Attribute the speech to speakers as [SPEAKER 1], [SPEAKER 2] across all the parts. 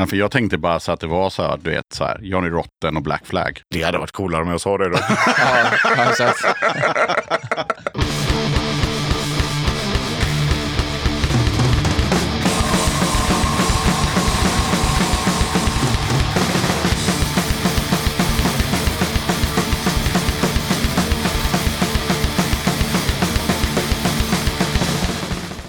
[SPEAKER 1] Ja, för jag tänkte bara så att det var så här, du vet, så här, Johnny Rotten och Black Flag. Det hade varit coolare om jag sa det då.
[SPEAKER 2] Ja, ja, exakt.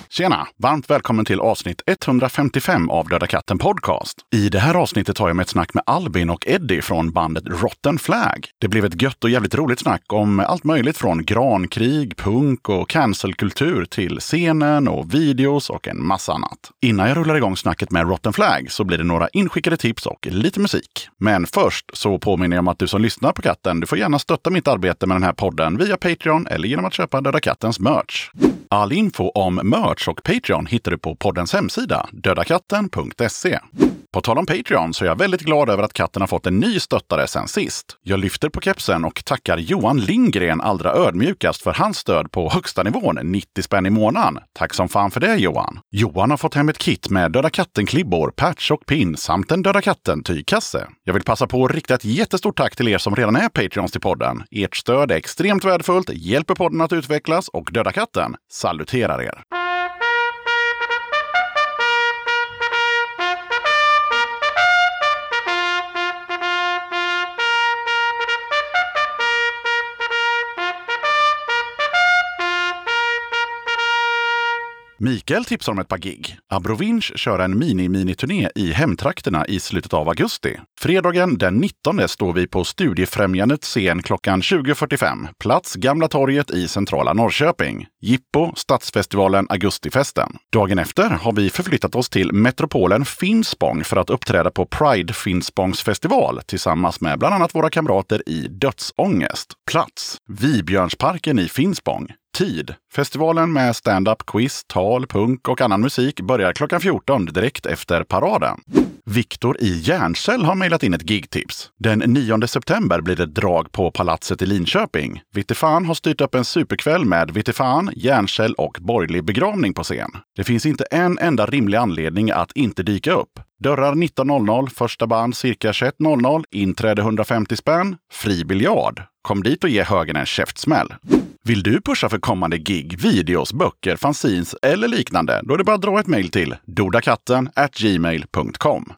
[SPEAKER 1] Tjena! Varmt välkommen till avsnitt 155 av Döda katten Podcast. I det här avsnittet tar jag med ett snack med Albin och Eddie från bandet Rotten Flag. Det blev ett gött och jävligt roligt snack om allt möjligt från grankrig, punk och cancelkultur till scenen och videos och en massa annat. Innan jag rullar igång snacket med Rotten Flag så blir det några inskickade tips och lite musik. Men först så påminner jag om att du som lyssnar på katten, du får gärna stötta mitt arbete med den här podden via Patreon eller genom att köpa Döda kattens merch. All info om merch och Patreon hittar du på poddens hemsida, dödakatten.se. På tal om Patreon så är jag väldigt glad över att katten har fått en ny stöttare sen sist. Jag lyfter på kepsen och tackar Johan Lindgren allra ödmjukast för hans stöd på högsta nivån, 90 spänn i månaden. Tack som fan för det Johan! Johan har fått hem ett kit med Döda katten-klibbor, patch och pin samt en Döda katten-tygkasse. Jag vill passa på att rikta ett jättestort tack till er som redan är Patreons till podden. Ert stöd är extremt värdefullt, hjälper podden att utvecklas och Döda katten saluterar er! Mikael tipsar om ett par gig. Abrovinch kör en mini-miniturné i hemtrakterna i slutet av augusti. Fredagen den 19 står vi på Studiefrämjandets scen klockan 20.45, plats Gamla torget i centrala Norrköping. Jippo, Stadsfestivalen, Augustifesten. Dagen efter har vi förflyttat oss till metropolen Finspång för att uppträda på Pride Finspångs festival tillsammans med bland annat våra kamrater i Dödsångest. Plats Vibjörnsparken i Finspång. Tid. Festivalen med stand-up, quiz, tal, punk och annan musik börjar klockan 14 direkt efter paraden. Viktor i Järncell har mejlat in ett gigtips. Den 9 september blir det drag på Palatset i Linköping. Vittifan har styrt upp en superkväll med Vittifan, Järncell och borgerlig begravning på scen. Det finns inte en enda rimlig anledning att inte dyka upp. Dörrar 19.00, första band cirka 21.00, inträde 150 spänn, fri biljard. Kom dit och ge högen en käftsmäll. Vill du pusha för kommande gig, videos, böcker, fanzines eller liknande? Då är det bara att dra ett mejl till dodakatten gmail.com.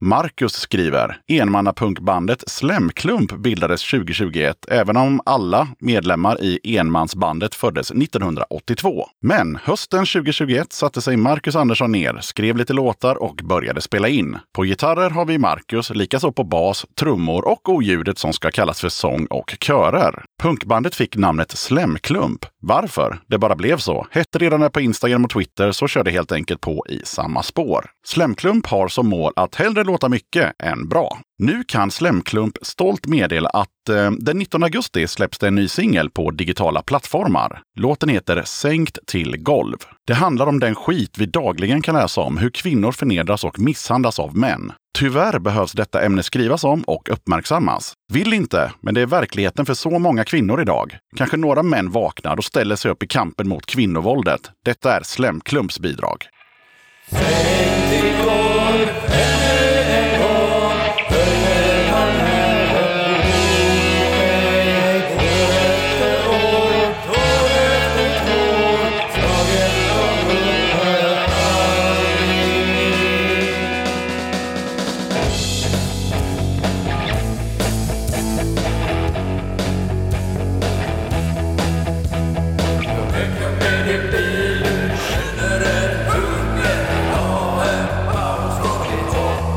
[SPEAKER 1] Marcus skriver, enmannapunkbandet Slemklump bildades 2021, även om alla medlemmar i enmansbandet föddes 1982. Men hösten 2021 satte sig Marcus Andersson ner, skrev lite låtar och började spela in. På gitarrer har vi Marcus, likaså på bas, trummor och oljudet som ska kallas för sång och körer. Punkbandet fick namnet Slemklump. Varför? Det bara blev så. Hette redan det på Instagram och Twitter så körde helt enkelt på i samma spår. Slemklump har som mål att hellre låta mycket än bra. Nu kan Slemklump stolt meddela att eh, den 19 augusti släpps det en ny singel på digitala plattformar. Låten heter Sänkt till golv. Det handlar om den skit vi dagligen kan läsa om, hur kvinnor förnedras och misshandlas av män. Tyvärr behövs detta ämne skrivas om och uppmärksammas. Vill inte, men det är verkligheten för så många kvinnor idag. Kanske några män vaknar och ställer sig upp i kampen mot kvinnovåldet. Detta är Slemklumps bidrag.
[SPEAKER 3] Känner en hunger, av en paus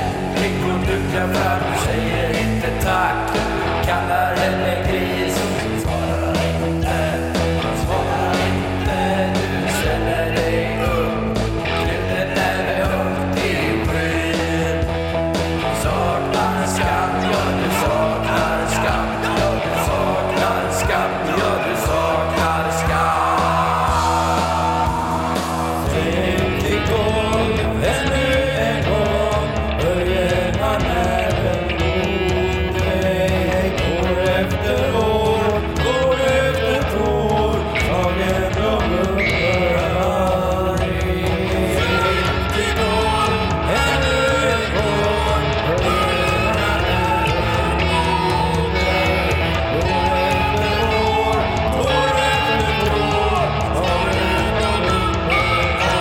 [SPEAKER 2] tackar för att du säger inte tack. Kallar henne gris. Svarar inte. Svarar inte. Du ställer dig upp. Knuten är högt i skyn. Saknar skam. Ja, du saknar skam. Ja, du saknar skam. Ja, du saknar skam. Tänk dig gång, ännu en gång, höjer man näven mot dig. År efter år, år efter år, dagen de upphör aldrig. Tänk dig gång, ännu en gång, höjer man näven mot dig. År efter år, år efter år, dagen de upphör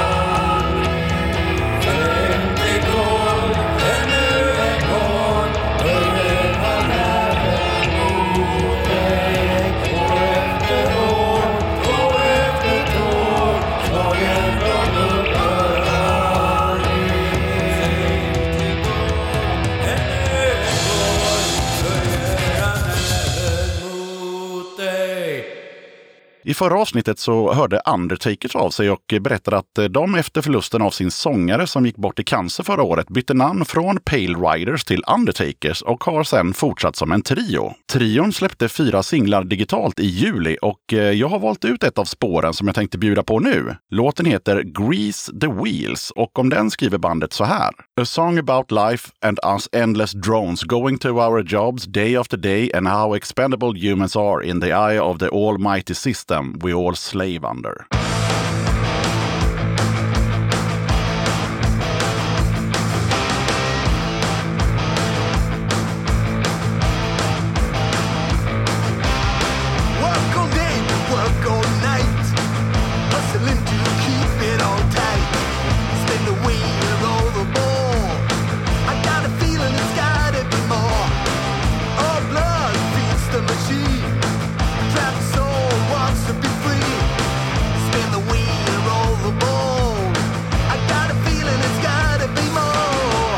[SPEAKER 1] I förra avsnittet så hörde Undertakers av sig och berättade att eh, de efter förlusten av sin sångare som gick bort i cancer förra året bytte namn från Pale Riders till Undertakers och har sedan fortsatt som en trio. Trion släppte fyra singlar digitalt i juli och eh, jag har valt ut ett av spåren som jag tänkte bjuda på nu. Låten heter Grease the Wheels och om den skriver bandet så här. A song about life and us endless drones going to our jobs day after day and how expendable humans are in the eye of the almighty system we all slave under.
[SPEAKER 3] Work all day, work all night. Hustling to keep it all tight. Spin the wheel overboard. I got a feeling it's gotta be more. All blood feeds the machine. Trapped soul wants to be free. Spin the wheel overboard. I got a feeling it's gotta be more.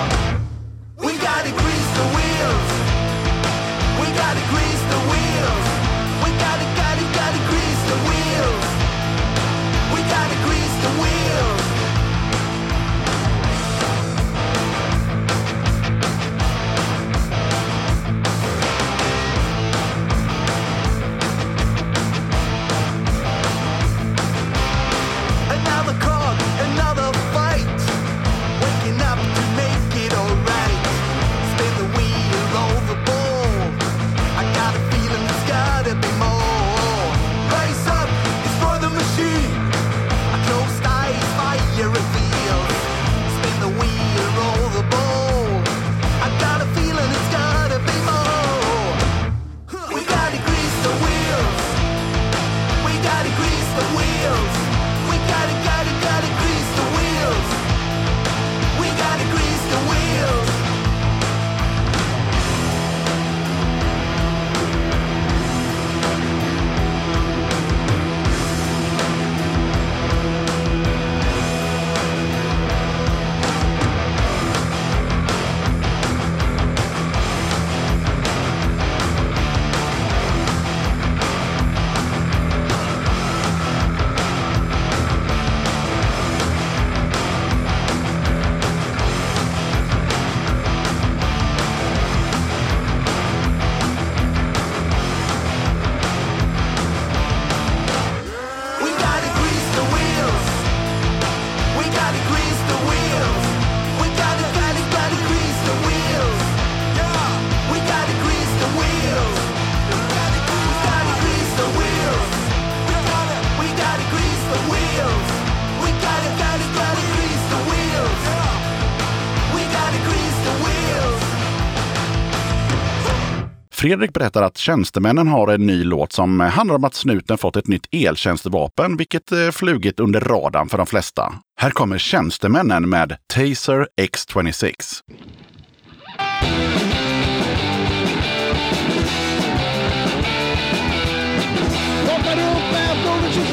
[SPEAKER 3] We gotta grease the wheels. We gotta grease the wheels. We gotta, gotta, gotta grease the wheels. We gotta grease the wheels. Another call, another fight. Waking up to make it alright. Spin the wheel overboard. I got a feeling there's gotta be more. Rise up, destroy the machine. I closed eyes, fire reveals. Spin the wheel overboard. I got a feeling it's gotta be more. We gotta grease the wheels. We gotta grease the wheels. We gotta, gotta, gotta grease the wheels. We gotta grease the wheels. We gotta grease the wheels. We gotta grease the wheels. We gotta, gotta, gotta grease the wheels. Yeah. We gotta grease the wheels. We gotta, we gotta grease the wheels. We gotta, we gotta grease the wheels. We gotta, gotta, gotta grease the wheels. Yeah. We gotta grease the wheels.
[SPEAKER 1] Fredrik berättar att tjänstemännen har en ny låt som handlar om att snuten fått ett nytt eltjänstevapen, vilket eh, flugit under radarn för de flesta. Här kommer tjänstemännen med Taser X26.
[SPEAKER 4] Hoppar upp efter över 21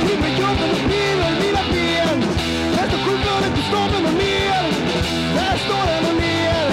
[SPEAKER 4] Klipper kroppen och spiller mina ben Kastar skjutdörren på staven och ner Där står han och ler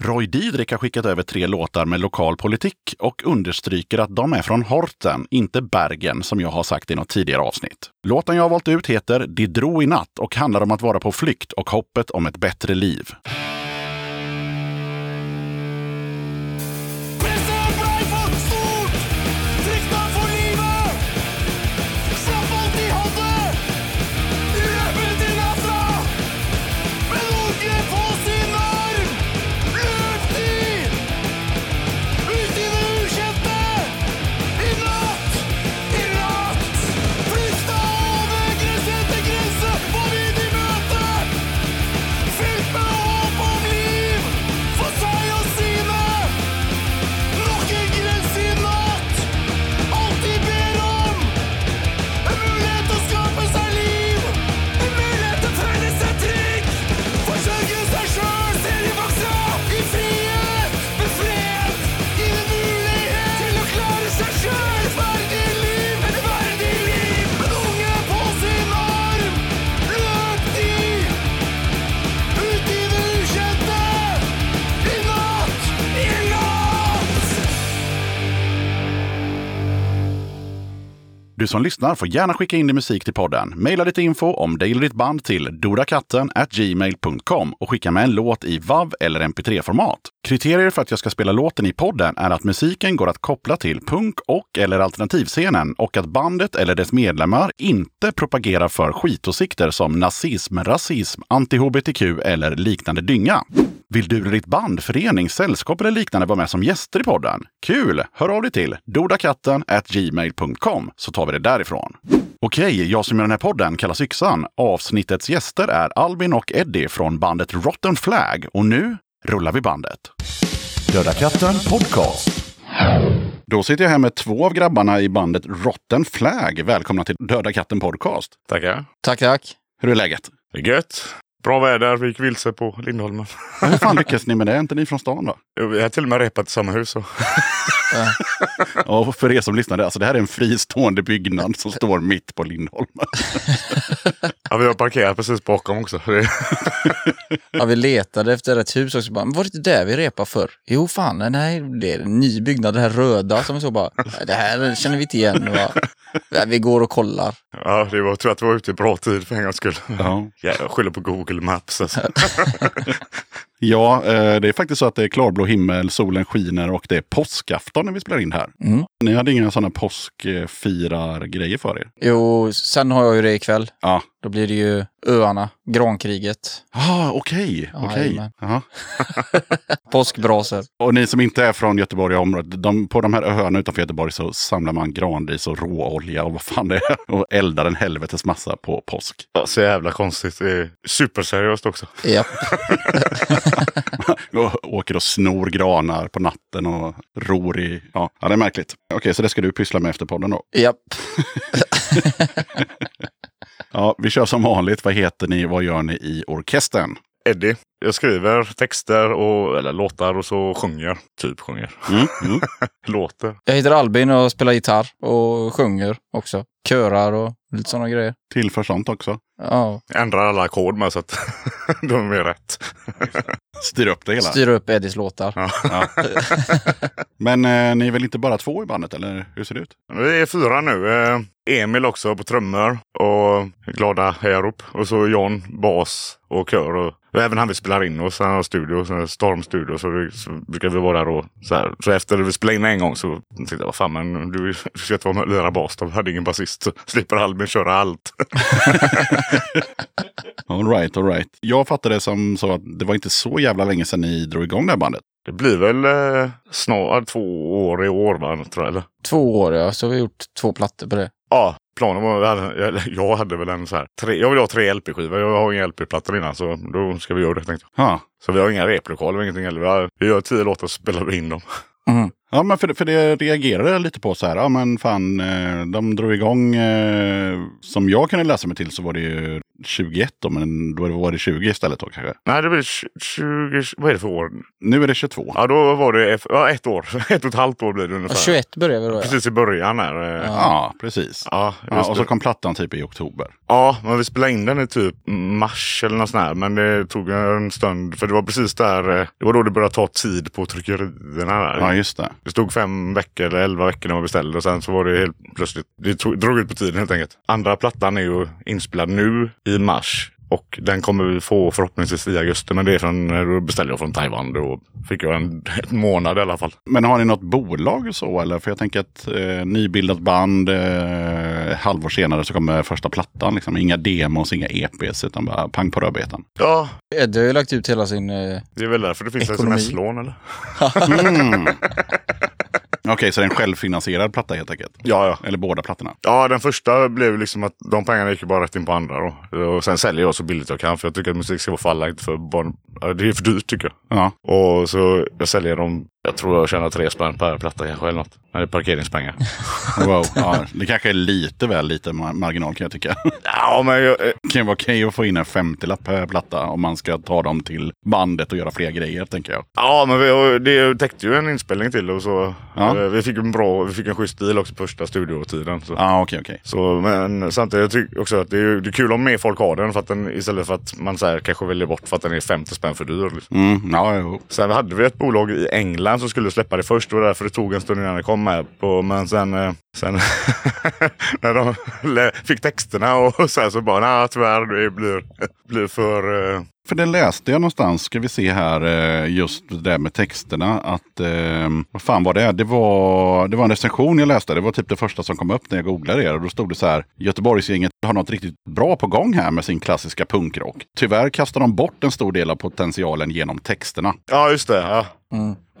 [SPEAKER 1] Roy Didrik har skickat över tre låtar med lokal politik och understryker att de är från Horten, inte Bergen som jag har sagt i något tidigare avsnitt. Låten jag har valt ut heter Det drog i natt och handlar om att vara på flykt och hoppet om ett bättre liv. Du som lyssnar får gärna skicka in din musik till podden. Maila lite info om dig eller ditt band till dodakatten gmail.com och skicka med en låt i WAV eller MP3-format. Kriterier för att jag ska spela låten i podden är att musiken går att koppla till punk och eller alternativscenen och att bandet eller dess medlemmar inte propagerar för skitåsikter som nazism, rasism, anti-hbtq eller liknande dynga. Vill du eller ditt band, förening, sällskap eller liknande vara med som gäster i podden? Kul! Hör av dig till dodakatten gmail.com så tar vi det därifrån. Okej, jag som gör den här podden kallas Yxan. Avsnittets gäster är Albin och Eddie från bandet Rotten Flag och nu rullar vi bandet. Döda katten podcast. Då sitter jag här med två av grabbarna i bandet Rotten Flag. Välkomna till Döda katten podcast.
[SPEAKER 3] Tackar.
[SPEAKER 5] Tack, tack.
[SPEAKER 1] Hur är läget?
[SPEAKER 3] Det är gött. Bra väder. Vi gick vilse på Lindholmen.
[SPEAKER 1] Hur fan lyckas ni med det? Är inte ni från stan va?
[SPEAKER 3] Vi har till och med repat i samma hus. så.
[SPEAKER 1] Ja, för er som lyssnade, alltså det här är en fristående byggnad som står mitt på Lindholmen.
[SPEAKER 3] Ja, vi har parkerat precis bakom också. Det-
[SPEAKER 5] Ja, vi letade efter ett hus också. Bara, men var det inte där vi repade förr? Jo, fan, nej, det är en ny byggnad, det här röda som vi såg bara. Det här känner vi inte igen. Va? Ja, Vi går och kollar.
[SPEAKER 3] Ja, det var tur att vi var ute i bra tid för en gångs skull.
[SPEAKER 1] Ja.
[SPEAKER 3] Ja, jag skyller på Google Maps. Alltså.
[SPEAKER 1] Ja, eh, det är faktiskt så att det är klarblå himmel, solen skiner och det är påskafton när vi spelar in här.
[SPEAKER 5] Mm.
[SPEAKER 1] Ni hade inga sådana påskfirar-grejer för er?
[SPEAKER 5] Jo, sen har jag ju det ikväll.
[SPEAKER 1] Ja.
[SPEAKER 5] Då blir det ju öarna, grankriget,
[SPEAKER 1] Ah, okej.
[SPEAKER 5] Ja,
[SPEAKER 1] okej.
[SPEAKER 5] jajamän.
[SPEAKER 1] Ja.
[SPEAKER 5] påskbrasor.
[SPEAKER 1] Och ni som inte är från Göteborg och området, de, på de här öarna utanför Göteborg så samlar man granris och råolja och vad fan det är och eldar en helvetes massa på påsk.
[SPEAKER 3] Ja, Så jävla konstigt. Det är superseriöst också.
[SPEAKER 5] Japp.
[SPEAKER 1] Och åker och snor granar på natten och ror i... Ja, ja det är märkligt. Okej, så det ska du pyssla med efter podden då?
[SPEAKER 5] Japp.
[SPEAKER 1] Ja, vi kör som vanligt. Vad heter ni? Vad gör ni i orkestern?
[SPEAKER 3] Eddie. Jag skriver texter och eller låtar och så sjunger. Typ sjunger.
[SPEAKER 1] Mm, mm.
[SPEAKER 3] Låter.
[SPEAKER 5] Jag heter Albin och spelar gitarr och sjunger också. Körar och lite sådana grejer.
[SPEAKER 1] Tillför sånt också.
[SPEAKER 5] Ja,
[SPEAKER 3] Ändrar alla ackord med så att de är mer rätt.
[SPEAKER 1] Styr upp det hela.
[SPEAKER 5] styr upp Eddies låtar.
[SPEAKER 3] Ja.
[SPEAKER 1] Ja. Men eh, ni är väl inte bara två i bandet, eller hur ser det ut?
[SPEAKER 3] Vi är fyra nu. Eh, Emil också på trummor och glada hejarop. Och så John, bas och kör. Och och även han vi spelar in hos, han har studio, så här Storm Studio. Så, vi, så brukar vi vara där och så här. Så efter vi spelade in en gång så tänkte jag, vad fan men du, du ska inte vara med och lira bas då. Vi hade ingen basist. Så slipper Albin köra allt.
[SPEAKER 1] All right, all right. Jag fattar det som så att det var inte så jävla länge sedan ni drog igång det här bandet.
[SPEAKER 3] Det blir väl eh, snart två år i år va, tror jag. Eller?
[SPEAKER 5] Två år, ja, så har vi gjort två plattor på det.
[SPEAKER 3] Ja, planen var... jag hade- jag- Jag hade väl en så här... Tre, jag vill ha tre LP-skivor. Jag har inga LP-plattor innan så då ska vi göra det tänkte jag.
[SPEAKER 1] Ja,
[SPEAKER 3] Så vi har inga replokaler och ingenting heller. Vi har- Vi gör tio låtar och spelar vi in dem.
[SPEAKER 5] Mm.
[SPEAKER 1] ja men för, för det reagerade jag lite på så här. Ja, men fan, eh, de drog igång. eh, Som jag kunde läsa mig till så var det ju 21 då, men då var det 20 istället då kanske.
[SPEAKER 6] Nej, det blir 20... Vad är det för år?
[SPEAKER 1] Nu är det 22.
[SPEAKER 6] Ja, då var det eff- ja, ett år. Ett och ett halvt år blir det
[SPEAKER 5] Ja,
[SPEAKER 6] ungefär.
[SPEAKER 5] 21 börjar vi då. Ja.
[SPEAKER 6] Precis i början här. eh.
[SPEAKER 5] Ja.
[SPEAKER 1] Ja, precis.
[SPEAKER 6] Ja,
[SPEAKER 1] Ja,
[SPEAKER 6] just
[SPEAKER 1] och så
[SPEAKER 6] det.
[SPEAKER 1] kom plattan typ i oktober.
[SPEAKER 6] ja, men vi spelade in den i typ mars eller något sånt här. Men det tog en stund. För det var precis där. eh, Det var då det började ta tid på tryckerierna. Där.
[SPEAKER 1] Ja, just det.
[SPEAKER 6] Det stod fem veckor eller elva veckor när man beställde och sen så var det helt plötsligt. Det tog, drog ut på tiden helt enkelt. Andra plattan är ju inspelad nu i mars. Och den kommer vi få förhoppningsvis i augusti. Men det är från, då beställde jag från Taiwan. Då fick jag en ett månad i alla fall.
[SPEAKER 1] Men har ni något bolag och så eller? För jag tänker att eh, nybildat band, eh, halvår senare så kommer första plattan. Liksom. Inga demos, inga EPs, utan bara pang på rödbetan.
[SPEAKER 6] Ja,
[SPEAKER 5] Eddie har ju lagt ut hela sin... eh,
[SPEAKER 6] det är väl därför det finns
[SPEAKER 5] Ekonomi.
[SPEAKER 6] sms-lån eller?
[SPEAKER 1] Mm. Okej, så det är en självfinansierad platta helt enkelt?
[SPEAKER 6] Ja, ja.
[SPEAKER 1] Eller båda plattorna?
[SPEAKER 6] Ja, den första blev liksom att de pengarna gick ju bara rätt in på andra då. Och sen säljer jag så billigt jag kan för jag tycker att musik ska vara för alla, inte för barn. Ja, Det är för dyrt tycker jag.
[SPEAKER 1] Ja.
[SPEAKER 6] Och så jag säljer dem, jag tror jag tjänar tre spänn per platta kanske eller något. Nej, det är parkeringspengar.
[SPEAKER 1] Wow. ja. Det kanske är lite väl lite mar- marginal kan jag tycka.
[SPEAKER 6] ja, men jag, eh,
[SPEAKER 1] Det kan ju vara okej att få in en 50-lapp per platta om man ska ta dem till bandet och göra fler grejer, tänker jag.
[SPEAKER 6] ja, men vi, det täckte ju en inspelning till och så.
[SPEAKER 1] Ja.
[SPEAKER 6] Eh, Vi fick en bra, vi fick en schysst deal också på första studiotiden. Så.
[SPEAKER 1] Ja, ah, okej, okej.
[SPEAKER 6] Så, men samtidigt tycker jag också att det är, ju- det är kul om mer folk har den, för att den istället för att man så här, kanske väljer bort för att den är 50 spänn för dyr. Liksom.
[SPEAKER 1] Mm, ja, jo.
[SPEAKER 6] Sen hade vi ett bolag i England som skulle släppa det först. Det var därför det tog en stund innan det kom med. På, men sen, eh, sen när de lä- fick texterna och sen så bara, nej tyvärr det blir, blir för... Eh,
[SPEAKER 1] För det läste jag någonstans, ska vi se här, eh, just det där med texterna. Att, eh, vad fan var det? Det var, det var en recension jag läste. Det var typ det första som kom upp när jag googlade er. Och då stod det så här, Göteborgsgänget har något riktigt bra på gång här med sin klassiska punkrock. Tyvärr kastar de bort en stor del av potentialen genom texterna.
[SPEAKER 6] ja, just det. Ja.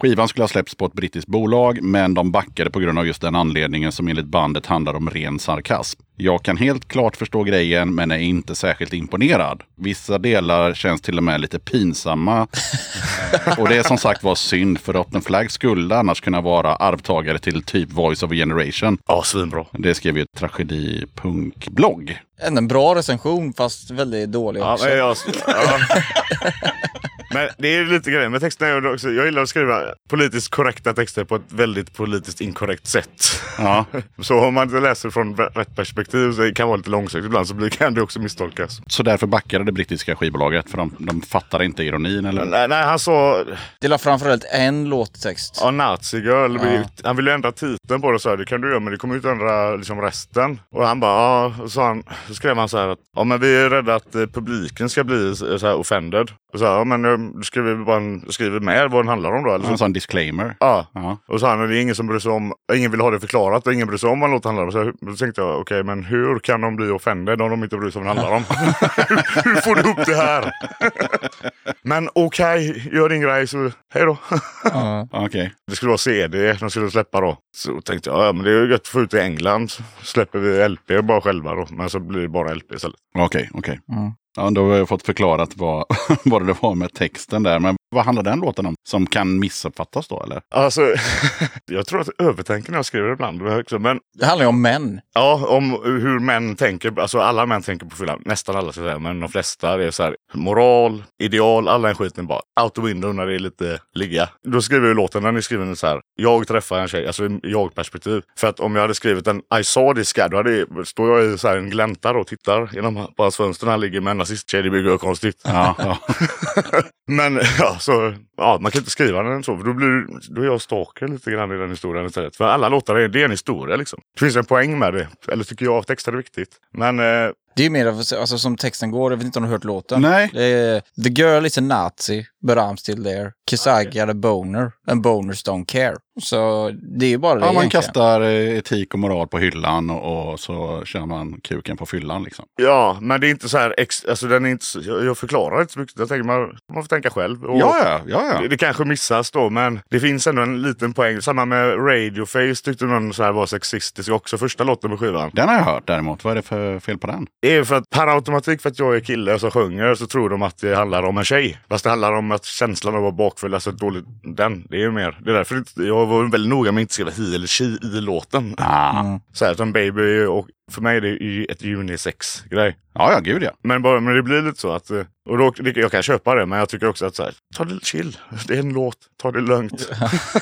[SPEAKER 1] Skivan skulle ha släppts på ett brittiskt bolag, men de backade på grund av just den anledningen som enligt bandet handlar om ren sarkasm. Jag kan helt klart förstå grejen, men är inte särskilt imponerad. Vissa delar känns till och med lite pinsamma. Eh, och det är som sagt var synd, för Rotten Flag skulle annars kunna vara arvtagare till typ Voice of a Generation.
[SPEAKER 6] ja, svinbra.
[SPEAKER 1] Det skrev ju Tragedi Punk-blogg.
[SPEAKER 5] Ändå en bra recension fast väldigt dålig
[SPEAKER 6] Ja,
[SPEAKER 5] också.
[SPEAKER 6] men, jag, ja. men det är ju lite grejen med texterna. är ju också- Jag gillar att skriva politiskt korrekta texter på ett väldigt politiskt inkorrekt sätt.
[SPEAKER 1] Ja,
[SPEAKER 6] Så om man inte läser från rätt perspektiv så kan det vara lite långsökt ibland så blir- kan det också misstolkas.
[SPEAKER 1] så därför backade det brittiska skivbolaget, för de, de fattar inte ironin. Eller?
[SPEAKER 6] Nej, nej han sa
[SPEAKER 5] Det la framförallt en låttext.
[SPEAKER 6] ja, nazi girl.
[SPEAKER 5] Ja.
[SPEAKER 6] Han ville ändra titeln på det och sa det kan du göra men du kommer ju inte ändra liksom, resten. Och han bara ja. Och så, sa han, så skrev han så här att ja men vi är rädda att eh, publiken ska bli så så här offended. Och så här, ja men eh, då skriver vi bara en, skriver med vad den handlar om då. Eller
[SPEAKER 1] En
[SPEAKER 6] så.
[SPEAKER 1] sån disclaimer.
[SPEAKER 6] Ja.
[SPEAKER 1] Ja.
[SPEAKER 6] Och så han, det är ingen som bryr sig om, ingen vill ha det förklarat och ingen bryr sig om vad låten handlar om. Så jag- då tänkte jag, okej men hur kan de bli offended om de inte bryr sig om vad den handlar om? hur, hur får du ihop det här? men okej, gör din grej så hej då.
[SPEAKER 5] Ja.
[SPEAKER 1] Ah, Okej.
[SPEAKER 6] det skulle vara CD de skulle släppa då. Så tänkte jag, ja men det är ju gött att få ut det i England. Så släpper vi LP bara själva då. Men så blir det bara LP istället.
[SPEAKER 1] Okej, okej.
[SPEAKER 5] Mm.
[SPEAKER 1] Ja, då har jag fått förklarat vad, vad det var med texten där. Men vad handlar den låten om? Som kan missuppfattas då eller?
[SPEAKER 6] Alltså, jag tror att jag övertänker när jag skriver ibland. också, Men
[SPEAKER 5] Det handlar ju om män.
[SPEAKER 6] Ja, om hur män tänker. Alltså alla män tänker på fyllan. Nästan alla ska jag säga, men de flesta. Det är så här moral, ideal, alla den skiten bara out the window när det är lite ligga. Då skriver ju låten, den är skriven så här. Jag träffar en tjej, alltså i jag-perspektiv. För att om jag hade skrivit en I saw this guy, då hade, står jag i så här en glänta då och tittar genom på hans fönster när han ligger med en nazisttjej. Det blir ju konstigt.
[SPEAKER 1] Ja, ja.
[SPEAKER 6] Men ja, så, ja, man kan inte skriva den så, för då, blir, då är jag stalker lite grann i den historien istället. För alla låtar är, det är en historia liksom. Det finns en poäng med det, eller tycker jag att texten är viktigt. Men eh,
[SPEAKER 5] Det är ju mer av- alltså, som texten går, jag vet inte om du har hört låten.
[SPEAKER 1] Nej.
[SPEAKER 5] Det är, The girl is a nazi, but I'm still there. Cause I got a boner, and boners don't care. Så det är ju bara det
[SPEAKER 1] ja man
[SPEAKER 5] egentligen.
[SPEAKER 1] kastar eh, etik och moral på hyllan och, och så kör man kuken på fyllan liksom.
[SPEAKER 6] ja, men det är inte så här, ex, alltså den är inte, så- jag, jag förklarar inte så mycket. Jag tänker man, man får tänka själv. Och,
[SPEAKER 1] Ja, ja, ja.
[SPEAKER 6] Det,
[SPEAKER 1] ja.
[SPEAKER 6] det kanske missas då, men det finns ändå en liten poäng. Samma med Radioface tyckte någon så här var sexistisk också, första låten på skivan.
[SPEAKER 1] Den har jag hört däremot. Vad är det för fel på den?
[SPEAKER 6] Det är för att per automatik för att jag är kille som sjunger så tror de att det handlar om en tjej. Fast det handlar om att känslan av att vara bakfull, alltså dåligt, den. Det är ju mer. Det är därför inte- jag var väldigt noga med att inte skriva hi eller tji i låten.
[SPEAKER 1] Ah.
[SPEAKER 6] Så här, utan baby och För mig är det ju ett unisex-grej.
[SPEAKER 1] Ja, ja, gud ja.
[SPEAKER 6] Men, bara, men det blir lite så att... eh, Och då, det- jag kan köpa det, men jag tycker också att så här, ta det chill. Det är en låt. Ta det lugnt.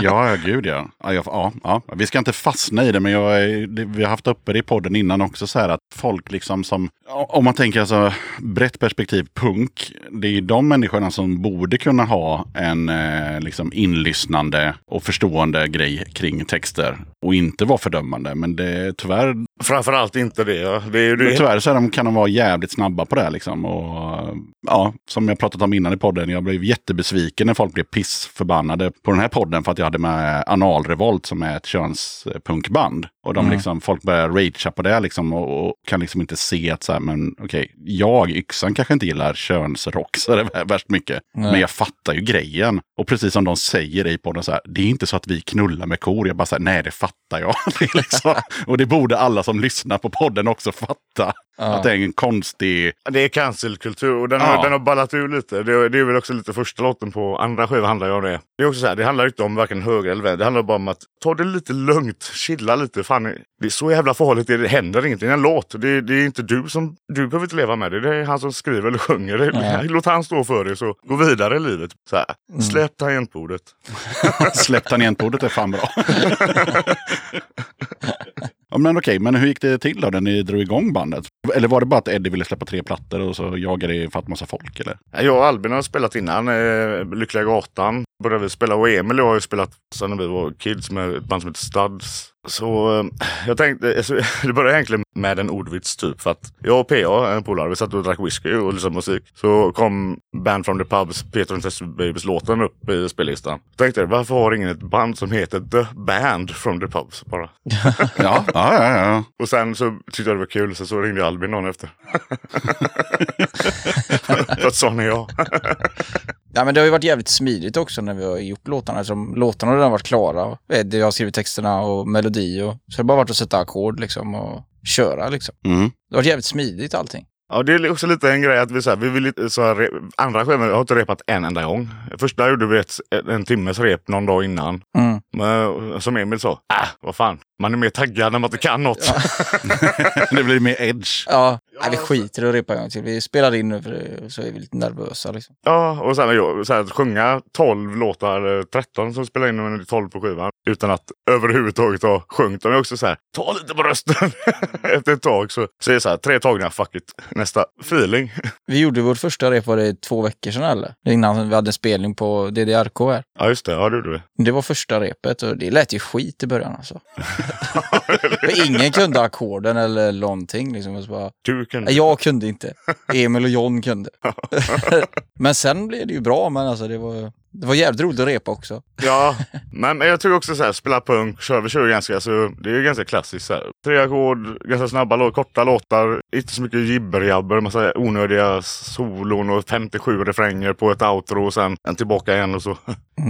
[SPEAKER 1] Ja, ja, gud ja. Ja, jag- ja, ja. Vi ska inte fastna i det, men jag, är- det- vi har haft uppe det i podden innan också. Så här att folk liksom som, om man tänker alltså brett perspektiv punk, det är ju de människorna som borde kunna ha en eh, liksom inlyssnande och förstående grej kring texter och inte vara fördömande. Men det, tyvärr,
[SPEAKER 6] Framförallt inte det. Ja. Det är ju det.
[SPEAKER 1] tyvärr så är de, kan de vara jävligt snabba på det här liksom. Och, ja, som jag pratat om innan i podden, jag blev jättebesviken när folk blev pissförbannade på den här podden för att jag hade med Analrevolt som är ett könspunkband. Och de liksom, folk börjar ragea på det liksom och, och kan liksom inte se att så här, men okej, jag, yxan, kanske inte gillar könsrock så det är värst mycket.
[SPEAKER 5] Nej.
[SPEAKER 1] Men jag fattar ju grejen. Och precis som de säger i podden så här, det är inte så att vi knullar med kor. Jag bara så här, nej det fattar jag. Det är liksom, och det borde alla som lyssnar på podden också fatta. Att det är en konstig...
[SPEAKER 6] Det är cancelkultur och den har,
[SPEAKER 1] Ja.
[SPEAKER 6] den har ballat ur lite. Det, det är väl också lite första låten på andra skivan handlar ju om det. Det är också så här, det handlar ju inte om varken höger eller vänster. Det handlar bara om att ta det lite lugnt, chilla lite. Fan, det är så jävla farligt, det händer ingenting. Det är En låt, det, det är inte du som... Du behöver inte leva med det. Det är han som skriver eller sjunger. Det,
[SPEAKER 5] Nej.
[SPEAKER 6] Låt han stå för det så gå vidare i livet. Så här, Släpp tangentbordet.
[SPEAKER 1] Släpp tangentbordet är fan bra. ja, men okej, men hur gick det till då när ni drog igång bandet? Eller var det bara att Eddie ville släppa tre plattor och så jagade det fatt massa folk? Eller?
[SPEAKER 6] Jag och Albin har spelat innan, eh, Lyckliga Gatan började vi spela och Emil och jag har ju spelat sedan vi var kids med ett band som heter Studs. Så eh, jag tänkte, alltså, det började egentligen med en ordvits typ för att jag och PA, en polare, vi satt och drack whisky och lyssnade på musik. Så kom Band from the Pubs, Peter and Test Babies låten upp i spellistan. Jag tänkte varför har ingen ett band som heter The Band from the Pubs bara?
[SPEAKER 1] Ja, ja, ja. ja.
[SPEAKER 6] Och sen så tyckte jag det var kul så, så ringde Albin någon efter. för att sån är jag.
[SPEAKER 5] Ja, men det har ju varit jävligt smidigt också när vi har gjort låtarna. Eftersom låtarna har redan varit klara. Eddie har skrivit texterna och melodi. Och, så det har bara varit att sätta ackord liksom, och köra. Liksom.
[SPEAKER 1] Mm.
[SPEAKER 5] Det har varit jävligt smidigt allting.
[SPEAKER 6] Ja, det är också lite en grej att vi, så här, vi vill lite, så här, re- andra skivor har inte repat en enda gång. Första gjorde vi ett, en timmes rep någon dag innan.
[SPEAKER 5] Mm.
[SPEAKER 6] Men, som Emil sa, äh, vad fan, man är mer taggad när man inte kan något.
[SPEAKER 1] det blir mer edge.
[SPEAKER 5] Ja, Nej, vi skiter i att repa en gång till. Vi spelar in nu för det, så är vi lite nervösa. Liksom.
[SPEAKER 6] Ja, och sen jag, så här, att sjunga 12 låtar, eller 13 som spelar in men 12 på skivan, utan att överhuvudtaget ha sjungit dem. Det är också så här, ta lite på rösten. Efter ett tag så, så är det så här, tre tagningar, fuck it. Nästa, feeling.
[SPEAKER 5] Vi gjorde vårt första rep var det två veckor sedan eller? Innan vi hade en spelning på DDRK här.
[SPEAKER 6] Ja, just det, ja det gjorde vi.
[SPEAKER 5] Det var första repet och det lät ju skit i början alltså. För ingen kunde ackorden eller någonting. Liksom. Och så bara,
[SPEAKER 6] Du kan...
[SPEAKER 5] Nej, Jag kunde inte. Emil och John kunde. men sen blev det ju bra, men alltså det var, det var jävligt roligt att repa också.
[SPEAKER 6] Ja, men men jag tycker också så här, spela punk, kör, vi kör ju ganska, så det är ju ganska klassiskt så här. Tre ackord, ganska snabba låtar, korta låtar, inte så mycket jibberjabber, massa onödiga solon och 57 refränger på ett outro och sen en tillbaka igen och så.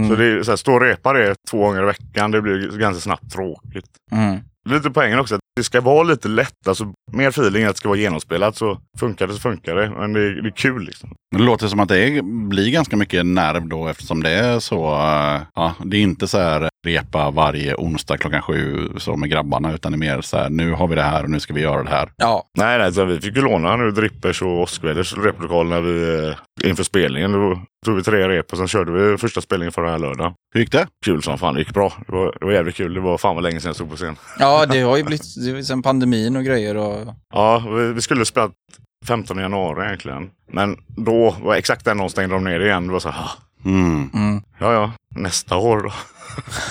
[SPEAKER 6] Så det är så här, stå och repa det två gånger i veckan, det blir ganska snabbt tråkigt.
[SPEAKER 5] Mm.
[SPEAKER 6] Lite poängen också, att det ska vara lite lätt, alltså mer feeling att det ska vara genomspelat så funkar det så funkar det, men det är, det är kul liksom.
[SPEAKER 1] Men Det låter som att det är- blir ganska mycket nerv då eftersom det är så. eh, Ja, det är inte så här repa varje onsdag klockan sju så med grabbarna utan det är mer så här nu har vi det här och nu ska vi göra det här.
[SPEAKER 5] Ja,
[SPEAKER 6] Nej, nej, så vi fick ju låna nu Drippers och Åskväders replokal när vi eh, inför spelningen. Då tog vi tre rep och sen körde vi första spelningen förra här lördagen.
[SPEAKER 1] Hur gick det?
[SPEAKER 6] Kul som fan, det gick bra. Det var, det var jävligt kul. Det var fan vad länge sedan jag stod på scen.
[SPEAKER 5] ja det har ju blivit det var ju sen pandemin och grejer. Och,
[SPEAKER 6] Ja, vi, vi skulle spela 15 januari egentligen. Men då var exakt den dagen stängde de ner igen. Det var så här, "Ah,
[SPEAKER 1] Mm.
[SPEAKER 5] mm.
[SPEAKER 6] ja ja, nästa år då.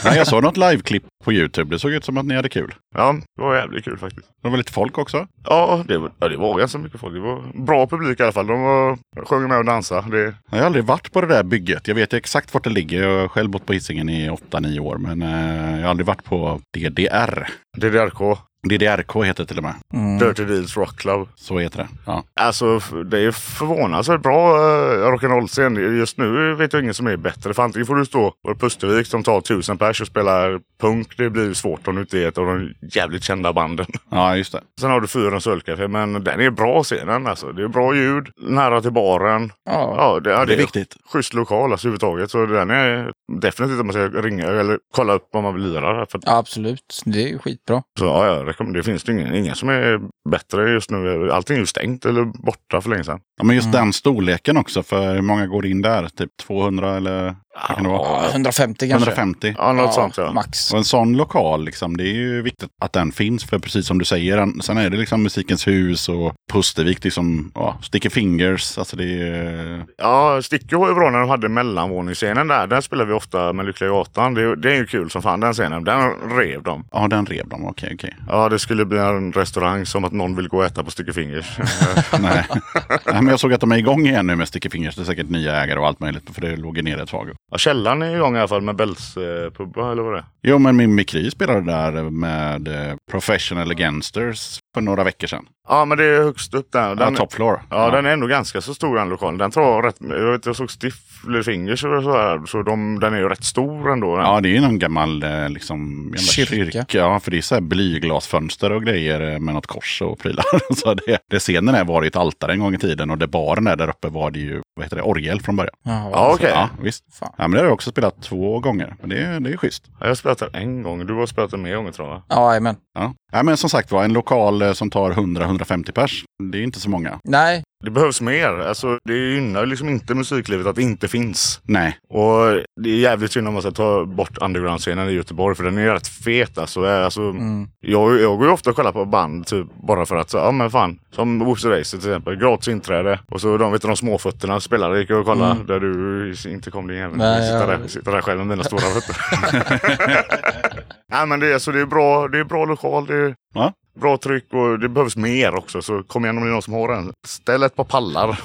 [SPEAKER 1] Nej, jag såg något liveklipp på Youtube. Det såg ut som att ni hade kul.
[SPEAKER 6] Ja, det var jävligt kul faktiskt.
[SPEAKER 1] Det var lite folk också.
[SPEAKER 6] Ja, det, var- ja, det var ganska mycket folk. Det var bra publik i alla fall. De var, sjöng med och dansade. Det,
[SPEAKER 1] Jag har aldrig varit på det där bygget. Jag vet ju exakt vart det ligger. Jag har själv bott på Hisingen i 8-9 år men eh, jag har aldrig varit på DDR.
[SPEAKER 6] DDRK,
[SPEAKER 1] DDRK heter det till och med.
[SPEAKER 5] Mm.
[SPEAKER 6] Dirty Deeds Rock Club.
[SPEAKER 1] Så heter det. Ja.
[SPEAKER 6] Alltså f- det är förvånansvärt bra eh, rock'n'roll-scen. Just nu vet jag ingen som är bättre. För antingen får du stå på Pustervik som tar tusen pers och spelar punk. Det blir ju svårt om du inte är ett av de jävligt kända banden.
[SPEAKER 1] ja, just det.
[SPEAKER 6] Sen har du Fyrens ölcafé, men den är bra scenen alltså. Det är bra ljud, nära till baren.
[SPEAKER 5] ja.
[SPEAKER 6] Ja, det, ja,
[SPEAKER 1] Det är viktigt.
[SPEAKER 6] Schysst lokal alltså överhuvudtaget. Så den är definitivt att man ska ringa eller kolla upp om man vill lira. där, För,
[SPEAKER 5] Ja, absolut, det är ju skitbra.
[SPEAKER 6] så, ja, jag rekommenderar. Det finns det ingen, ingen som är bättre just nu. Allting är ju stängt eller borta för länge sedan.
[SPEAKER 1] Ja, men just den storleken också, för hur många går in där? Typ 200 eller vad kan det vara?
[SPEAKER 5] Ja, 150 kanske.
[SPEAKER 1] 150.
[SPEAKER 6] Ja, något sånt ja.
[SPEAKER 5] Max.
[SPEAKER 1] Och en sån lokal, liksom, det är ju viktigt att den finns. För precis som du säger, den- sen är det liksom Musikens hus och Pustervik, liksom, ja, Sticky Fingers. Alltså det är, eh,
[SPEAKER 6] Ja, Sticky var ju bra när de hade mellanvåningsscenen där. Den spelar vi ofta med Lyckliga Gatan. Det, är- det är ju kul som fan den scenen. Den rev de.
[SPEAKER 1] ja, den rev de. Okej, okej.
[SPEAKER 6] Ja, det skulle bli en restaurang som att någon vill gå och äta på Sticky Fingers.
[SPEAKER 1] Nej. Nej, men jag såg att de är igång igen nu med Sticky Fingers. Det är säkert nya ägare och allt möjligt, för det låg ju nere ett tag.
[SPEAKER 6] ja, källaren är igång i alla fall med Bells eh, pubba eller vad det är.
[SPEAKER 1] Jo, men min Mikri spelade där med eh, Professional Gangsters för några veckor sedan.
[SPEAKER 6] Ja, men det är högst upp där. Den,
[SPEAKER 1] ja, top floor.
[SPEAKER 6] Ja, den är ändå ganska så stor den lokalen. Den tar rätt, jag, vet, jag såg Stiff eller Fingers och så här, så de, den är ju rätt stor ändå. Den.
[SPEAKER 1] Ja, det är ju någon gammal eh, liksom, jävla
[SPEAKER 5] Kyrka.
[SPEAKER 1] Ja, för det är så här blyglasfönster och grejer eh, med något kors och prylar. så det, det scenen här var ju ett altare en gång i tiden och det baren är där uppe var det ju vad heter det, orgel från början.
[SPEAKER 5] Ja,
[SPEAKER 6] Ja, okej.
[SPEAKER 1] Ja, visst.
[SPEAKER 5] Fan.
[SPEAKER 1] Ja, men det har jag också spelat två gånger. Men det, det är schysst.
[SPEAKER 6] Jag har spelat den en gång. Du har spelat den mer gånger tror jag.
[SPEAKER 5] Ja, jajamän.
[SPEAKER 1] Ja. ja, men som sagt var, en lokal eh, som tar 100-150 pers, det är inte så många.
[SPEAKER 5] Nej,
[SPEAKER 6] Det behövs mer. Alltså, det gynnar ju liksom inte musiklivet att det inte finns.
[SPEAKER 1] Nej,
[SPEAKER 6] Och det är jävligt synd om man ska ta bort underground-scenen i Göteborg för den är ju rätt fet alltså. Eh, alltså
[SPEAKER 5] Mm.
[SPEAKER 6] jag, jag går ju ofta och kollar på band typ bara för att så, ja men fan. Som Woozy Racer till exempel, gratis inträde. Och så de, vet du, de småfötterna spelade, gick jag och kollade där du inte kom din jävel.
[SPEAKER 5] Mm. Nej,
[SPEAKER 6] Sitta
[SPEAKER 5] ja.
[SPEAKER 6] där, sitta där själv med mina stora fötter. Nej men det, är- alltså, det är bra, det är bra lokal, det är
[SPEAKER 1] Ja.
[SPEAKER 6] bra tryck och det behövs mer också. Så kom igen om det är någon som har en. Ställ ett par pallar.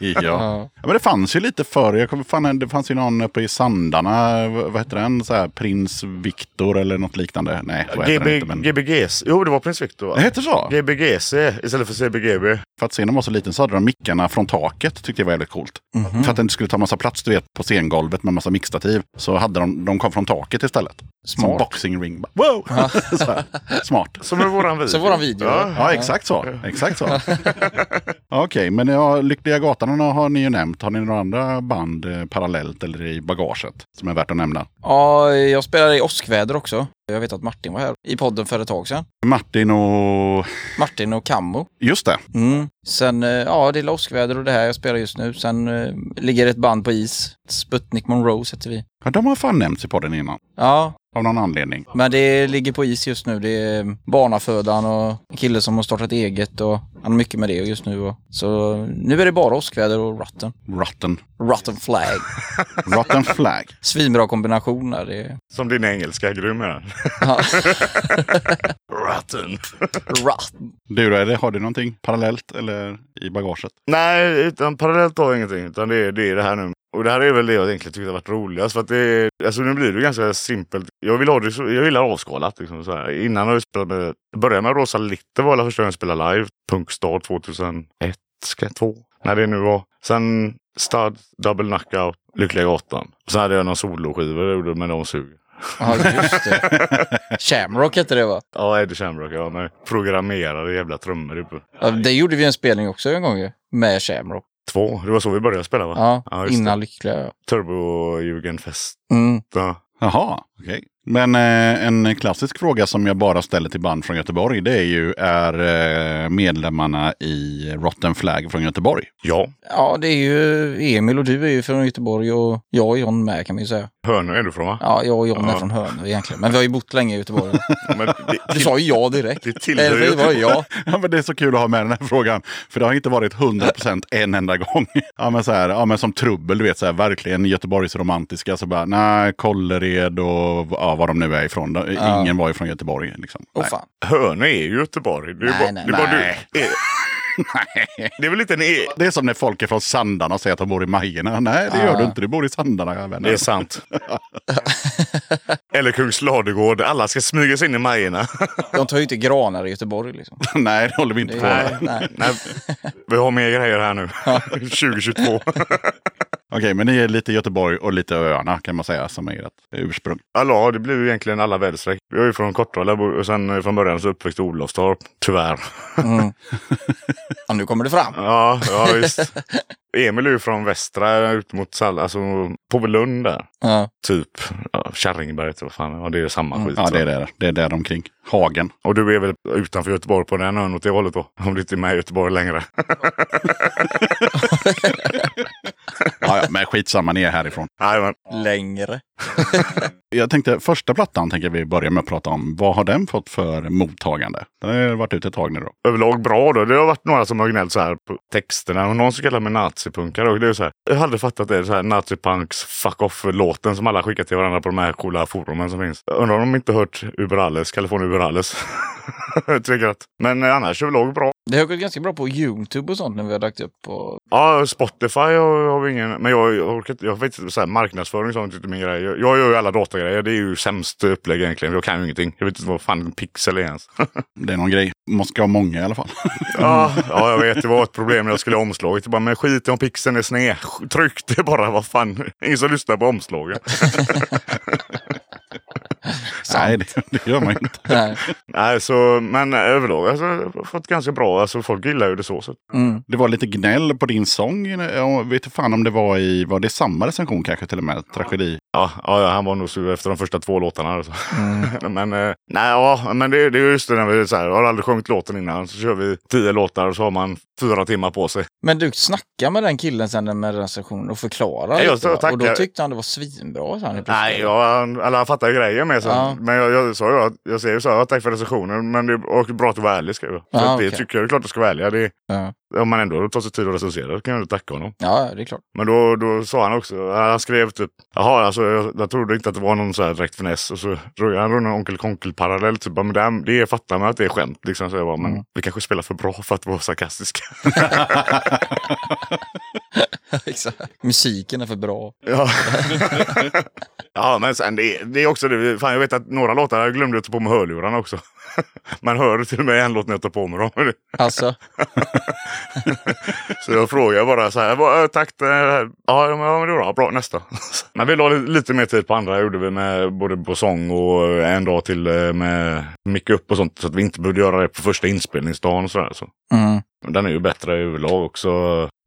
[SPEAKER 1] ja. ja. Men det fanns ju lite förr. Jag kommer, fan, det fanns ju någon uppe i Sandarna. v- Vad heter den? Så här, Prins Viktor eller något liknande. Nej, vad heter den
[SPEAKER 6] GB,
[SPEAKER 1] inte? Men...
[SPEAKER 6] GBGs, jo det var Prins Victor va?
[SPEAKER 1] Det heter så?
[SPEAKER 6] GBGC eh, istället för CBGB.
[SPEAKER 1] För att scenen var så liten så hade de mickarna från taket. Tyckte jag var jävligt coolt. För att den inte skulle ta massa plats du vet, på scengolvet med massa mickstativ. Så hade de, de kom från taket istället. Som
[SPEAKER 5] Smart.
[SPEAKER 1] boxing ring. Bara, Wow! så här. Smart.
[SPEAKER 6] Som är våran video.
[SPEAKER 5] Som våran video,
[SPEAKER 6] Ja.
[SPEAKER 1] Ja, exakt så. Exakt så. Okej, men ja, Lyckliga Gatan har ni ju nämnt. Har ni några andra band eh, parallellt eller i bagaget som är värt att nämna?
[SPEAKER 5] ja, jag spelade i åskväder också. Jag vet att Martin var här i podden för ett tag sedan.
[SPEAKER 1] Martin och...
[SPEAKER 5] Martin och Kammo.
[SPEAKER 1] Just det.
[SPEAKER 5] Mm. Sen, eh, ja, det är åskväder och det här jag spelar just nu. Sen eh, ligger ett band på is. Sputnik Monroes heter vi.
[SPEAKER 1] Ja, de har fan nämnts i podden innan.
[SPEAKER 5] Ja,
[SPEAKER 1] Av någon anledning.
[SPEAKER 5] men det ligger på is just nu. Det är eh, barnafödan och en kille som har startat eget och han har mycket med det just nu. Och, så nu är det bara åskväder och Rotten.
[SPEAKER 1] Rotten.
[SPEAKER 5] Rotten Flag.
[SPEAKER 1] Rotten flag.
[SPEAKER 5] Svinbra kombination där. Det är...
[SPEAKER 6] Som din engelska är grym är den.
[SPEAKER 5] Ja.
[SPEAKER 6] Rotten.
[SPEAKER 5] Rotten.
[SPEAKER 1] Du då, eller har du någonting parallellt eller i bagaget?
[SPEAKER 6] Nej, utan parallellt har jag ingenting. Utan det är, det är det här nu. Och det här är väl det jag egentligen tyckte har varit roligast. För att det är, alltså nu blir det ganska simpelt. Jag vill ha det så, jag gillar avskalat liksom så här. Innan har jag spelat med, jag började med Rosa Litter var alla första gången jag spelade live. Punkstad 2001, ska- två. När det nu var. Sen Stud, Double Knockout, Lyckliga Gatan. Sen hade jag någon soloskiva jag gjorde, men de suger.
[SPEAKER 5] Ja, just det. Shamrock hette det va?
[SPEAKER 6] Ja, Eddie Shamrock. Ja, med programmerade jävla trummor. typ. uppe.
[SPEAKER 5] Ja, det gjorde vi en spelning också en gång ju. Med Shamrock.
[SPEAKER 6] Två. Det var så vi började spela va?
[SPEAKER 5] Ja,
[SPEAKER 6] Ja, just
[SPEAKER 5] innan Lyckliga.
[SPEAKER 6] Turbo-Jugendfest.
[SPEAKER 5] Mm.
[SPEAKER 6] Ja.
[SPEAKER 1] Jaha, okej. Men eh, en klassisk fråga som jag bara ställer till band från Göteborg, det är ju, är eh, medlemmarna i Rotten Flag från Göteborg?
[SPEAKER 6] ja.
[SPEAKER 5] Ja, det är ju Emil och du är ju från Göteborg och jag och John med kan man ju säga.
[SPEAKER 6] Hönö är du från va?
[SPEAKER 5] Ja, jag och John
[SPEAKER 6] Ja.
[SPEAKER 5] är från Hönö egentligen. Men vi har ju bott länge i Göteborg.
[SPEAKER 6] Men det,
[SPEAKER 5] Du sa ju ja direkt.
[SPEAKER 6] det tillhör
[SPEAKER 5] Eller det var ju jag.
[SPEAKER 1] Ja, men det är så kul att ha med den här frågan. För det har inte varit 100% en enda gång. Ja, men så här, ja, men som trubbel, du vet, så här, verkligen Göteborgsromantiska. Så bara, nej, Kållered och ja, var de nu är ifrån. De-
[SPEAKER 5] Ja.
[SPEAKER 1] Ingen var ju från Göteborg. Liksom.
[SPEAKER 5] Åh
[SPEAKER 1] Nej.
[SPEAKER 5] fan.
[SPEAKER 6] Hönö är ju Göteborg. Det är,
[SPEAKER 5] Nej,
[SPEAKER 6] bara,
[SPEAKER 5] nej,
[SPEAKER 6] det är bara
[SPEAKER 1] nej.
[SPEAKER 6] Du, är, det är väl inte en e...
[SPEAKER 1] Det är som när folk är från Sandarna och säger att de bor i Majerna. Nej, det gör
[SPEAKER 5] Ja.
[SPEAKER 1] du inte. Du bor i Sandarna. jag vänner.
[SPEAKER 6] Det är sant. Eller Kungsladegård. Alla ska smyga sig in i Majerna.
[SPEAKER 5] De tar ju inte granar i Göteborg liksom.
[SPEAKER 1] nej, det håller vi inte
[SPEAKER 5] Det
[SPEAKER 1] på med.
[SPEAKER 5] är, nej.
[SPEAKER 6] Nej, vi har mer grejer här nu. 2022.
[SPEAKER 1] Okej, men det är lite Göteborg och lite öarna kan man säga som är ert ursprung.
[SPEAKER 6] Alla, det blev ju egentligen alla väderstreck. Jag är ju från Kortralla och sen eh, från början så uppväxt i Olofstorp. Tyvärr.
[SPEAKER 5] Mm. ja, nu kommer det fram.
[SPEAKER 6] Ja, ja visst. Emil är ju från västra ut mot Sall, alltså på Lund där.
[SPEAKER 5] Ja.
[SPEAKER 6] Typ ja, Kärringberget, vad fan, ja, det är samma skit.
[SPEAKER 1] Mm, Ja, det är
[SPEAKER 6] va?
[SPEAKER 1] där, det är där omkring. Hagen.
[SPEAKER 6] Och du är väl utanför Göteborg på den ön åt det hållet då? Om du inte är med i Göteborg längre.
[SPEAKER 1] Ja, ja, men skitsamma, ni är härifrån.
[SPEAKER 6] Nej, men
[SPEAKER 5] Längre.
[SPEAKER 1] Jag tänkte, första plattan tänker vi börja med att prata om. Vad har den fått för mottagande? Den har ju varit ute ett tag nu då.
[SPEAKER 6] överlag bra då. Det har varit några som har gnällt så här på texterna. Och någon som kallar mig nazipunkare. Och det är så här, jag hade aldrig fattat det. Så här, nazipunks fuck off-låten som alla skickar till varandra på de här coola forumen som finns. Jag Undrar om de inte hört Uber Alles, California Uber Alles. Jag tycker att- Men eh, annars överlag bra.
[SPEAKER 5] Det har gått ganska bra på YouTube och sånt när vi har lagt upp. Och...
[SPEAKER 6] Ja, Spotify har, har vi ingen. Men jag, jag orkar inte. Jag vet inte. Så här, marknadsföring och sånt är inte min grej. Jag, jag gör ju alla datagrejer. Det är ju sämst upplägg egentligen. Jag kan ju ingenting. Jag vet inte vad fan en pixel är ens.
[SPEAKER 1] Det är någon grej. Man ska ha många i alla fall.
[SPEAKER 6] Ja, ja, jag vet. Det var ett problem när jag skulle ha omslaget. Jag bara, men skit i om pixeln är sned. Tryck det bara. Vad fan. Ingen som lyssnar på omslaget.
[SPEAKER 1] Nej, det, det gör man ju inte.
[SPEAKER 5] Nej.
[SPEAKER 6] Nej, så, men överlag alltså, jag har fått ganska bra. Alltså, folk gillar ju det så. så.
[SPEAKER 5] Mm.
[SPEAKER 1] Det var lite gnäll på din sång. Jag vet inte fan om det var i, var det samma recension kanske till och med? Tragedi.
[SPEAKER 6] Ja, ja, ja, han var nog sur efter de första två låtarna. Alltså.
[SPEAKER 5] Mm.
[SPEAKER 6] men eh, nej, ja, men det, det är just det. När vi, är så här, har aldrig sjungit låten innan. Så kör vi tio låtar och så har man fyra timmar på sig.
[SPEAKER 5] Men du snackade med den killen sen med recensionen och förklarade.
[SPEAKER 6] Nej, jag
[SPEAKER 5] lite,
[SPEAKER 6] sa
[SPEAKER 5] va? och då
[SPEAKER 6] tackar.
[SPEAKER 5] tyckte han det var svinbra. Så han helt
[SPEAKER 6] Nej,
[SPEAKER 5] plötsligt.
[SPEAKER 6] jag, eller han fattar ju grejen med sen.
[SPEAKER 5] Ja.
[SPEAKER 6] Men jag, jag sa ju att jag säger så här, "Ja, tack för recensionen. Men det är och bra att du var ärlig skrev jag. För
[SPEAKER 5] Ja,
[SPEAKER 6] att Det
[SPEAKER 5] okej.
[SPEAKER 6] tycker jag, det är klart du ska vara ärlig. Det,
[SPEAKER 5] Ja.
[SPEAKER 6] Om man ändå tar sig tid att recensera då kan jag ju tacka honom.
[SPEAKER 5] ja, det är klart.
[SPEAKER 6] Men då, då sa han också, han skrev typ, jaha alltså jag, jag trodde inte att det var någon så här direkt finess. Och så drog han runt en onkel konkel parallell typ. "Ja, Men det, det fattar man att det är skämt liksom. Så jag bara, men vi kanske spelar för bra för att vara sarkastiska.
[SPEAKER 5] Exakt. Musiken är för bra.
[SPEAKER 6] Ja. ja, men sen det, det är också det. Fan, jag vet att några låtar jag glömde att ta på mig hörlurarna också. Man hör till och med en låt när jag tar på mig dem.
[SPEAKER 5] Alltså,
[SPEAKER 6] Så jag frågar bara så här. "Vad, eh, Tack, det här- ja men ja, men det var bra, bra nästa. Men vi la li- lite mer tid på andra. gjorde vi med både på sång och en dag till eh, med mycket upp och sånt. Så att vi inte behövde göra det på första inspelningsdagen och sådär. Så.
[SPEAKER 5] mm.
[SPEAKER 6] Men Den är ju bättre överlag också.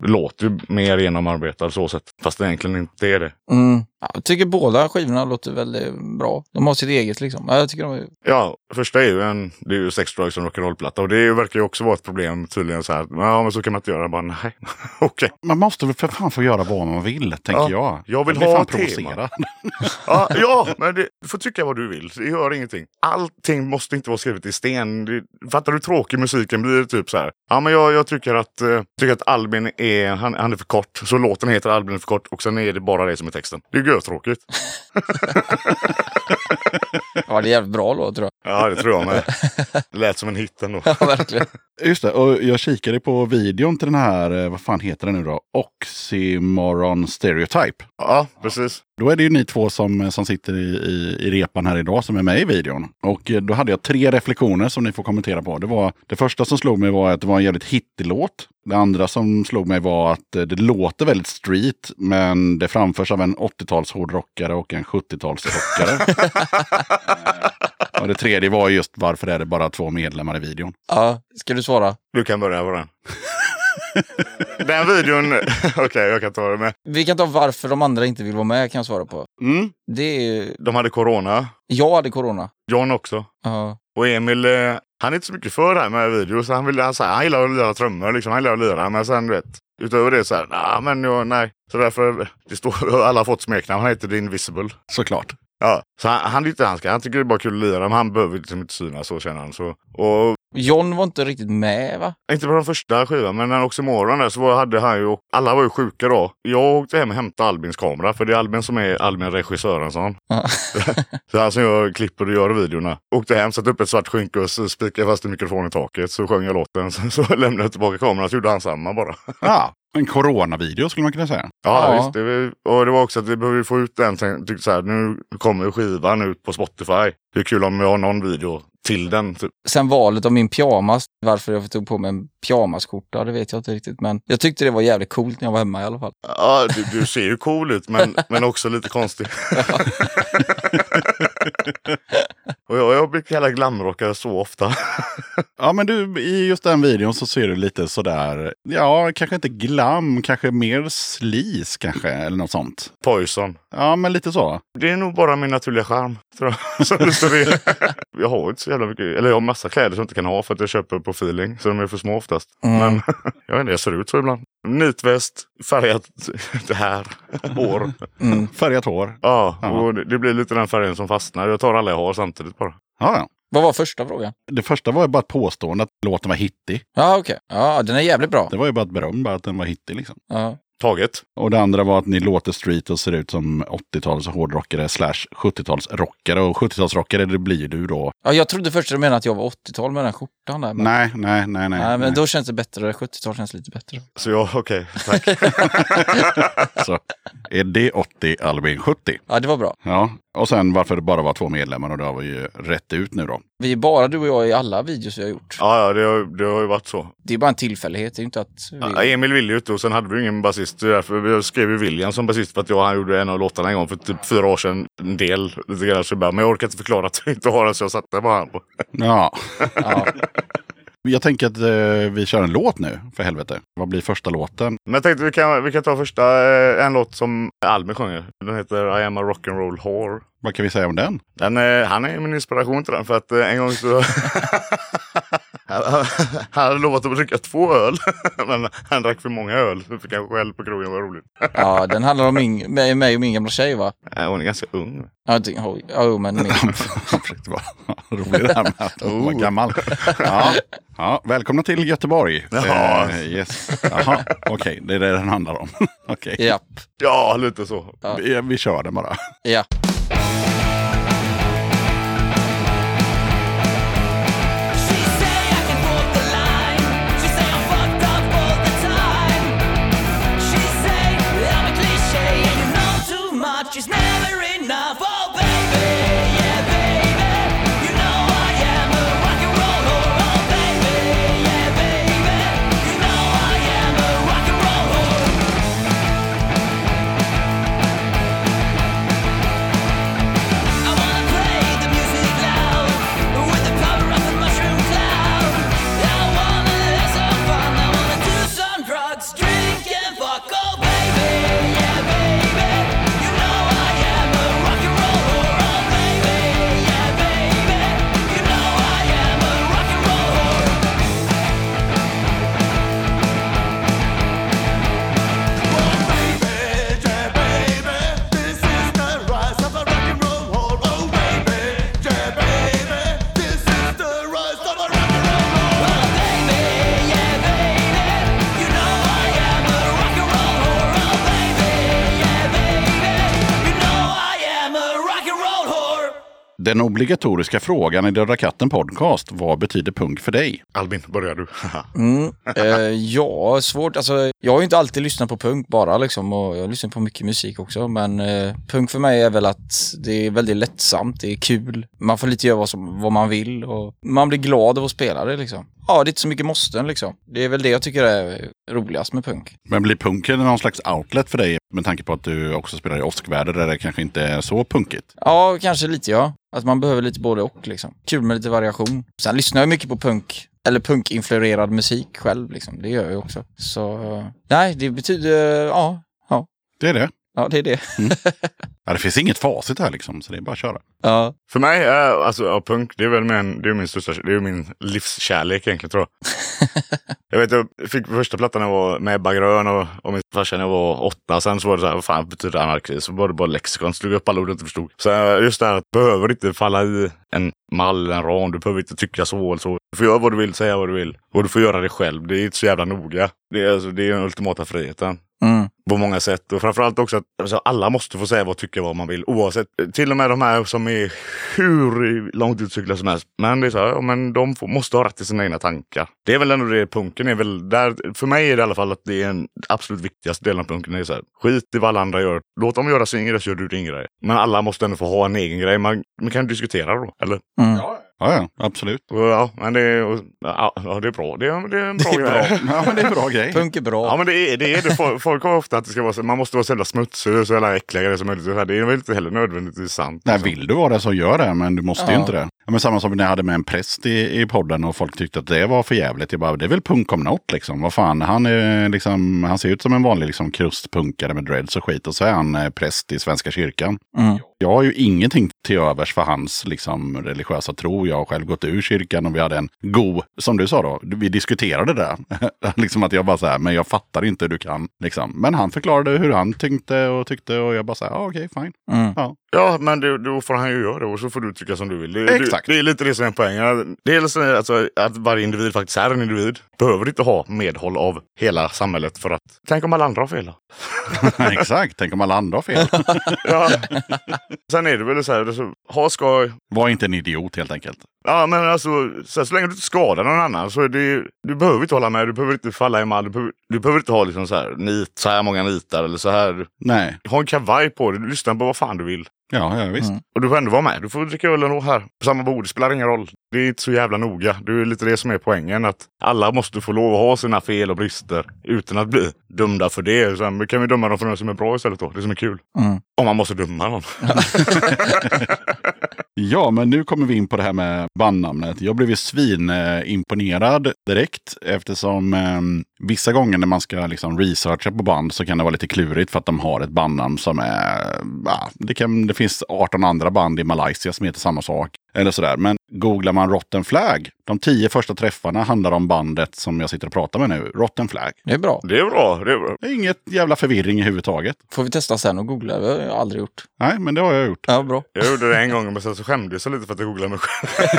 [SPEAKER 6] Låter ju mer genomarbetad så sett. Fast det egentligen inte är det.
[SPEAKER 5] Mm. Ja, jag tycker båda skivorna låter väldigt bra. De har sitt eget liksom. Ja, Jag tycker de är...
[SPEAKER 6] Ja, första är ju en, det är ju sex drugs och rock'n'roll-platta och det är ju- verkar ju också vara ett problem tydligen så här. Ja, men så kan man inte göra. Jag bara nej, okej.
[SPEAKER 1] Man måste väl för fan få göra vad man vill, tänker
[SPEAKER 6] Ja,
[SPEAKER 1] jag.
[SPEAKER 6] jag vill
[SPEAKER 1] blir
[SPEAKER 6] ha
[SPEAKER 1] fan
[SPEAKER 6] tema.
[SPEAKER 1] provocerad.
[SPEAKER 6] Ja, ja, men det, du får tycka vad du vill. Det gör ingenting. Allting måste inte vara skrivet i sten. Det, fattar du hur tråkig musiken blir typ så här. Ja, men jag, jag tycker att, eh, tycker att Albin är, han, han är för kort. Så låten heter Albin är för kort och sen är det bara det som är texten. Det är ju tråkigt.
[SPEAKER 5] Ja, det är jävligt bra låt tror jag.
[SPEAKER 6] Ja, det tror jag med. Lät som en hit ändå.
[SPEAKER 5] Ja, verkligen.
[SPEAKER 1] Just det, och jag kikade på videon till den här, eh, vad fan heter den nu då? Oxymoron Stereotype.
[SPEAKER 6] Ja, precis.
[SPEAKER 1] Då är det ju ni två som, som sitter i, i, i repan här idag som är med i videon. Och eh, då hade jag tre reflektioner som ni får kommentera på. Det, var, det första som slog mig var att det var en jävligt hittig låt. Det andra som slog mig var att eh, det låter väldigt street, men det framförs av en 80-tals hårdrockare och en 70-talsrockare. och det tredje var just varför är det bara två medlemmar i videon?
[SPEAKER 5] Ja, ska du svara?
[SPEAKER 6] Du kan börja på den. den videon, okej jag kan ta det med.
[SPEAKER 5] Vi kan ta varför de andra inte vill vara med kan jag svara på.
[SPEAKER 1] Mm.
[SPEAKER 5] Det är ju...
[SPEAKER 6] De hade corona,
[SPEAKER 5] Jag hade corona.
[SPEAKER 6] John också.
[SPEAKER 5] Ja.
[SPEAKER 6] Och Emil, eh, han är inte så mycket för det här med video. Så han, vill, han, så här, han gillar att lira trummor, liksom. han gillar att lira. Men sen du vet, utöver det så här, nah, men jag, nej. Så därför, det står, alla har fått smeknamn, han heter The Invisible.
[SPEAKER 1] Såklart.
[SPEAKER 6] Ja, så han, han, är inte han, ska, han tycker det är bara kul att lira, men han behöver liksom inte synas så känner han. Så. Och
[SPEAKER 5] John var inte riktigt med va?
[SPEAKER 6] inte på den första skivan, men när Oxymoron där så var- hade han ju, alla var ju sjuka då. Jag åkte hem och hämtade Albins kamera, för det är Albin som är Albin regissören, sa han.
[SPEAKER 5] Ja.
[SPEAKER 6] Så han som jag klipper och gör videorna. Åkte hem, satte upp ett svart skynke och så spikade jag fast en mikrofon i taket. Så sjöng jag låten. Så, så lämnade jag tillbaka kameran så gjorde han samma bara.
[SPEAKER 1] Ja, En coronavideo skulle man kunna säga.
[SPEAKER 6] Ja,
[SPEAKER 5] Ja.
[SPEAKER 6] visst. Det, var- och det var också att vi behövde få ut den. Sen tyckte så här, nu kommer skivan ut på Spotify. Det är kul om jag har någon video till den. Typ.
[SPEAKER 5] Sen valet av min pyjamas, varför jag tog på mig en pyjamasskjorta, det vet jag inte riktigt. Men jag tyckte det var jävligt coolt när jag var hemma i alla fall.
[SPEAKER 6] Ja, du, du ser ju cool ut men, men också lite konstig. och jag, jag blir kallad glamrockare så ofta.
[SPEAKER 1] Ja, men du, i just den videon så ser du lite sådär, ja, kanske inte glam, kanske mer slis kanske, eller något sånt.
[SPEAKER 6] Poison.
[SPEAKER 1] Ja, men lite så.
[SPEAKER 6] Det är nog bara min naturliga charm. Tror jag. Så det, så det, jag har inte så jävla mycket. Eller jag har massa kläder som jag inte kan ha för att jag köper på feeling. Så de är för små oftast.
[SPEAKER 5] Mm.
[SPEAKER 6] Men jag vet inte, jag ser ut så ibland. Nitväst, färgat det här, hår.
[SPEAKER 5] Mm.
[SPEAKER 1] Färgat hår.
[SPEAKER 6] Ja,
[SPEAKER 1] Ja.
[SPEAKER 6] och det, det blir lite den färgen som fastnar. Jag tar alla jag har samtidigt bara.
[SPEAKER 1] Ja, ja.
[SPEAKER 5] Vad var första frågan?
[SPEAKER 1] Det första var ju bara ett påstående att låten var hittig.
[SPEAKER 5] Ja, okej. Ja, den är jävligt bra.
[SPEAKER 1] Det var ju bara ett beröm, bara att den var hittig liksom.
[SPEAKER 5] Ja.
[SPEAKER 6] Taget.
[SPEAKER 1] Och det andra var att ni låter street och ser ut som 80-tals hårdrockare slash 70-talsrockare. Och 70-talsrockare, det blir ju du då.
[SPEAKER 5] Ja, jag trodde först att du menade att jag var 80-tal med den skjortan där. Men,
[SPEAKER 1] Nej, nej, nej, nej.
[SPEAKER 5] nej, men då känns det bättre. 70-tal känns lite bättre.
[SPEAKER 6] Så jag, okej, tack.
[SPEAKER 1] Så är det 80, Albin 70.
[SPEAKER 5] Ja, det var bra.
[SPEAKER 1] Ja, och sen varför det bara var två medlemmar och det har vi ju rätt ut nu då.
[SPEAKER 5] Vi är bara du och jag i alla videos vi har gjort.
[SPEAKER 6] Ja, ja det, har- det har ju varit så.
[SPEAKER 5] Det är bara en tillfällighet. Det är ju inte att vi...
[SPEAKER 6] Ja, Emil ville ju inte och sen hade vi ju ingen basist. Det är Därför jag skrev ju William som basist för att jag och han gjorde en av låtarna en gång för typ fyra år sedan. En del. Lite grann, så jag bara, men jag orkar inte förklara att jag inte har den så jag satte bara han på.
[SPEAKER 1] Ja,
[SPEAKER 5] ja.
[SPEAKER 1] jag tänker att eh, vi kör en låt nu, för helvete. Vad blir första låten?
[SPEAKER 6] Men jag tänkte vi kan, vi kan ta första, eh, en låt som Albin sjunger. Den heter I am a rock'n'roll whore.
[SPEAKER 1] Vad kan vi säga om den?
[SPEAKER 6] Den, eh, han är min inspiration till den för att eh, en gång så... han, han, han hade lovat att dricka två öl. men han drack för många öl. Så fick han skäll på krogen, vad roligt.
[SPEAKER 5] ja, den handlar om min, mig- mig och min gamla tjej, va?
[SPEAKER 6] Eh, Hon är ganska ung.
[SPEAKER 5] Ja, det- oj. Ja, jo, men min.
[SPEAKER 1] Jag försökte vara rolig det här med att hon var gammal. Ja. Ja, välkomna till Göteborg.
[SPEAKER 6] Ja.
[SPEAKER 1] Eh, yes. Jaha, okej, det är det den handlar om. Okej,
[SPEAKER 5] Japp.
[SPEAKER 6] Ja, lite så.
[SPEAKER 1] vi, vi kör den bara.
[SPEAKER 5] Ja.
[SPEAKER 7] She say I can hold the line. She say I'm fucked up all the time. She say I'm a cliche and you know too much. It's never enough. Oh baby, yeah baby, you know I am a rock and roll whore. Oh baby, yeah baby, you know I am a rock and roll whore. I wanna play the music loud with the power of the mushroom cloud. I wanna have some fun. I wanna do some drugs, drink and fuck. Oh baby, yeah baby, you know I am a rock and roll whore. Oh baby, yeah baby, you know I am a rock and roll whore. Oh baby, yeah baby, you know I am a rock and roll whore. Oh baby, yeah baby, you know I am a rock and roll whore.
[SPEAKER 1] Den obligatoriska frågan i Döda katten podcast, vad betyder punk för dig?
[SPEAKER 6] Albin, börjar du?
[SPEAKER 5] Mm. Eh, ja, svårt. Alltså, jag har ju inte alltid lyssnat på punk bara liksom och jag lyssnar på mycket musik också. Men eh, punk för mig är väl att det är väldigt lättsamt, det är kul. Man får lite göra vad, som, vad man vill och man blir glad av att spela det liksom. Ja, det är inte så mycket måsten liksom. Det är väl det jag tycker är roligast med punk.
[SPEAKER 1] Men blir punken någon slags outlet för dig med tanke på att du också spelar i åskväder där det kanske inte är så punkigt?
[SPEAKER 5] Ja, kanske lite ja. Att man behöver lite både och liksom. Kul med lite variation. Sen lyssnar jag mycket på punk, eller punkinfluerad musik själv liksom. Det gör jag ju också. Så, eh, nej, det betyder, ja, ja.
[SPEAKER 1] Det är det.
[SPEAKER 5] Ja, det är det.
[SPEAKER 1] Ja, det finns inget facit här liksom, så det är bara att köra.
[SPEAKER 5] Ja.
[SPEAKER 6] För mig är alltså, ja, punk, det är väl min, det är min största, det är min livskärlek egentligen tror jag. jag vet, jag fick första plattan när jag var med Ebba Grön och, och min farsa när jag var åtta. Sen så var det så här, vad fan betyder anarki? Så var det bara lexikon, slog upp alla ord jag inte förstod. Så eh, just det här att behöver inte falla i en mall, en ram, du behöver inte tycka så eller så. Du får göra vad du vill, säga vad du vill. Och du får göra det själv, det är inte så jävla noga. Det är, alltså, det är den ultimata friheten.
[SPEAKER 5] Mm.
[SPEAKER 6] på många sätt. Och framförallt också att alltså, alla måste få säga vad tycker vad man vill. Oavsett, till och med de här som är hur långt utcyklade som helst. Men det är så här, ja, men de får, måste ha rätt till sina egna tankar. Det är väl ändå det punken är väl. Där, för mig är det i alla fall att det är den absolut viktigaste delen av punken. Det är så här, skit i vad alla andra gör. Låt dem göra sin grej så gör du din grej. Men alla måste ändå få ha en egen grej. Man, man kan diskutera då, eller?
[SPEAKER 5] Mm.
[SPEAKER 1] Ja, ja, absolut.
[SPEAKER 6] Och, Ja, men det, är- och, ja, ja, det är bra. Det är, det är en bra
[SPEAKER 1] Det är
[SPEAKER 6] grej.
[SPEAKER 1] bra. Ja, men det är en bra grej.
[SPEAKER 5] Punk är bra.
[SPEAKER 6] Ja men det är det. Är det. Folk- Folk har ofta att det ska vara så, man måste vara så jävla smutsig och så jävla äckliga grejer som möjligt. Det här, det är väl inte heller nödvändigtvis sant.
[SPEAKER 1] Nej,
[SPEAKER 6] liksom.
[SPEAKER 1] vill du vara det så gör det, men du måste ju
[SPEAKER 5] alltså. Ja.
[SPEAKER 1] inte det. Ja, men samma som när jag hade med en präst i, i podden och folk tyckte att det var för jävligt. Jag bara, det är väl punk om något liksom. Vad fan, han, är, liksom, han ser ut som en vanlig liksom, krustpunkare med dreads och skit och så är han eh, präst i Svenska kyrkan.
[SPEAKER 5] Mm.
[SPEAKER 1] Jag har ju ingenting till övers för hans liksom, religiösa tro. Jag har själv gått ur kyrkan och vi hade en god, som du sa då, vi diskuterade det. liksom att jag bara så här, men jag fattar inte hur du kan. Liksom. Men han förklarade hur han tänkte och tyckte och jag bara så här, ah, okej, fine.
[SPEAKER 5] Mm.
[SPEAKER 1] Ja.
[SPEAKER 6] Ja men det, då får han ju göra det och så får du tycka som du vill. Det, det-
[SPEAKER 1] Exakt.
[SPEAKER 6] Det, är lite det som är poängen. Dels är det alltså, att varje individ faktiskt är en individ. Behöver inte ha medhåll av hela samhället för att tänk om alla andra har fel. då?
[SPEAKER 1] Exakt, tänk om alla andra har fel.
[SPEAKER 6] Ja. Sen är det väl så här, alltså, ha skoj,
[SPEAKER 1] Var inte en idiot helt enkelt.
[SPEAKER 6] Ja men alltså, så, här, så länge du inte skadar någon annan så är det, du behöver inte hålla med, du behöver inte falla i mall, du behöver, du behöver inte ha liksom så här, nit, så här många nitar eller så här.
[SPEAKER 1] Nej,
[SPEAKER 6] Ha en kavaj på dig, du lyssnar på vad fan du vill.
[SPEAKER 1] ja, ja visst.
[SPEAKER 5] Mm.
[SPEAKER 6] Och du får ändå vara med, du får dricka öl ändå här. På samma bord, det spelar ingen roll. Det är inte så jävla noga. Det är lite det som är poängen, att alla måste få lov att ha sina fel och brister utan att bli dömda för det. Sen kan vi döma dem för något som är bra istället då, det som är kul.
[SPEAKER 5] Mm.
[SPEAKER 6] Om man måste döma någon.
[SPEAKER 1] Ja, men nu kommer vi in på det här med bandnamnet. Jag blev ju svinimponerad direkt eftersom eh, vissa gånger när man ska liksom researcha på band så kan det vara lite klurigt för att de har ett bandnamn som är... ja, det, kan, det finns 18 andra band i Malaysia som heter samma sak. Eller sådär. Men googlar man Rotten Flag, de tio första träffarna handlar om bandet som jag sitter och pratar med nu, Rotten Flag.
[SPEAKER 5] Det är bra.
[SPEAKER 6] Det är bra, det är bra.
[SPEAKER 1] Det är Inget jävla förvirring i huvudtaget.
[SPEAKER 5] Får vi testa sen och googla? Det har jag aldrig gjort.
[SPEAKER 1] Nej, men det har jag gjort.
[SPEAKER 5] Ja, bra.
[SPEAKER 6] Jag gjorde det en gång men sen så skämdes jag lite för att jag googlade mig själv.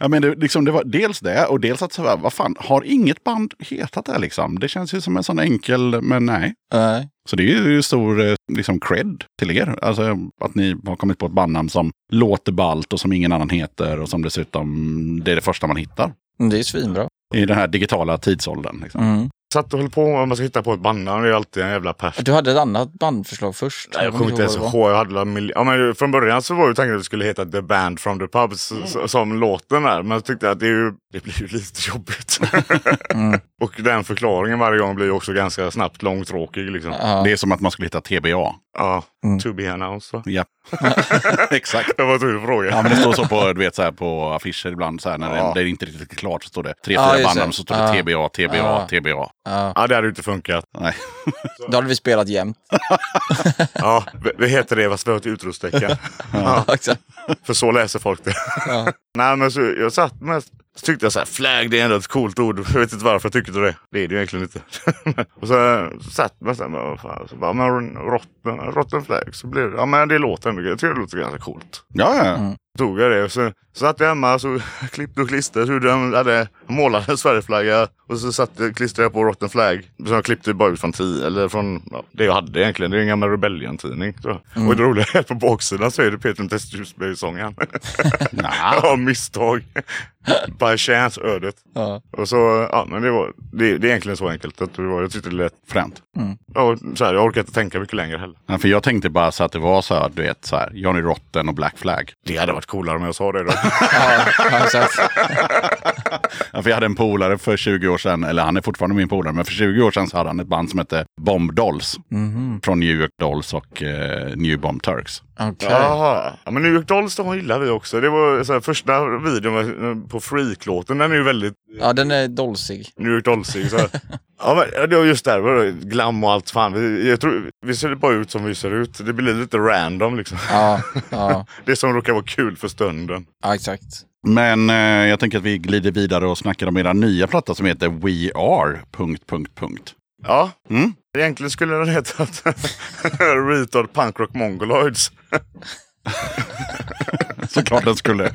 [SPEAKER 1] Ja, men det, liksom, det var dels det och dels att så här, vad fan, har inget band hetat det här, liksom? Det känns ju som en sån enkel, men nej.
[SPEAKER 5] Nej.
[SPEAKER 1] Så det är ju stor eh, liksom, cred till er. Alltså att ni har kommit på ett bandnamn som låter ballt och som ingen annan heter och som dessutom, det är det första man hittar.
[SPEAKER 5] Men Det är svinbra.
[SPEAKER 1] I den här digitala tidsåldern. Liksom.
[SPEAKER 5] Mm.
[SPEAKER 6] Satt och höll på med om man ska hitta på ett bandnamn. Det är alltid en jävla pers.
[SPEAKER 5] Du hade ett annat bandförslag först.
[SPEAKER 6] Nej, jag kommer inte ens
[SPEAKER 5] vad det var.
[SPEAKER 6] ihåg. Jag hade la mil- ja, men från början så var ju tanken att det skulle heta The Band from the Pubs s- som låten är. Men jag tyckte att det, är ju, det blir ju lite jobbigt.
[SPEAKER 5] Mm.
[SPEAKER 6] och den förklaringen varje gång blir ju också ganska snabbt långtråkig. Liksom.
[SPEAKER 5] Ja.
[SPEAKER 1] Det är som att man skulle hitta TBA.
[SPEAKER 6] Ja,
[SPEAKER 5] Mm.
[SPEAKER 6] to be announced va?
[SPEAKER 1] Ja. Exakt.
[SPEAKER 6] Det var tur fråga.
[SPEAKER 1] Ja, men det står så på, du vet, så här på affischer ibland, så här, när
[SPEAKER 6] Ja.
[SPEAKER 1] det, det är inte riktigt klart, så står det tre,
[SPEAKER 5] Ja,
[SPEAKER 1] fyra
[SPEAKER 5] just
[SPEAKER 1] bandnamn,
[SPEAKER 5] det.
[SPEAKER 1] så står det
[SPEAKER 5] Ja.
[SPEAKER 1] TBA, TBA,
[SPEAKER 5] Ja.
[SPEAKER 1] TBA.
[SPEAKER 5] Ja.
[SPEAKER 6] Ja, det hade ju inte funkat.
[SPEAKER 1] Nej.
[SPEAKER 5] Då hade vi spelat jämt.
[SPEAKER 6] Ja, vi- vi heter det fast vi har ett utropstecken. ja,
[SPEAKER 5] Exakt.
[SPEAKER 6] för så läser folk det.
[SPEAKER 5] Ja.
[SPEAKER 6] Nej men så jag satt mest så tyckte jag så här, flagg det är ändå ett coolt ord. Jag vet inte varför jag tyckte det. Det är det ju egentligen inte. och så satt man så här, men vad fan. Så bara, men rotten, rotten flag. Så blev det, ja men det låter ändå, jag tycker det låter ganska coolt.
[SPEAKER 1] Ja, ja.
[SPEAKER 5] Mm.
[SPEAKER 1] ja.
[SPEAKER 6] Tog jag det och så satt jag hemma så klippte och klistrade. Så gjorde jag, hade målade en Sverigeflagga och så satt, jag- klistrade jag på rotten flag. Så jag klippte bara ut från tio, eller från ja, det jag hade egentligen. Det är en gammal Rebellion-tidning. så. Och det roliga är att på baksidan så är det Peter Testljusberg-sångaren.
[SPEAKER 1] Nja.
[SPEAKER 6] Ja, misstag. By chance, ödet.
[SPEAKER 5] Ja.
[SPEAKER 6] Och så, ja men det var, det, det är egentligen så enkelt. Att det var, jag tyckte det lät,
[SPEAKER 1] Fränt.
[SPEAKER 6] ja, så här, jag orkar inte tänka mycket längre heller.
[SPEAKER 1] Ja, för jag tänkte bara så att det var så här, du vet, så här, Johnny Rotten och Black Flag.
[SPEAKER 6] Det hade varit coolare om jag sa det då.
[SPEAKER 5] Ja, ja, exakt.
[SPEAKER 1] Ja, för jag hade en polare för 20 år sedan, eller han är fortfarande min polare, men för 20 år sedan så hade han ett band som hette Bomb Dolls. Från New York Dolls och eh, New Bomb Turks.
[SPEAKER 5] Okej.
[SPEAKER 6] Jaha. Ja, men New York Dolls de gillar vi också. Det var så här, första videon var- eh, på Freak-låten. Den är ju väldigt
[SPEAKER 5] Ja, den är dolsig.
[SPEAKER 6] New York Dolls-ig. så här. Ja men ja, det var just där, var det glam och allt fan. Vi, jag tror, vi ser bara ut som vi ser ut. Det blir lite random liksom.
[SPEAKER 5] Ja, ja,
[SPEAKER 6] Det som råkar vara kul för stunden.
[SPEAKER 5] ja exakt.
[SPEAKER 1] Men eh, jag tänker att vi glider vidare och snackar om era nya platta som heter We Are... Punkt, punkt, punkt.
[SPEAKER 6] Ja,
[SPEAKER 1] Mm.
[SPEAKER 6] Egentligen skulle den hetat Retard Punkrock Mongoloids.
[SPEAKER 1] Såklart den skulle.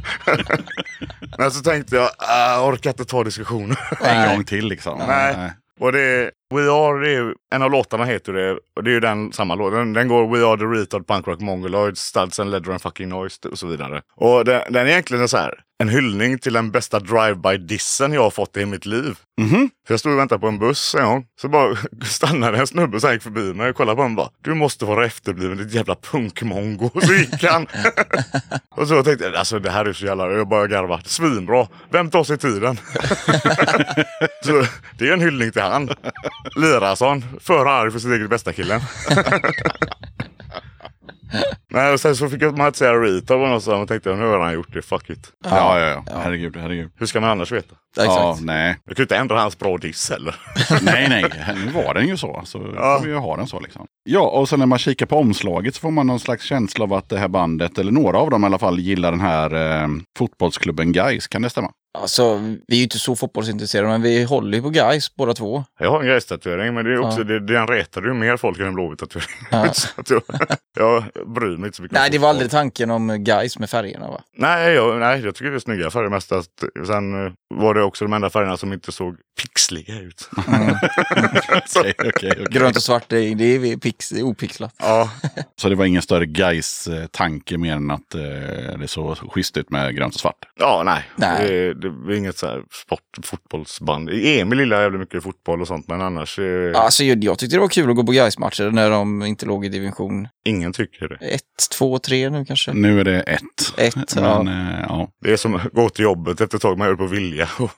[SPEAKER 6] Men så tänkte jag, ah, jag orkar äh, inte ta diskussioner.
[SPEAKER 1] en gång till liksom.
[SPEAKER 6] Nej. Och det, We Are, det är, ju- en av låtarna heter det. Och det är ju den samma låt. Den, den går We Are the Retard Punk Rock Mongoloids, Studs and Leather and Fucking Noise och så vidare. Och den, den är egentligen så här, en hyllning till den bästa drive-by-dissen jag har fått i mitt liv. För jag stod och väntade på en buss en gång. Så bara stannade en snubbe som gick förbi mig och kollade på mig och bara Du måste vara efterbliven ditt jävla punkmongo. Så gick han. och så tänkte jag alltså det här är så jävla... Jag bara garva. Svinbra. Vem tar sig tiden? så det är en hyllning till han. Lirason. För arg för sitt eget bästa killen. Nej, och sen så fick jag man att säga Rita på något sätt. och tänkte nu har han gjort det, fuck it.
[SPEAKER 1] Ja, ja, ja. Herregud, herregud.
[SPEAKER 6] Hur ska man annars veta?
[SPEAKER 1] Ja,
[SPEAKER 5] Exakt.
[SPEAKER 1] nej.
[SPEAKER 6] Jag kan ju inte ändra hans bra diss heller.
[SPEAKER 1] Nej, nej. Nu var den ju så. Så får vi ju ha den så liksom. Ja, och sen när man kikar på omslaget så får man någon slags känsla av att det här bandet, eller några av dem i alla fall, gillar den här eh, fotbollsklubben Gais. Kan det stämma?
[SPEAKER 5] Alltså, vi är ju inte så fotbollsintresserade, men vi håller ju på guys båda två.
[SPEAKER 6] Jag har en grästatuering men det är också,
[SPEAKER 5] Ja.
[SPEAKER 6] det, den retar ju mer folk än en blåvit tatuering.
[SPEAKER 5] Ja.
[SPEAKER 6] Så att jag, jag bryr mig inte så mycket. om
[SPEAKER 5] Nej, det var
[SPEAKER 6] fotboll.
[SPEAKER 5] aldrig tanken om guys med färgerna va?
[SPEAKER 6] Nej jag, nej, jag tycker det är snygga färger mestast. Sen eh, var det också de enda färgerna som inte såg pixliga ut. så,
[SPEAKER 1] Okej, okej, okej.
[SPEAKER 5] Grönt och svart, det är, det är pix, opixlat.
[SPEAKER 6] ja,
[SPEAKER 1] Så det var ingen större Gais-tanke mer än att eh, det såg schysst ut med grönt och svart?
[SPEAKER 6] ja, nej.
[SPEAKER 5] Nej.
[SPEAKER 6] Det, det är inget så här sport, fotbollsband. Emil gillar jävligt mycket fotboll och sånt, men annars eh,
[SPEAKER 5] Alltså, jag, jag tyckte det var kul att gå på guys matcher när de inte låg i division
[SPEAKER 6] ingen tycker det.
[SPEAKER 5] 1, 2, 3 nu kanske.
[SPEAKER 1] Nu är det ett.
[SPEAKER 5] Ett,
[SPEAKER 1] Men,
[SPEAKER 5] ja.
[SPEAKER 1] eh, Mm. ja.
[SPEAKER 6] Det är som att gå till jobbet efter ett tag, man gör det på vilja. och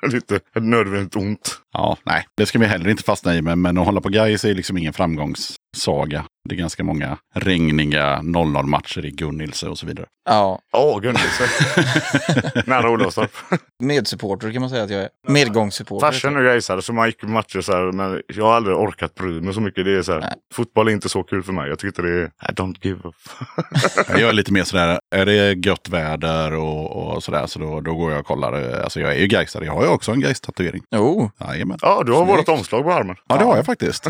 [SPEAKER 6] det är inte nödvändigt ont.
[SPEAKER 1] Ja, nej, det ska vi heller inte fastna i. Men, men att hålla på Gais är liksom ingen framgångssaga. Det är ganska många regniga 0-0-matcher i Gunnilse och så vidare.
[SPEAKER 5] ja.
[SPEAKER 6] Ja, Gunnelse. Nära Olofstorp.
[SPEAKER 5] Medsupporter kan man säga att jag är. Medgångssupporter.
[SPEAKER 6] Farsan och jag är så här, så man gick på matcher så här, men jag har aldrig orkat bry mig så mycket. Det är så här,
[SPEAKER 5] Nej.
[SPEAKER 6] fotboll är inte så kul för mig. Jag tycker inte det är, I don't give up.
[SPEAKER 1] Jag är lite mer sådär, är det gött väder och, och sådär, så då, då går jag och kollar. Alltså jag är ju Gaisare, jag har ju också en Gais-tatuering.
[SPEAKER 5] Jo,
[SPEAKER 1] Jajamän.
[SPEAKER 6] ja, du har
[SPEAKER 5] Snyggt.
[SPEAKER 6] vårt omslag på armen.
[SPEAKER 1] Ja, det har jag faktiskt.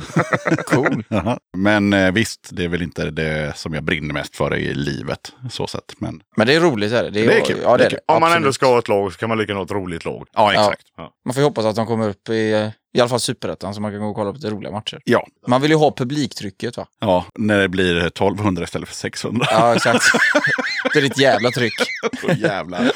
[SPEAKER 5] cool.
[SPEAKER 1] Jaha. men eh, visst, det är väl inte det som jag brinner mest för i livet, så sett. Men
[SPEAKER 5] Men det är roligt. Är det. Det, är,
[SPEAKER 1] Det är kul,
[SPEAKER 5] Ja, det
[SPEAKER 1] det är
[SPEAKER 5] är
[SPEAKER 1] kul.
[SPEAKER 5] det.
[SPEAKER 6] Om man ändå
[SPEAKER 5] Absolut.
[SPEAKER 6] ska ha ett lag så kan man lika gärna ha ett roligt lag.
[SPEAKER 1] ja,
[SPEAKER 5] Ja.
[SPEAKER 1] exakt.
[SPEAKER 5] Man får ju hoppas att de kommer upp i, i alla fall superettan så man kan gå och kolla på lite roliga matcher.
[SPEAKER 1] Ja.
[SPEAKER 5] Man vill ju ha publiktrycket va?
[SPEAKER 1] Ja, när det blir 1200 istället för 600.
[SPEAKER 5] Ja, exakt. det är ett jävla tryck.
[SPEAKER 1] Åh, Jävlar.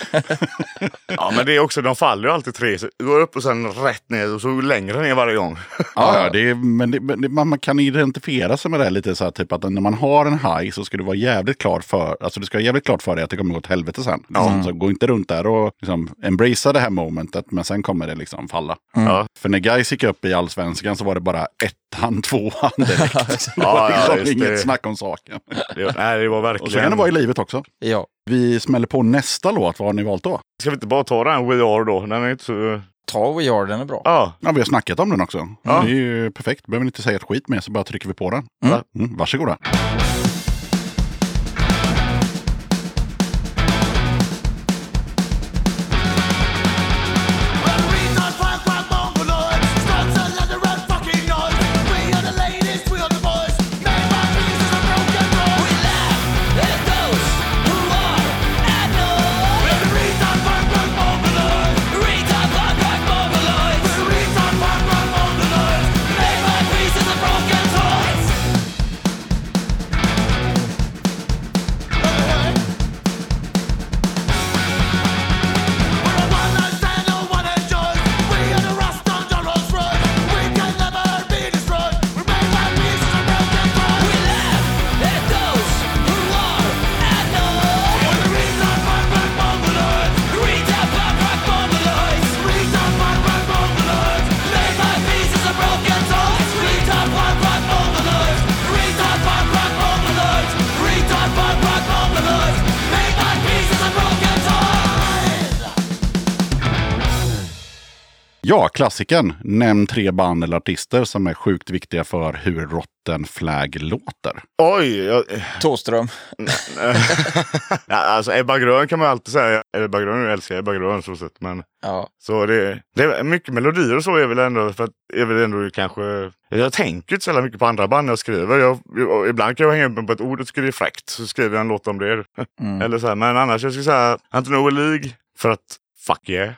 [SPEAKER 6] Ja, men det är också, de faller ju alltid tre. Så Går upp och sen rätt ner och så längre ner varje gång.
[SPEAKER 1] Ja, ja, det är, men, det, men det, man, man kan identifiera sig med det här lite så här, typ att när man har en haj så ska du vara jävligt klar för, alltså du ska vara jävligt klart för dig att det kommer gå åt helvete sen. Liksom, så gå inte runt där och liksom embracea det här momentet, men sen kommer det liksom falla.
[SPEAKER 6] Mm. Ja.
[SPEAKER 1] För när Gais gick upp i allsvenskan så var det bara ettan, tvåan direkt. det
[SPEAKER 6] Ja,
[SPEAKER 1] var
[SPEAKER 6] ja,
[SPEAKER 1] liksom
[SPEAKER 6] just
[SPEAKER 1] inget
[SPEAKER 6] det.
[SPEAKER 1] snack om saken.
[SPEAKER 6] Det, nej, det var verkligen...
[SPEAKER 1] Och så kan det vara i livet också.
[SPEAKER 5] Ja.
[SPEAKER 1] Vi smäller på nästa låt, vad har ni valt då?
[SPEAKER 6] Ska vi inte bara ta den We Are då? Den är inte så...
[SPEAKER 5] Ta We Are, den är bra.
[SPEAKER 6] Ja,
[SPEAKER 1] Ja, vi har snackat om den också.
[SPEAKER 6] Ja.
[SPEAKER 1] Det är ju perfekt, behöver ni inte säga ett skit mer så bara trycker vi på den.
[SPEAKER 5] Mm.
[SPEAKER 1] Mm, varsågoda.
[SPEAKER 7] Make my pieces of broken toys.
[SPEAKER 1] Ja, klassiken. Nämn tre band eller artister som är sjukt viktiga för hur Rotten Flag låter.
[SPEAKER 6] oj. Jag,
[SPEAKER 5] Thåström.
[SPEAKER 6] Ja, alltså Ebba Grön kan man ju alltid säga. Ebba Grön, jag älskar Ebba Grön så sett. Men
[SPEAKER 5] Ja.
[SPEAKER 6] så det, det är mycket melodier och så är väl ändå, för att, är väl ändå kanske... Jag tänker inte så jävla mycket på andra band när jag skriver. Jag, jag, ibland kan jag hänga upp mig på ett ord och tycker det är fräckt. Så skriver jag en låt om det.
[SPEAKER 5] Mm.
[SPEAKER 6] Eller så här, men annars jag skulle säga Antonio League för att fuck yeah.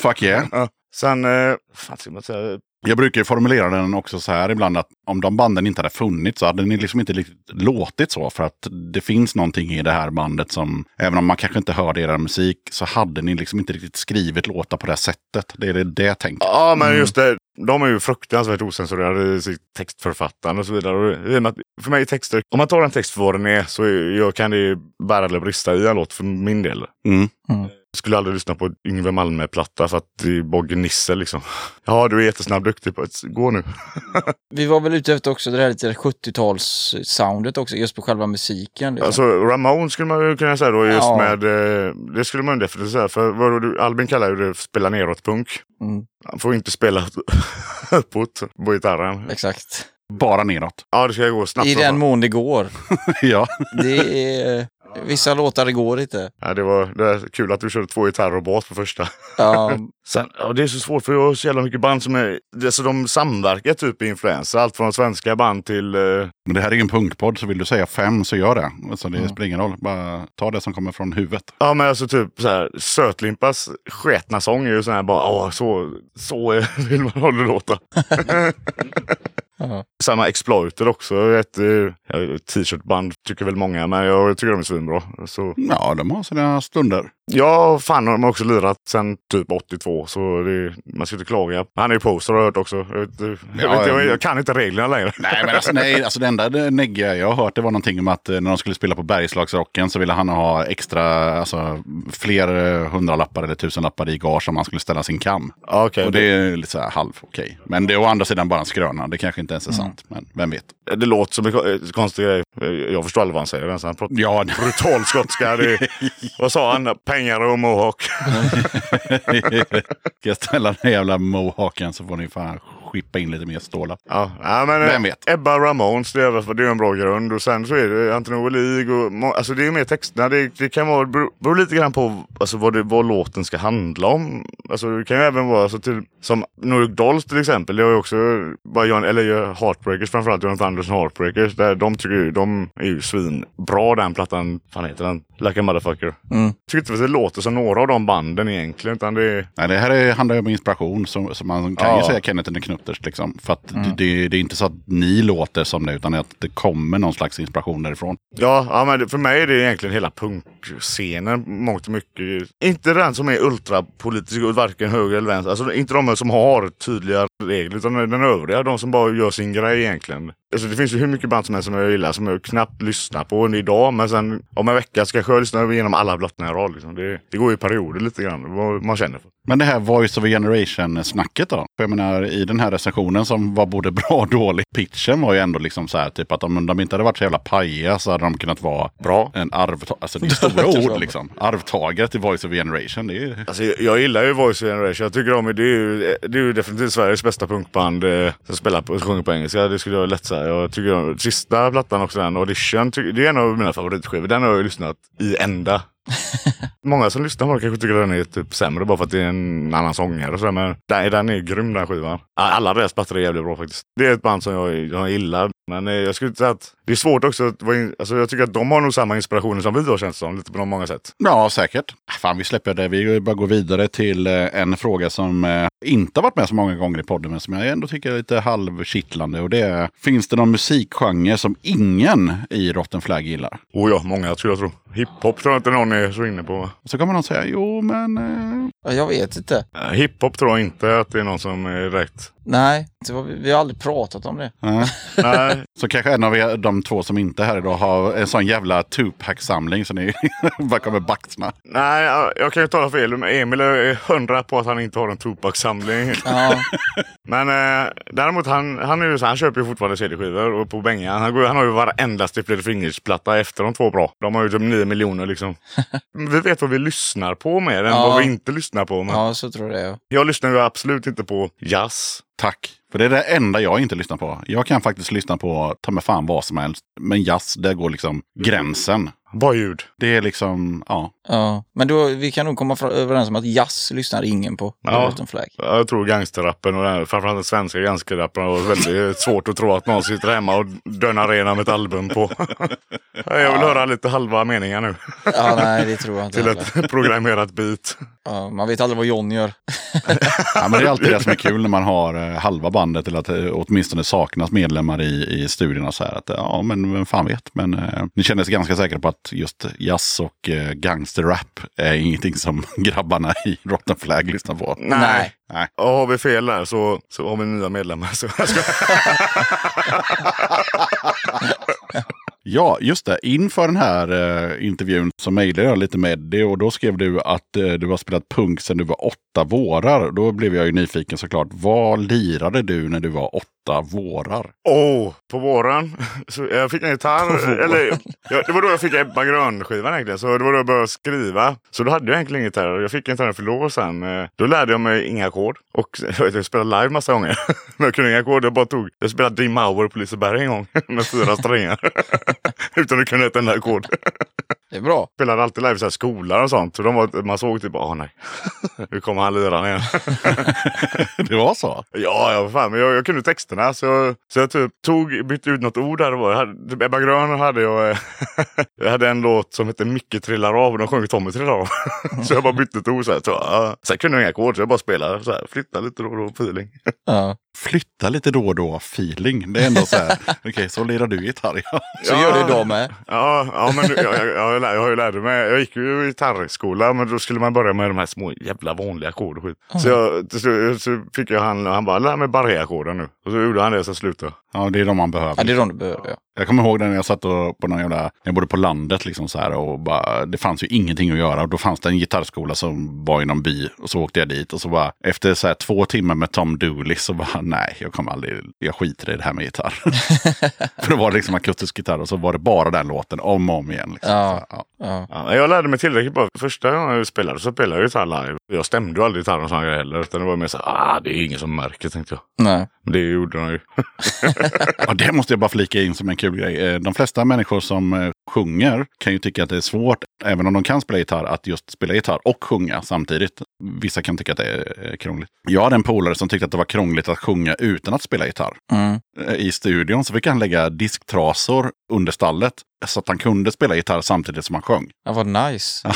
[SPEAKER 1] Fuck yeah.
[SPEAKER 6] Sen, eh, fan ska man säga?
[SPEAKER 1] Jag brukar ju formulera den också så här ibland att om de banden inte hade funnits så hade ni liksom inte riktigt låtit så. För att det finns någonting i det här bandet som, även om man kanske inte hörde er musik, så hade ni liksom inte riktigt skrivit låtar på det här sättet. Det är det, det jag tänker.
[SPEAKER 6] Ja, men just det. De är ju fruktansvärt osensurerade i sitt textförfattande och så vidare. Och i och med att för mig är texter, om man tar en text för vad den är så är- jag kan det ju bära eller brista i en låt för min del.
[SPEAKER 1] Mm.
[SPEAKER 6] Jag skulle aldrig lyssna på Yngve Malmö-platta för att det är bara gnissel liksom. Ja, du är jättesnabb duktig på att gå nu.
[SPEAKER 5] Vi var väl ute efter också det här lite 70-tals-soundet också, just på själva musiken. Liksom.
[SPEAKER 6] Alltså Ramon skulle man ju kunna säga då just
[SPEAKER 5] Ja.
[SPEAKER 6] med, eh, det skulle man ju definitivt säga. För vad du, Albin kallar ju det för spela neråt-punk.
[SPEAKER 5] Mm.
[SPEAKER 6] Han får ju inte spela uppåt på gitarren.
[SPEAKER 5] Exakt.
[SPEAKER 1] Bara neråt.
[SPEAKER 6] Ja, det ska gå snabbt.
[SPEAKER 5] I
[SPEAKER 6] som
[SPEAKER 5] den
[SPEAKER 6] fan.
[SPEAKER 5] mån det går.
[SPEAKER 1] ja.
[SPEAKER 5] Det är... Vissa låtar det går inte.
[SPEAKER 6] Ja, det var det är kul att du körde två gitarrer och bas på första.
[SPEAKER 5] Ja,
[SPEAKER 6] Sen, ja, det är så svårt för jag har så jävla mycket band som är... Alltså de samverkar typ i influenser. Allt från svenska band till... Eh,
[SPEAKER 1] Men det här är ju en punktpodd, så vill du säga fem så gör det. Alltså, det spelar ingen roll. Bara ta det som kommer från huvudet.
[SPEAKER 6] ja men alltså typ så här, Sötlimpas sketna sång är ju sån här bara... "Åh, så, så eh, vill man ha det låta.
[SPEAKER 5] Ja.
[SPEAKER 6] Samma Exploiter också. Ett eh, ja, t-shirtband tycker väl många. Men jag tycker de är svinbra. Så,
[SPEAKER 1] Ja, de har sina stunder.
[SPEAKER 6] ja, fan de har också lirat sen typ 82. Så det, man ska inte klaga. Han är ju poser har jag hört också. Jag, vet, inte- jag, vet, inte- jag, jag kan inte reglerna längre.
[SPEAKER 1] Nej, men alltså, nej, alltså det enda det neggiga jag har hört det var någonting om att eh, när de skulle spela på Bergslagsrocken så ville han ha extra, alltså fler eh, hundralappar eller tusenlappar i gage om han skulle ställa sin kam.
[SPEAKER 6] Ja, okej.
[SPEAKER 1] Och det är lite så här halv okej. Men det är å andra sidan bara en skröna. Det kanske inte ens är
[SPEAKER 6] Mm.
[SPEAKER 1] sant, men vem vet.
[SPEAKER 6] Det låter som en ko- eh, konstig grej. Eh, Jag förstår aldrig vad han säger. ens. Han pratar
[SPEAKER 1] Ja,
[SPEAKER 6] brutal skotska. Det, vad sa han? Pengar och mohawk.
[SPEAKER 1] ska jag ställa den här jävla mohawken så får ni fan skippa in lite mer stålar.
[SPEAKER 6] Ja, ja, men, eh,
[SPEAKER 1] Vem vet?
[SPEAKER 6] Ebba Ramones, det är, väl- det är en bra grund. Och sen så är det Antonio Olig och må- alltså det är mer texterna. Det, det kan vara, bero, beror lite grann på alltså, vad, det, vad låten ska handla om. Alltså, det kan ju även vara alltså, till, som Nordic Dolls till exempel. Det har ju också, bara John, eller ju Heartbreakers framförallt, Jonathan Andersson Heartbreakers. Där de tycker ju, de är ju svinbra den plattan. Fan heter den? Like a motherfucker.
[SPEAKER 5] Mm.
[SPEAKER 6] Tycker inte att det låter som några av de banden egentligen. Utan det är,
[SPEAKER 1] Nej, det här är, handlar ju om inspiration. Så, så man kan ju
[SPEAKER 6] Ja. Mm.
[SPEAKER 1] säga Kenneth and the Knutters. Liksom, för att det, det, det är inte så att ni låter som det, utan att det kommer någon slags inspiration därifrån.
[SPEAKER 6] Ja, ja men det- för mig är det egentligen hela punkscenen mångt och mycket. Inte den som är ultrapolitisk, och varken höger eller vänster. Alltså inte de som har tydliga regler, utan den övriga. De som bara gör sin grej egentligen. Alltså det finns ju hur mycket band som helst som jag gillar, som jag knappt lyssnar på idag. Men sen om en vecka ska jag lyssna igenom alla blottningar jag har, liksom. det, det går ju i perioder lite grann, vad man känner för.
[SPEAKER 1] Men det här Voice of a Generation-snacket då? För jag menar, i den här recensionen som var både bra och dålig, pitchen var ju ändå liksom så här, typ att om de inte hade varit så jävla paja så hade de kunnat vara
[SPEAKER 6] Bra.
[SPEAKER 1] en arvtagare. Alltså det är stora ord liksom. Arvtagare till Voice of a Generation. Det är ju...
[SPEAKER 6] Alltså, jag- jag gillar ju Voice of Generation. Jag tycker om det. Det är ju, det är ju definitivt Sveriges bästa punkband eh, som spelar på, sjunger på engelska. Det skulle jag lätt säga. Jag tycker om sista plattan också, den Audition. tycker- Det är en av mina favoritskivor. Den har jag ju lyssnat i ända. Många som lyssnar på den kanske tycker att den är typ sämre bara för att det är en annan sångare och sådär. Men den, den är ju grym den skivan. Alla deras plattor är jävligt bra faktiskt. Det är ett band som jag, jag gillar. Men eh, jag skulle säga att det är svårt också att vara in, alltså jag tycker att de har nog samma inspirationer som vi har känns det som. Lite på många sätt.
[SPEAKER 1] Ja, säkert. Fan, vi släpper det. Vi bara går vidare till eh, en fråga som eh, inte har varit med så många gånger i podden, men som jag ändå tycker är lite halvkittlande. Och det är, finns det någon musikgenre som ingen i Rotten Flag gillar?
[SPEAKER 6] Oh ja, många skulle jag tro. Hiphop tror jag inte någon är så inne på.
[SPEAKER 1] Och så kommer någon säga, jo men... Eh,
[SPEAKER 5] Ja, jag vet inte.
[SPEAKER 6] Uh, hiphop tror jag inte att det är någon som är rätt.
[SPEAKER 5] Nej, det var, vi har aldrig pratat om det.
[SPEAKER 1] nej."
[SPEAKER 6] Nej,
[SPEAKER 1] Så kanske en av er, de två som inte är här idag har en sån jävla Tupac-samling så ni bara kommer baxna.
[SPEAKER 6] nej, ja, jag kan ju tala fel. Men Emil är hundra på att han inte har en Tupac-samling.
[SPEAKER 5] Ja,
[SPEAKER 6] Men eh, däremot, han, han, är ju, så- han köper ju fortfarande CD-skivor och på Bengan. Han, går, han har ju varenda Stipled Fingers-platta efter de två bra. De har ju typ 9 miljoner liksom. vi vet vad vi lyssnar på mer än
[SPEAKER 5] Ja.
[SPEAKER 6] vad vi inte lyssnar på. Men
[SPEAKER 5] ja så tror jag det är.
[SPEAKER 6] Jag lyssnar ju absolut inte på jazz.
[SPEAKER 1] Tack. För det är det enda jag inte lyssnar på. Jag kan faktiskt lyssna på ta mig fan vad som helst. Men jazz, där går liksom gränsen.
[SPEAKER 6] Bara ljud.
[SPEAKER 1] Det är liksom, ja.
[SPEAKER 5] Ja, men då, vi kan nog komma fra- överens om att jazz lyssnar ingen på.
[SPEAKER 6] Ja.
[SPEAKER 5] Utom flag.
[SPEAKER 6] Jag tror gangsterrappen och den, här- framförallt den svenska gangsterrappen var väldigt svårt att tro att någon sitter hemma och dönar igenom ett album på. Jag vill höra lite halva meningar nu
[SPEAKER 5] Ja, nej, det tror jag inte
[SPEAKER 6] till
[SPEAKER 5] heller.
[SPEAKER 6] ett programmerat beat.
[SPEAKER 5] Ja, man vet aldrig vad John gör.
[SPEAKER 1] ja men det är alltid det som är kul när man har eh, halva bandet eller att det åtminstone saknas medlemmar i, i studierna. Så här, att, eh, ja, men vem fan vet. Men eh, ni känner sig ganska säkra på att just jazz och eh, gangsterrap är ingenting som grabbarna i Rotten Flag lyssnar på.
[SPEAKER 5] Nej.
[SPEAKER 1] Nej.
[SPEAKER 6] Och har vi fel där så, så har vi nya medlemmar. Så jag ska...
[SPEAKER 1] Ja, just det. Inför den här eh, intervjun så mejlade jag lite med dig och då skrev du att eh, du har spelat punk sedan du var åtta vårar. Då blev jag ju nyfiken såklart. Vad lirade du när du var åtta vårar?
[SPEAKER 6] Åh, Oh, på våren. Så jag fick en gitarr. Eller, ja, det var då jag fick Ebba Grön-skivan egentligen. Så det var då jag började skriva. Så då hade jag egentligen ingen gitarr. Jag fick en gitarr för lov och sen. eh, Då lärde jag mig inga ackord. Och jag, vet, jag spelade live massa gånger. Men jag kunde inga ackord. Jag bara tog. Jag spelade Dim Hour på Liseberg en gång. Med fyra strängar. Utan att kunna ett enda ackord.
[SPEAKER 5] Det är bra.
[SPEAKER 6] Spelade alltid live i så här skolor och sånt. Så de var, man såg typ, åh nej. Nu kommer han liraren igen.
[SPEAKER 1] det var så?
[SPEAKER 6] Ja, ja, vad fan. Men jag, jag kunde texterna. Så, jag- så jag typ tog, bytte ut något ord där. det var. Jag hade- typ Ebba Grön hade jag. eh, jag hade en låt som hette Micke trillar av. Och de sjöng Tommy trillar av. så jag bara bytte ett ord. Så här, så, ja. Sen kunde jag inga ackord. Så jag bara spelade. Så här, flyttade lite då och då. Feeling.
[SPEAKER 5] Ja.
[SPEAKER 1] Flytta lite då och då, feeling. Det är ändå så här, okej, så lirar du gitarr. Ja.
[SPEAKER 5] Så gör det idag med.
[SPEAKER 6] Ja, ja men du, jag, jag, jag, lär- jag lärde mig. Jag gick ju i gitarrskola, men då skulle man börja med de här små jävla vanliga ackord och skit. Så, jag, till slut- så fick jag han, han bara, lär mig barréackorden nu. Och så gjorde han det, så slutade
[SPEAKER 1] ja, det är de man
[SPEAKER 5] Ja,
[SPEAKER 1] behöver.
[SPEAKER 5] det är de du behöver. Ja.
[SPEAKER 1] Jag kommer ihåg när jag satt och på någon jävla, när jag bodde på landet liksom så här och bara, det fanns ju ingenting att göra. Och då fanns det en gitarrskola som var i någon by och så åkte jag dit och så bara, efter så här två timmar med Tom Dooley så bara, nej, jag kommer aldrig, jag skiter i det här med gitarr. För då var det liksom akustisk gitarr och så var det bara den låten om och om igen. Liksom.
[SPEAKER 5] Ja.
[SPEAKER 1] Så, ja.
[SPEAKER 6] Ja, jag lärde mig tillräckligt bra. Första gången jag spelade så spelade jag gitarr live. Jag stämde ju aldrig gitarren och såna grejer heller. Utan det var mer så här, ah, det är ingen som märker tänkte jag.
[SPEAKER 5] Nej.
[SPEAKER 6] Men det gjorde de ju.
[SPEAKER 1] Ja, det måste jag bara flika in som en kul grej. Eh, De flesta människor som eh, sjunger kan ju tycka att det är svårt, även om de kan spela gitarr, att just spela gitarr och sjunga samtidigt. Vissa kan tycka att det är eh, krångligt. Jag hade en polare som tyckte att det var krångligt att sjunga utan att spela gitarr.
[SPEAKER 5] Mm.
[SPEAKER 1] Eh, I studion så fick han lägga disktrasor under stallet så att han kunde spela gitarr samtidigt som han sjöng.
[SPEAKER 5] Ja, vad nice.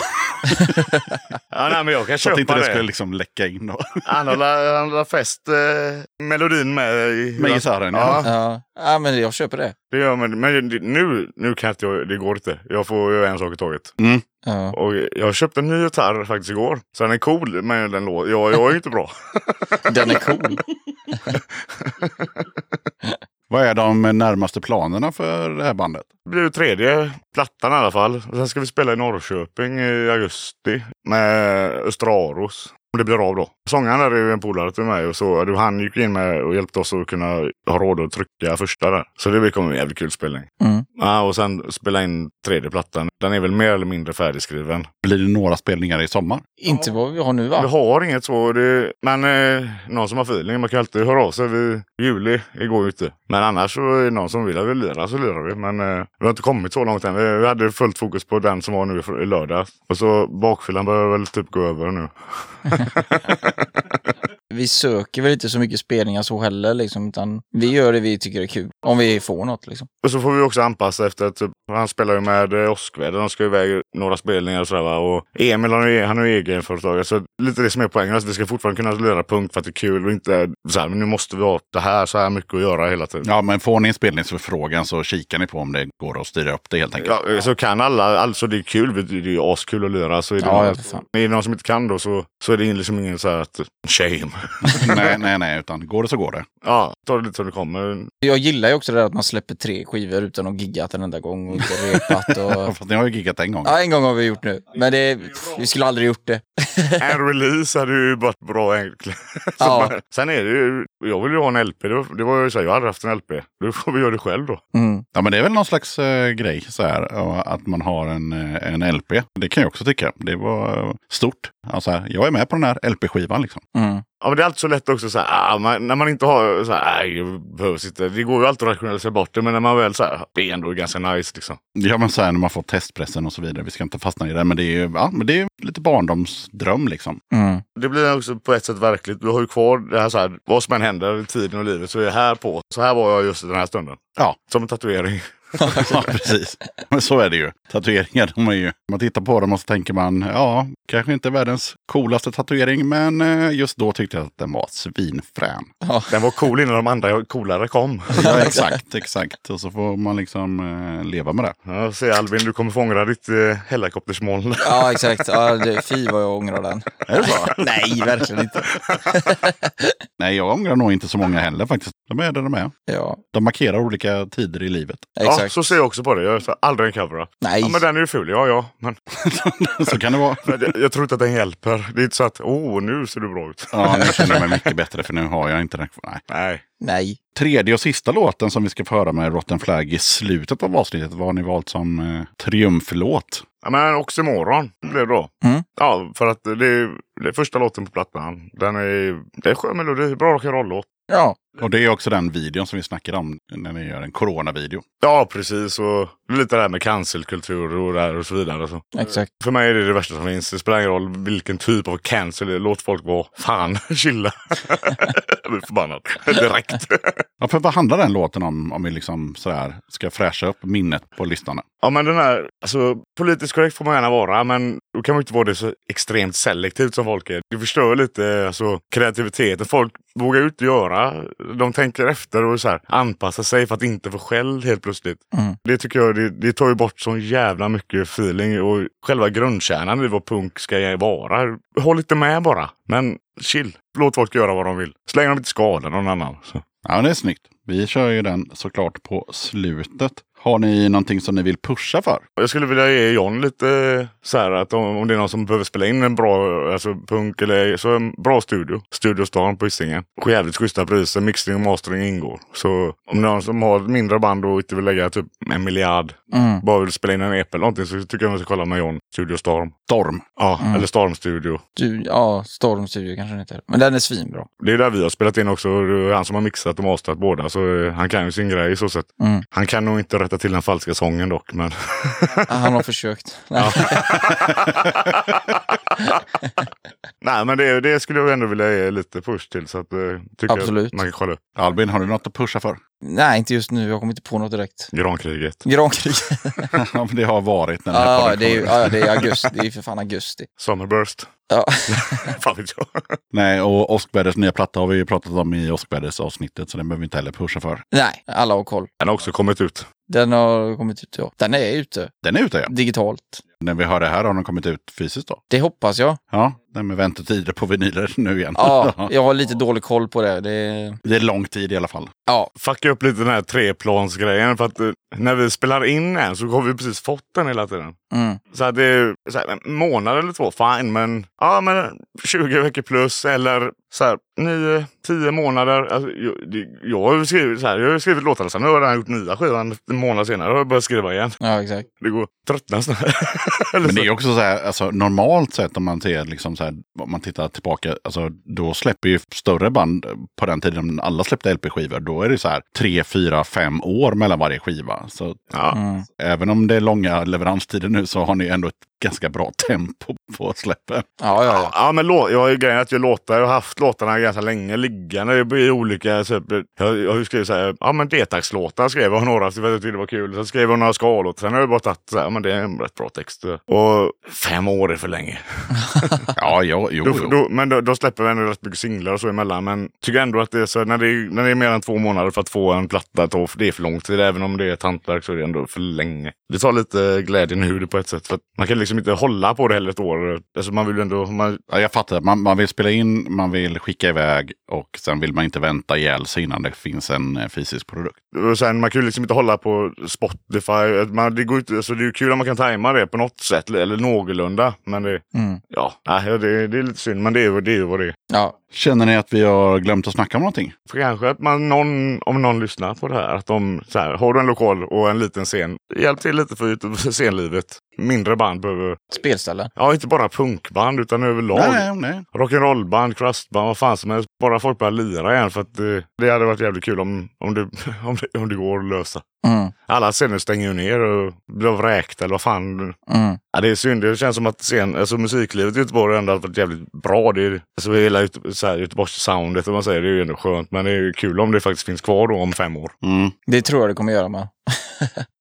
[SPEAKER 6] Ja, nej, men jag kan
[SPEAKER 1] Så att
[SPEAKER 6] köpa
[SPEAKER 1] inte det
[SPEAKER 6] det.
[SPEAKER 1] skulle liksom läcka in. Då.
[SPEAKER 6] Han hade han hade fäst eh, melodin med. I,
[SPEAKER 1] Med gitarren, ja.
[SPEAKER 6] ja.
[SPEAKER 5] Ja. ja, men jag köper det.
[SPEAKER 6] det gör man. Men det- nu, nu kan jag inte jag, det går inte. Jag får göra en sak i taget.
[SPEAKER 5] Ja.
[SPEAKER 6] Och jag köpte en ny gitarr faktiskt igår. Så den är cool, men den låter, jag, jag är ju inte bra.
[SPEAKER 5] Den är cool.
[SPEAKER 1] Vad är de närmaste planerna för det här bandet?
[SPEAKER 6] Det blir ju tredje plattan i alla fall. Och Sen ska vi spela i Norrköping i augusti med Östraros. Om det blir av då. Sångaren där är ju en polare till mig och så. du, Han gick in med och hjälpte oss att kunna ha råd att trycka första där. Så det kommer en jävligt kul spelning.
[SPEAKER 5] Mm.
[SPEAKER 6] Ja, och sen spela in tredje plattan. Den är väl mer eller mindre färdigskriven.
[SPEAKER 1] Blir det några spelningar i sommar?
[SPEAKER 5] Inte vad vi har nu
[SPEAKER 6] Vi
[SPEAKER 5] va?
[SPEAKER 6] har inget så. Det, men eh, någon som har feeling, man kan alltid höra av sig. Vi, juli, det går ju inte. Men annars så är det någon som vill att vi lirar så lirar vi. Men eh, vi har inte kommit så långt än. Vi, vi hade fullt fokus på den som var nu i- i lördag. Och så bakfyllan börjar väl typ gå över nu.
[SPEAKER 5] Vi söker väl inte så mycket spelningar så heller liksom, utan vi gör det vi tycker är kul. Om vi får något liksom.
[SPEAKER 6] Och så får vi också anpassa efter att typ, han spelar ju med eh, Åskväder. De ska iväg några spelningar och sådär va. Och Emil han är ju han är ju egenföretagare. Så lite det som är poängen. Alltså, vi ska fortfarande kunna lira punkt för att det är kul och inte så här, men nu måste vi ha det här så här mycket att göra hela tiden.
[SPEAKER 1] Ja, men får ni en spelningsförfrågan så kikar ni på om det går att styra upp det helt enkelt.
[SPEAKER 6] Ja, eh, så kan alla, alltså det är kul, det är ju askul att lira. Så är det,
[SPEAKER 5] Ja,
[SPEAKER 6] någon,
[SPEAKER 5] ja, för fan.
[SPEAKER 6] är det någon som inte kan då så, så är det liksom ingen så här att shame.
[SPEAKER 1] nej, nej, nej, utan går det så går det.
[SPEAKER 6] Ja, ta det lite som det kommer.
[SPEAKER 5] Jag gillar ju också det där att man släpper tre skivor utan att giggat en enda gång och inte repat och...
[SPEAKER 1] Fast ni har ju giggat en gång.
[SPEAKER 5] Ja, en gång har vi gjort nu. Men det... pff, Vi skulle aldrig gjort det.
[SPEAKER 6] En release hade ju varit bra egentligen. Så
[SPEAKER 5] Ja.
[SPEAKER 6] bara- Sen är det ju, jag vill ju ha en LP. Det var, det var ju så här, jag har aldrig haft en LP. Då får vi göra det själv då.
[SPEAKER 5] Mm.
[SPEAKER 1] Ja, men det är väl någon slags eh, grej så här, ja, att man har en, eh, en LP. Det kan jag också tycka. Det var eh, stort. Alltså, här, jag är med på den här LP-skivan liksom.
[SPEAKER 5] Mm.
[SPEAKER 6] Ja, men det är alltid så lätt också så här, ah, man, när man inte har så här, nej, det behövs inte. Det går ju alltid att rationalisera bort det, men när man väl så här, det är ändå ganska nice liksom.
[SPEAKER 1] Ja, men så här när man får testpressen och så vidare. Vi ska inte fastna i det, men det är ju ja, men det är lite barndomsdröm liksom.
[SPEAKER 5] Mm.
[SPEAKER 6] Det blir också på ett sätt verkligt. Du har ju kvar det här så här, vad som än händer i tiden och livet så är det här på. Så här var jag just i den här stunden.
[SPEAKER 1] Ja.
[SPEAKER 6] Som en tatuering.
[SPEAKER 1] ja, precis. Men så är det ju. Tatueringar, de är ju... Man tittar på dem och så tänker man, ja, kanske inte världens coolaste tatuering, men eh, just då tyckte jag att den var svinfrän.
[SPEAKER 6] Den var cool innan de andra coolare kom.
[SPEAKER 1] Ja, exakt, exakt. Och så får man liksom eh, leva med det.
[SPEAKER 6] Ja, se Albin, du kommer fångra ditt eh, helikoptersmoln.
[SPEAKER 5] Ja, exakt. Ja, det, fy vad jag ångrar den.
[SPEAKER 1] Är det så?
[SPEAKER 5] Nej, verkligen inte.
[SPEAKER 1] Nej, jag ångrar nog inte så många heller faktiskt. De är där de är.
[SPEAKER 5] Ja,
[SPEAKER 1] De markerar olika tider i livet.
[SPEAKER 6] Ja,
[SPEAKER 5] exakt.
[SPEAKER 6] så ser jag också på det. Jag sa aldrig en cover-up.
[SPEAKER 5] Nej.
[SPEAKER 6] Ja, men den är ju ful. Ja, ja. Men,
[SPEAKER 1] Så kan det vara.
[SPEAKER 6] men jag, jag tror inte att den hjälper. Det är inte så att, åh, oh, nu ser du bra ut.
[SPEAKER 1] Ja, nu känner jag mig mycket bättre för nu har jag inte den. Nej.
[SPEAKER 6] Nej.
[SPEAKER 5] Nej.
[SPEAKER 1] Tredje och sista låten som vi ska få höra med Rotten Flag i slutet av avsnittet. Vad har ni valt som eh, triumflåt?
[SPEAKER 6] Ja, men Oxymoron blev det då.
[SPEAKER 5] Mm.
[SPEAKER 6] Ja, för att det är, det är första låten på plattan. Den är, det är en skön melodi. Bra rock'n'roll-låt.
[SPEAKER 5] Ja,
[SPEAKER 1] Och det är också den videon som vi snackade om när vi gör en coronavideo.
[SPEAKER 6] Ja, precis. Och lite det här med cancelkultur och, det här och så vidare. och Så.
[SPEAKER 5] exakt.
[SPEAKER 6] För mig är det det värsta som finns. Det spelar ingen roll vilken typ av cancel det är. Låt folk vara. Fan, chilla. jag blir förbannad direkt.
[SPEAKER 1] Ja, för vad handlar den låten om? Om vi liksom sådär ska fräscha upp minnet på listan.
[SPEAKER 6] Ja men den här, alltså politiskt korrekt får man gärna vara men då kan man inte vara det så extremt selektivt som folk är. Det förstör lite alltså, kreativiteten. Folk vågar ju inte göra, de tänker efter och så här, anpassar sig för att inte få skäll helt plötsligt.
[SPEAKER 5] Mm.
[SPEAKER 6] Det tycker jag, det, det tar ju bort så jävla mycket feeling och själva grundkärnan i vad punk ska vara. Håll inte med bara, men chill. Låt folk göra vad de vill. Så länge de inte skadar någon annan. Så.
[SPEAKER 1] Ja, det är snyggt. Vi kör ju den såklart på slutet. Har ni någonting som ni vill pusha för?
[SPEAKER 6] Jag skulle vilja ge John lite eh, så här att om, om det är någon som behöver spela in en bra alltså punk eller så en bra studio. Studio Stan på Hisingen. Och Jävligt schyssta priser. Mixing och mastering ingår. Så om någon som har ett mindre band och inte vill lägga typ en miljard.
[SPEAKER 5] Mm.
[SPEAKER 6] Bara vill spela in en EP eller någonting så tycker jag man ska kolla med John. Studio Storm.
[SPEAKER 1] Storm.
[SPEAKER 6] Ja, eller Storm Studio.
[SPEAKER 5] Du, ja, Storm Studio kanske den heter. Men den är svinbra.
[SPEAKER 6] Det är där vi har spelat in också. Det är han som har mixat och masterat båda. Så eh, han kan ju sin grej i så sätt.
[SPEAKER 5] Mm.
[SPEAKER 6] Han kan nog inte rätta till den falska sången dock. Men
[SPEAKER 5] Ah, Han har försökt. Nej.
[SPEAKER 6] Nej, men det, det skulle jag ändå vilja ge lite push till. Så att, eh, tycker
[SPEAKER 5] Absolut.
[SPEAKER 6] Jag att man kan kolla upp
[SPEAKER 1] Albin, har du något att pusha för?
[SPEAKER 5] Nej, inte just nu. Jag kommer inte på något direkt.
[SPEAKER 6] Grankriget.
[SPEAKER 5] Grankrig.
[SPEAKER 1] Ja, men det har varit när den här
[SPEAKER 5] Ja,
[SPEAKER 1] podden
[SPEAKER 5] det är ju-
[SPEAKER 1] kom ut.
[SPEAKER 5] ja, det är augusti. Det är ju för fan augusti.
[SPEAKER 6] Summerburst.
[SPEAKER 5] Ja.
[SPEAKER 6] Fan vet jag.
[SPEAKER 1] Nej, och Oskväders nya platta har vi ju pratat om i Oskväders avsnittet så den behöver vi inte heller pusha för.
[SPEAKER 5] Nej, alla har koll.
[SPEAKER 6] Den har också kommit ut.
[SPEAKER 5] Den har kommit ut, ja. Den är ute,
[SPEAKER 1] Den är ute ja.
[SPEAKER 5] digitalt.
[SPEAKER 1] När vi hör det här har den kommit ut fysiskt då.
[SPEAKER 5] Det hoppas jag.
[SPEAKER 1] Ja, nej, men väntetider på vinyler nu igen.
[SPEAKER 5] Ja, jag har lite dålig koll på det. det
[SPEAKER 1] Det är lång tid i alla fall.
[SPEAKER 5] ja,
[SPEAKER 6] Fucka upp lite den här treplansgrejen. För att eh, när vi spelar in den så har vi precis fått den hela tiden.
[SPEAKER 5] mm,
[SPEAKER 6] Så att det är så här, en månad eller två, fine. Men, ja, men 20 veckor plus eller så här, 9, 10 månader. Alltså, jag, det- jag, har ju skrivit, så här, jag har ju skrivit låtarna, sen har jag redan gjort nya skivan en månad senare. Då har jag börjat skriva igen.
[SPEAKER 5] ja exakt.
[SPEAKER 6] Det går tröttna snart. Eller
[SPEAKER 1] Men
[SPEAKER 6] så.
[SPEAKER 1] det är ju också så här, alltså, normalt sett om man ser liksom så här, om man tittar tillbaka, alltså, då släpper ju större band eh, på den tiden alla släppte LP-skivor, då är det så här tre, fyra, fem år mellan varje skiva. Så
[SPEAKER 6] Ja.
[SPEAKER 5] Mm.
[SPEAKER 1] även om det är långa leveranstider nu så har ni ändå ett ganska bra tempo på släppen.
[SPEAKER 5] Ja, ja,
[SPEAKER 6] Ja,
[SPEAKER 5] ja.
[SPEAKER 6] ja men lå- jag har ju grejen att jag låtar, jag har haft låtarna ganska länge liggande i olika, typ, jag, jag har ju skrivit så här, ja men detax-låtar skrev jag några för att jag tyckte det var kul. Sen skrev jag några skalor, sen har jag bara tagit så här, ja, men det är en rätt bra text. Och fem år är för länge.
[SPEAKER 1] Ja, jo, jo,
[SPEAKER 6] Då,
[SPEAKER 1] jo.
[SPEAKER 6] då, men då, då släpper vi ändå rätt mycket singlar och så emellan. Men tycker ändå att det är så, när det är, när det är mer än två månader för att få en platta, då- det är för lång tid. Även om det är ett hantverk så är det ändå för länge. Det tar lite glädjen ur det på ett sätt. För att man kan liksom inte hålla på det heller ett år. Alltså man vill ju ändå, man,
[SPEAKER 1] Ja, jag fattar. Man, man vill spela in, man vill skicka iväg och sen vill man inte vänta ihjäl sig innan det finns en eh, fysisk produkt.
[SPEAKER 6] Och sen, man kan ju liksom inte hålla på Spotify. Man, det, går inte, alltså, det är ju kul om man kan tajma det på något sätt, eller någorlunda. Men det,
[SPEAKER 5] Mm.
[SPEAKER 6] ja, nej, det, det är lite synd, men det är ju det är ju vad det är.
[SPEAKER 5] ja.
[SPEAKER 1] Känner ni att vi har glömt att snacka om någonting?
[SPEAKER 6] För kanske att man, någon, om någon lyssnar på det här, att de så här, har du en lokal och en liten scen, hjälp till lite för ut- scenlivet. mindre band behöver...
[SPEAKER 5] Spelställen.
[SPEAKER 6] Ja, inte bara punkband utan överlag.
[SPEAKER 1] Nej, nej, nej.
[SPEAKER 6] Rock'n'rollband, crustband, vad fan som helst. Bara folk börjar lira igen för att det, det hade varit jävligt kul om, om, det, om, det, om det går att lösa.
[SPEAKER 5] Mm,
[SPEAKER 6] Alla scener stänger ju ner och blir vräkta eller vad fan.
[SPEAKER 5] mm.
[SPEAKER 6] Ja, det är synd. Det känns som att scen, alltså, musiklivet i Göteborg ändå har varit jävligt bra. Det är, alltså, hela Göte- så här, Göteborgssoundet om man säger, det är ju ändå skönt. Men det är ju kul om det faktiskt finns kvar då om fem år.
[SPEAKER 1] Mm.
[SPEAKER 5] Det tror jag det kommer göra med.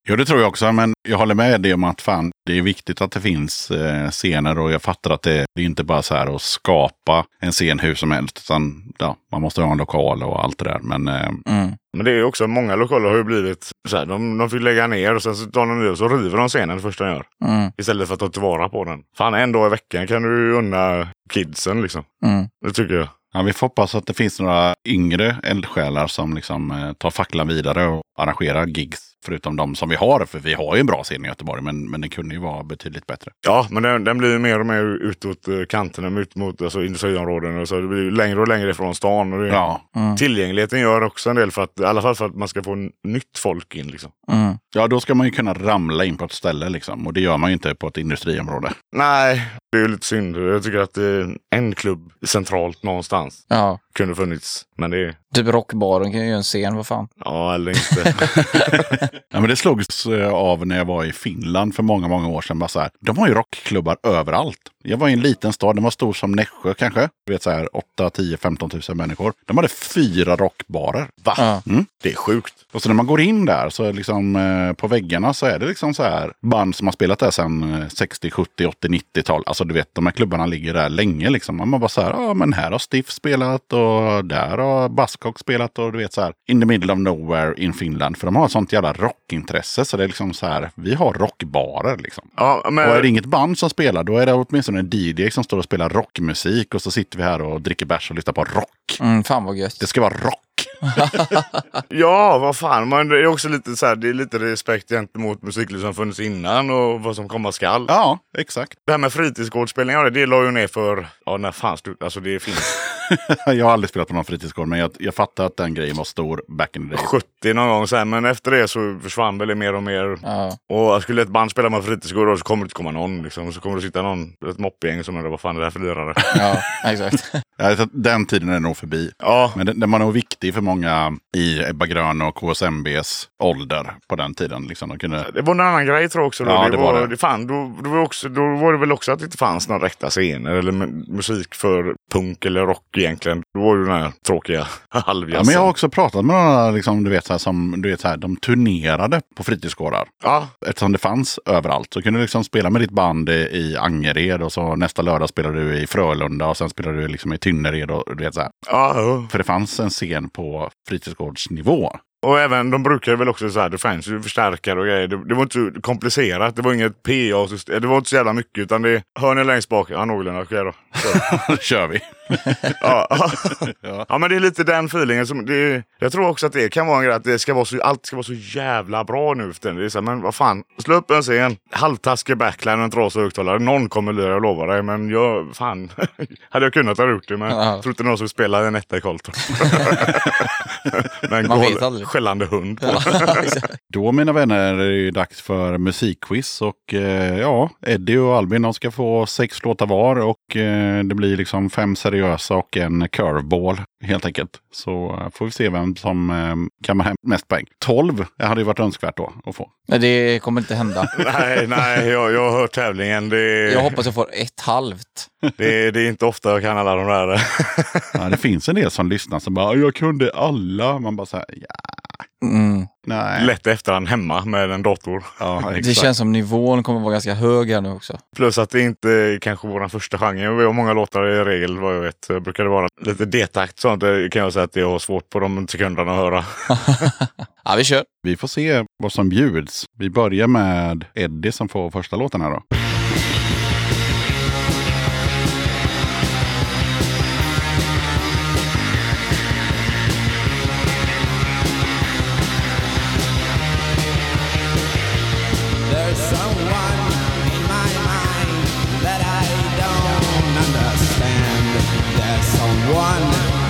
[SPEAKER 1] Jo, det tror jag också, men jag håller med dig om att fan, det är viktigt att det finns eh, scener och jag fattar att det, det är inte bara så här att skapa en scen hur som helst, utan ja, man måste ha en lokal och allt det där. Men eh,
[SPEAKER 5] Mm.
[SPEAKER 6] Men det är ju också, många lokaler har ju blivit så här, de, de fick lägga ner och sen så tar de ner och så river de scenen det första de gör.
[SPEAKER 5] Mm.
[SPEAKER 6] Istället för att ta tillvara på den. Fan, en dag i veckan kan du ju unna kidsen liksom.
[SPEAKER 5] Mm.
[SPEAKER 6] Det tycker jag.
[SPEAKER 1] ja, vi får hoppas att det finns några yngre eldsjälar som liksom eh, tar facklan vidare och arrangerar gigs, förutom de som vi har, för vi har ju en bra scen i Göteborg, men, men det kunde ju vara betydligt bättre.
[SPEAKER 6] Ja, men den, den blir ju mer och mer utåt eh, kanterna, ut mot alltså, industriområden. Och så det blir ju längre och längre ifrån stan. Och det,
[SPEAKER 1] Ja,
[SPEAKER 6] Tillgängligheten gör också en del, för att, i alla fall för att man ska få n- nytt folk in. Liksom.
[SPEAKER 5] Mm.
[SPEAKER 1] ja, då ska man ju kunna ramla in på ett ställe liksom, och det gör man ju inte på ett industriområde.
[SPEAKER 6] Nej, det är ju lite synd. Jag tycker att eh, en klubb centralt någonstans
[SPEAKER 5] Ja.
[SPEAKER 6] kunde funnits. Men det är...
[SPEAKER 5] Typ rockbaren kan ju göra en scen, vad fan.
[SPEAKER 6] Ja, eller inte.
[SPEAKER 1] Ja, men det slogs eh, av när jag var i Finland för många, många år sedan. Bara så här, de har ju rockklubbar överallt. Jag var i en liten stad, den var stor som Nässjö kanske. Du vet så här 8, 10, 15 tusen människor. De hade fyra rockbarer. Va?
[SPEAKER 5] Ja.
[SPEAKER 1] Mm.
[SPEAKER 6] det är sjukt.
[SPEAKER 1] Och så när man går in där så är liksom eh, på väggarna så är det liksom så här band som har spelat där sedan eh, 60, 70, 80, 90-tal. Alltså du vet, de här klubbarna ligger där länge liksom. Och Man bara så här, ja ah, men här har Stiff spelat och där har Buzzcock spelat och du vet så här in the middle of nowhere in Finland. För de har ett sånt jävla rockintresse så det är liksom så här, vi har rockbarer liksom.
[SPEAKER 6] Ja, men...
[SPEAKER 1] Och är det inget band som spelar, då är det åtminstone en DJ som står och spelar rockmusik och så sitter vi här och dricker bärs och lyssnar på rock.
[SPEAKER 5] Mm, fan vad gött.
[SPEAKER 1] Det ska vara rock.
[SPEAKER 6] Ja, vad fan. Man, det är också lite så här, det är lite respekt gentemot musiklivet som funnits innan och vad som komma skall.
[SPEAKER 1] Ja, exakt.
[SPEAKER 6] Det här med fritidsgårdsspelningar, det la ju ner för... Ja, när fan stod, Alltså det finns
[SPEAKER 1] Jag har aldrig spelat på någon fritidsgård, men jag, jag fattar att den grejen var stor back in the day.
[SPEAKER 6] 70 någon gång sen, men efter det så försvann väl det mer och mer.
[SPEAKER 5] Ja.
[SPEAKER 6] Och skulle ett band spela med fritidsgård då så kommer det inte komma någon liksom. Så kommer det sitta någon, ett moppegäng som undrar vad fan är det här för lirare?
[SPEAKER 5] Ja, exakt.
[SPEAKER 1] Ja, så att Den tiden är nog förbi.
[SPEAKER 6] ja,
[SPEAKER 1] Men den, den var nog viktig för många i Ebba Grön och KSMBs ålder på den tiden. Liksom, de kunde...
[SPEAKER 6] det var en annan grej tror jag också. Då.
[SPEAKER 1] Ja, det var det.
[SPEAKER 6] Fan, då, då, var också, då var det väl också att det inte fanns några rätta scener eller mu- musik för punk eller rock egentligen. Då var det ju den här tråkiga
[SPEAKER 1] Ja,
[SPEAKER 6] halvjazzen.
[SPEAKER 1] men jag har också pratat med några liksom, du vet, så här, som du vet, så här, de turnerade på fritidsgårdar.
[SPEAKER 6] Ja,
[SPEAKER 1] Eftersom det fanns överallt. Så kunde du liksom spela med ditt band i- i Angered och så nästa lördag spelade du i Frölunda och sen spelade du liksom i Tynnered. Och, du vet, så här.
[SPEAKER 6] ja, jo.
[SPEAKER 1] För det fanns en scen på fritidsgårdsnivå.
[SPEAKER 6] och även de brukar väl också så här, det fanns ju förstärkare och grejer. Det, det var inte så komplicerat. Det var inget PA-system. Det var inte så jävla mycket utan det hör ni längst bak. Ja, någorlunda. Okej då. Så.
[SPEAKER 1] kör vi.
[SPEAKER 6] Ja, ja. ja, men det är lite den feelingen. Som, det är, jag tror också att det kan vara en grej att det ska vara så, allt ska vara så jävla bra nu för tiden. Det är så här, men vad fan, slå upp en scen, halvtaskig backline och en trasig högtalare. Någon kommer lira, jag lovar dig. Men jag, fan, hade jag kunnat ha gjort det. Men
[SPEAKER 5] Ja.
[SPEAKER 6] jag tror inte någon som spelar en etta i Carlton. men
[SPEAKER 5] Man vet
[SPEAKER 6] gol-
[SPEAKER 5] aldrig.
[SPEAKER 6] skällande hund. på.
[SPEAKER 5] Ja, exakt.
[SPEAKER 1] Då mina vänner är det ju dags för musikquiz och eh, ja, Eddie och Albin de ska få sex låtar var och eh, det blir liksom fem seriösa och en curveball helt enkelt. Så eh, får vi se vem som eh, kammar hem mest poäng. 12 hade ju varit önskvärt då att få.
[SPEAKER 5] Nej, det kommer inte hända.
[SPEAKER 6] nej, nej, jag, jag har hört tävlingen. Det,
[SPEAKER 5] Jag hoppas jag får ett halvt.
[SPEAKER 6] det, det är inte ofta jag kan alla de där. eh,
[SPEAKER 1] Ja, det finns en del som lyssnar som bara jag kunde alla. Man bara så här, ja,
[SPEAKER 5] Mm.
[SPEAKER 1] nej.
[SPEAKER 6] Lätt efterhand hemma med en dator.
[SPEAKER 1] Ja,
[SPEAKER 5] Det
[SPEAKER 1] exakt.
[SPEAKER 5] känns som nivån kommer vara ganska hög här nu också.
[SPEAKER 6] Plus att det inte är kanske vår första genre. Vi har många låtar i regel vad jag vet. Brukar det vara lite detakt sånt det kan jag säga att jag har svårt på de sekunderna att höra.
[SPEAKER 5] Ja, vi kör.
[SPEAKER 1] Vi får se vad som bjuds. Vi börjar med Eddie som får första låten här då.
[SPEAKER 2] There's someone in my mind that I don't understand. There's someone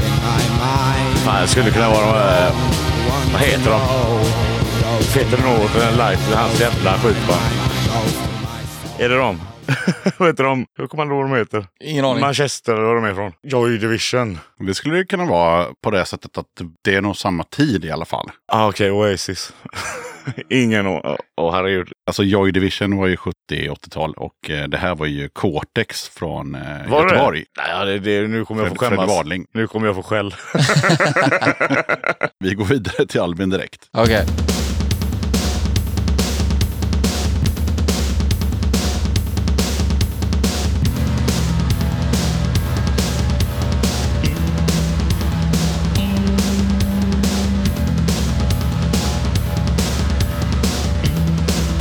[SPEAKER 2] in my mind.
[SPEAKER 6] Fan, det skulle kunna vara de här...
[SPEAKER 2] Want
[SPEAKER 6] Vad heter de?
[SPEAKER 2] to know.
[SPEAKER 6] Peter North, Light, hans jävla skitband.
[SPEAKER 2] Go for myself.
[SPEAKER 6] Är det de? vad heter de? Hur kommer man ihåg vad de heter?
[SPEAKER 5] Ingen aning.
[SPEAKER 6] Manchester eller var de är ifrån. Joy Division.
[SPEAKER 1] Det skulle ju kunna vara på det sättet att det är nog samma tid i alla fall.
[SPEAKER 6] Ah, Okej, Oasis. Ingen aning. Åh åh, herregud.
[SPEAKER 1] Alltså Joy Division var ju 70-80-tal och eh, det här var ju Cortex från eh,
[SPEAKER 6] Var det det?
[SPEAKER 1] Göteborg.
[SPEAKER 6] Nej, det, det, nu kommer jag få
[SPEAKER 1] Fred, Fred
[SPEAKER 6] skämmas.
[SPEAKER 1] Wadling.
[SPEAKER 6] Nu kommer jag få skäll.
[SPEAKER 1] Vi går vidare till Albin direkt.
[SPEAKER 5] Okej.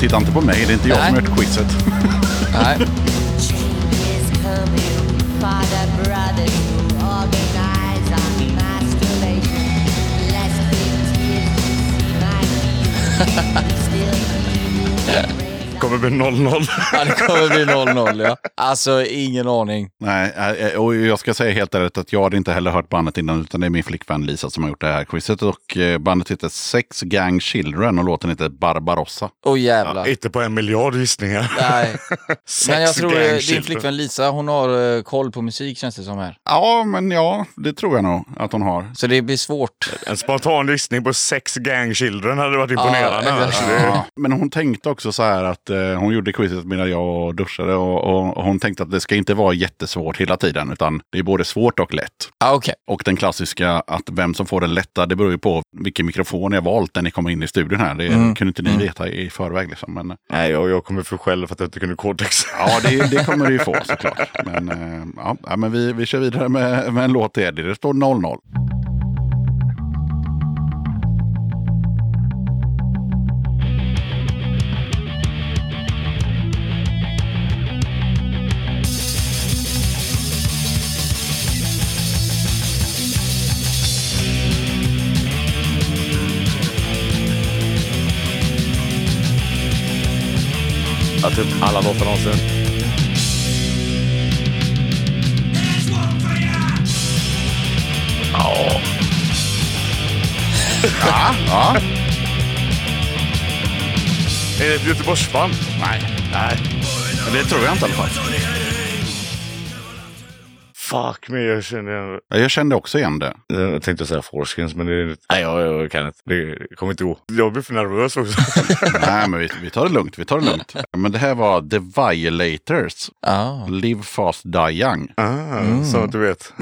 [SPEAKER 1] Titta inte på mig, det är inte jag
[SPEAKER 5] Nej.
[SPEAKER 1] som har gjort quizet.
[SPEAKER 5] Nej.
[SPEAKER 8] Change is coming. Father, brothers, organize our masturbation. Less tears to see my tears. Still
[SPEAKER 6] kommer bli 0-0.
[SPEAKER 5] Ja, det kommer bli 0-0 ja. Alltså ingen aning.
[SPEAKER 1] Nej, eh, och jag ska säga helt ärligt att jag hade inte heller hört bandet innan utan det är min flickvän Lisa som har gjort det här quizet. Och eh, bandet heter Sex Gang Children och låten heter Barbarossa.
[SPEAKER 5] Åh jävlar.
[SPEAKER 6] Inte på en miljard gissningar.
[SPEAKER 5] Nej.
[SPEAKER 6] Sex
[SPEAKER 5] Men jag tror eh, din
[SPEAKER 6] gangchildren.
[SPEAKER 5] flickvän Lisa, hon har eh, koll på musik känns det som här.
[SPEAKER 1] Ja, men ja, det tror jag nog att hon har.
[SPEAKER 5] Så det blir svårt.
[SPEAKER 6] En spontan gissning på sex gang children hade varit imponerande.
[SPEAKER 5] Ja,
[SPEAKER 6] annars.
[SPEAKER 5] exakt.
[SPEAKER 6] Det-
[SPEAKER 1] Ja, men hon tänkte också så här att eh, hon gjorde quizet medan jag duschade och, och hon tänkte att det ska inte vara jättesvårt hela tiden utan det är både svårt och lätt.
[SPEAKER 5] Ah, Okej.
[SPEAKER 1] Och den klassiska att vem som får den lätta, det beror ju på vilken mikrofon jag valt när ni kommer in i studion här. Det kunde inte ni veta i förväg. Liksom. Men,
[SPEAKER 6] Nej, jag, jag kommer få skäll för att jag inte kunde kodex.
[SPEAKER 1] ja, det, det kommer du ju få såklart. Men, eh, ja, ja, men vi, vi kör vidare med, med en låt till Eddie. Det står 0-0.
[SPEAKER 6] Ja, typ alla låtar någonsin.
[SPEAKER 1] Ja,
[SPEAKER 6] Är det ett Göteborgsband?
[SPEAKER 1] nej. nej. Men Det tror jag inte i alla fall.
[SPEAKER 6] Fuck me, jag känner igen
[SPEAKER 1] Ja, Jag kände också igen det.
[SPEAKER 6] Jag tänkte säga Forskins, men det är... Nej, jag, jag kan inte. Det kommer inte gå. Jag blir för nervös också.
[SPEAKER 1] Nej, men vi, vi tar det lugnt. Vi tar det lugnt. Men det här var The Violators.
[SPEAKER 5] Ah.
[SPEAKER 1] Live Fast Die Young.
[SPEAKER 6] Ah, Så att du vet.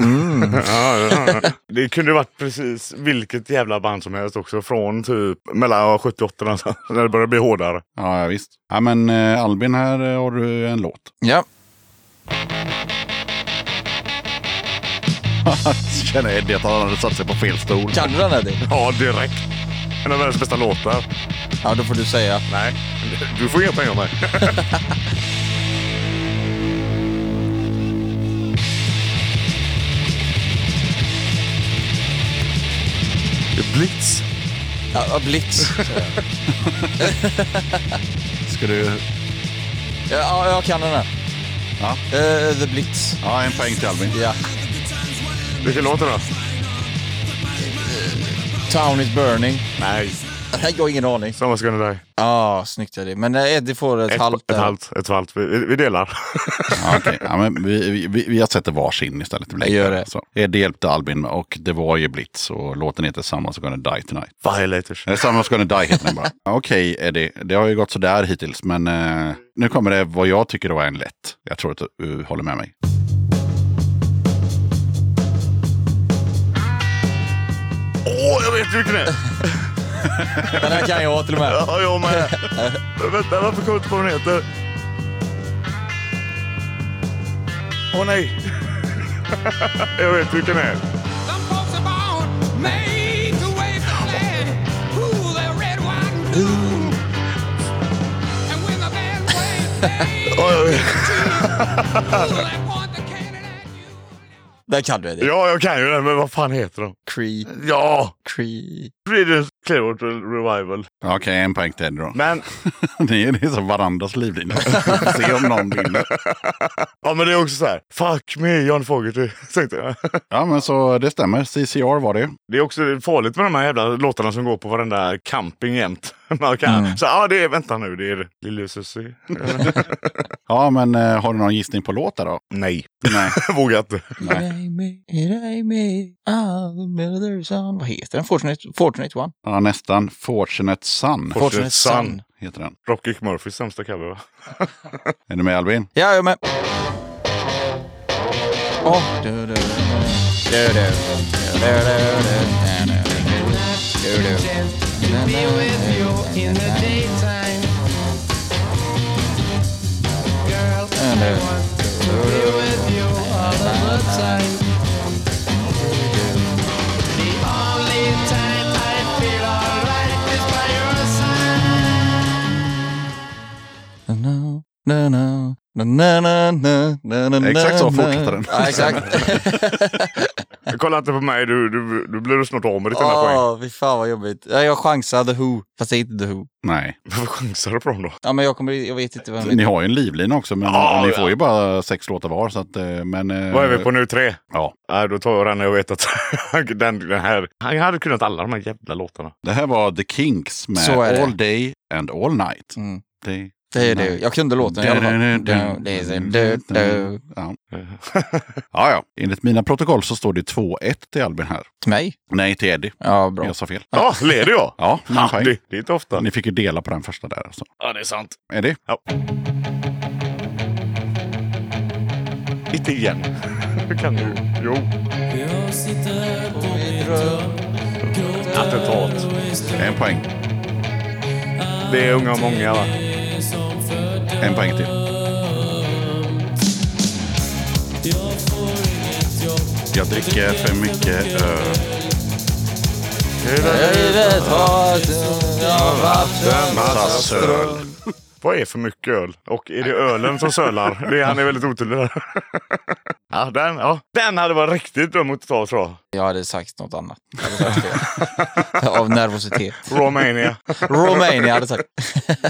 [SPEAKER 6] ja, ja, ja. Det kunde varit precis vilket jävla band som helst också. Från typ mellan 70 och 80 någonstans, när det började bli hårdare.
[SPEAKER 1] Ja, visst. Ja, men eh, Albin, här eh, har du en låt.
[SPEAKER 5] Ja.
[SPEAKER 1] Känner Eddie att han hade satt sig på fel stol.
[SPEAKER 5] Kan du den Eddie?
[SPEAKER 6] Ja, direkt. En av världens bästa låtar.
[SPEAKER 5] Ja, då får du säga.
[SPEAKER 6] Nej, du får inga pengar av mig. Blitz.
[SPEAKER 5] Ja, ja, Blitz. säger jag.
[SPEAKER 1] Ska du...
[SPEAKER 5] Ja, Ja, jag kan den här.
[SPEAKER 1] Ja.
[SPEAKER 5] Eh, the Blitz.
[SPEAKER 1] Ja, en poäng till Albin.
[SPEAKER 5] Ja.
[SPEAKER 6] Vilken låt är det då?
[SPEAKER 5] Town is burning.
[SPEAKER 6] Nej.
[SPEAKER 5] Nej, jag har ingen aning.
[SPEAKER 6] Someone's gonna die.
[SPEAKER 5] Ja, ah, snyggt Eddie. Men eh, Eddie får ett,
[SPEAKER 6] Ett,
[SPEAKER 5] halvt
[SPEAKER 6] ett
[SPEAKER 5] där.
[SPEAKER 6] halvt. Ett halvt. Vi, vi delar.
[SPEAKER 1] Ja, okej. ja, men vi, vi- vi, vi har sett det varsin istället.
[SPEAKER 5] Jag gör det.
[SPEAKER 1] Så. Eh, Det hjälpte Albin med och det var ju Blitz och låten heter Someone's gonna die tonight. Eh,
[SPEAKER 6] Violators.
[SPEAKER 1] Nej, Someone's gonna die heter den bara. Ja, Okej Eddie, det har ju gått sådär hittills men eh, nu kommer det vad jag tycker var en lätt. Jag tror att du håller med mig.
[SPEAKER 6] Åh, jag vet vilken det är!
[SPEAKER 5] Den här kan jag till och med.
[SPEAKER 6] Ja, jag med. Men Vänta, varför kommer jag inte på vad den heter? Åh nej! jag vet vilken det är.
[SPEAKER 7] Some folks are born made to wave the flag, rule their red, white, and blue. And when the band plays, they
[SPEAKER 6] Ja, jag vet.
[SPEAKER 7] pull that point
[SPEAKER 5] Där
[SPEAKER 7] the cannon at you.
[SPEAKER 5] kan du Eddie.
[SPEAKER 6] Ja, jag kan ju den, men vad fan heter de?
[SPEAKER 5] Cree.
[SPEAKER 6] Ja!
[SPEAKER 5] Cree.
[SPEAKER 6] Creedence Clearwater Revival.
[SPEAKER 1] Okej, en poäng till då.
[SPEAKER 6] Men,
[SPEAKER 1] Det är, det är som varandras livlina. Se om någon vinner.
[SPEAKER 6] ja, men det är också så här. Fuck me, John Fogerty. tänkte jag.
[SPEAKER 1] Ja, men så det stämmer. CCR var det.
[SPEAKER 6] Det är också farligt med de här jävla låtarna som går på varenda camping jämt. Man kan, Så ja, det är, vänta nu, det är Lille Susie.
[SPEAKER 1] Ja, men eh, har du någon gissning på låt där då?
[SPEAKER 6] Nej,
[SPEAKER 1] Nej.
[SPEAKER 6] vågar inte.
[SPEAKER 1] Nej.
[SPEAKER 5] I made, I made all another son. Vad heter den? Fortunate, Fortunate One?
[SPEAKER 1] Ja, nästan. Fortunate Son
[SPEAKER 6] Fortunate Son.
[SPEAKER 1] heter den.
[SPEAKER 6] Dropkick Murphys sämsta cover va?
[SPEAKER 1] Är du med Albin?
[SPEAKER 5] Ja, jag med. Åh. Du, du, du, du, du, du, du, du, du, du, du, du. Na, na, na, na, na, na, na, na, na,
[SPEAKER 1] Exakt så
[SPEAKER 5] na.
[SPEAKER 1] fortsätter den.
[SPEAKER 5] Ja, exakt.
[SPEAKER 6] Kolla inte på mig, du, du, du blir du snart av med ditt enda poäng.
[SPEAKER 5] Åh, fy fan vad jobbigt. Ja, jag chansade The Who, fast det är inte The Who.
[SPEAKER 1] Nej.
[SPEAKER 6] Varför chansar du på dem då?
[SPEAKER 5] Ja, men jag, kommer, jag vet inte vem det
[SPEAKER 1] Ni
[SPEAKER 5] är.
[SPEAKER 1] har ju en livlina också, men
[SPEAKER 6] Ja,
[SPEAKER 1] ni
[SPEAKER 6] ja.
[SPEAKER 1] får ju bara sex låtar var. Så att, eh, men, eh,
[SPEAKER 6] Vad är vi på nu? Tre?
[SPEAKER 1] Ja.
[SPEAKER 6] Nej, då tar jag den när jag vet att den, den här... Han hade kunnat alla de här jävla låtarna.
[SPEAKER 1] Det här var The Kinks med
[SPEAKER 5] Så är det.
[SPEAKER 1] All Day and All Night.
[SPEAKER 5] Mm.
[SPEAKER 1] Det,
[SPEAKER 5] Det är det. Jag kunde låten i alla fall. Det är- du- du-
[SPEAKER 1] Ja. ja, ja. Enligt mina protokoll så står det 2-1 till Albin här.
[SPEAKER 5] Till mig?
[SPEAKER 1] Nej, till Eddie.
[SPEAKER 5] Ja, bra.
[SPEAKER 1] Jag sa fel.
[SPEAKER 6] Ja, leder jag?
[SPEAKER 1] Ja, men
[SPEAKER 6] Ha,
[SPEAKER 1] poäng.
[SPEAKER 6] det, det är inte ofta.
[SPEAKER 1] Ni fick ju dela på den första där. Alltså.
[SPEAKER 6] Ja, det är sant.
[SPEAKER 1] Eddie?
[SPEAKER 6] Ja. Inte igen. Hur kan du? Jo. Attentat.
[SPEAKER 1] En poäng.
[SPEAKER 6] Det är unga och många va?
[SPEAKER 1] En poäng till. Jag dricker för mycket öl.
[SPEAKER 5] Livet har jag vatten.
[SPEAKER 1] Massa söl.
[SPEAKER 6] Vad är för mycket öl? Och är det ölen som sölar? Det, han är väldigt otydlig där. Ja, den, ja. den hade varit riktigt dum att ta tror jag.
[SPEAKER 5] Jag hade sagt något annat. Jag hade sagt fel. Av nervositet.
[SPEAKER 6] Romania.
[SPEAKER 5] Romania hade sagt.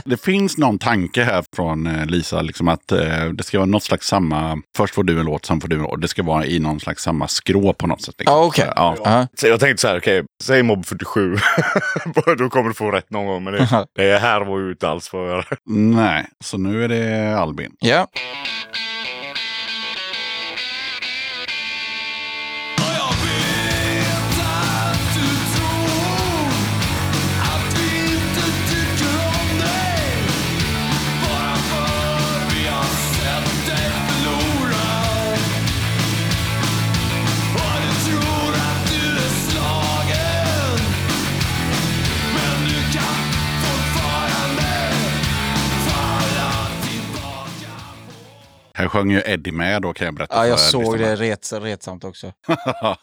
[SPEAKER 1] Det finns någon tanke här från eh, Lisa, liksom att eh, det ska vara något slags samma... Först får du en låt, sen får du en låt. Det ska vara i någon slags samma skrå på något sätt. liksom.
[SPEAKER 5] Ja, okej.
[SPEAKER 1] Ja.
[SPEAKER 5] Ja.
[SPEAKER 6] Så jag tänkte så här, okej, säg mobb 47. Då kommer du få rätt någon gång. Men det, det här var ju inte alls vad jag...
[SPEAKER 1] Nej, så nu är det Albin.
[SPEAKER 5] Ja.
[SPEAKER 1] Här sjöng ju Eddie med då kan jag berätta
[SPEAKER 5] ja, jag
[SPEAKER 1] för
[SPEAKER 5] såg
[SPEAKER 1] lyssnarna.
[SPEAKER 5] det ret, retsamt också.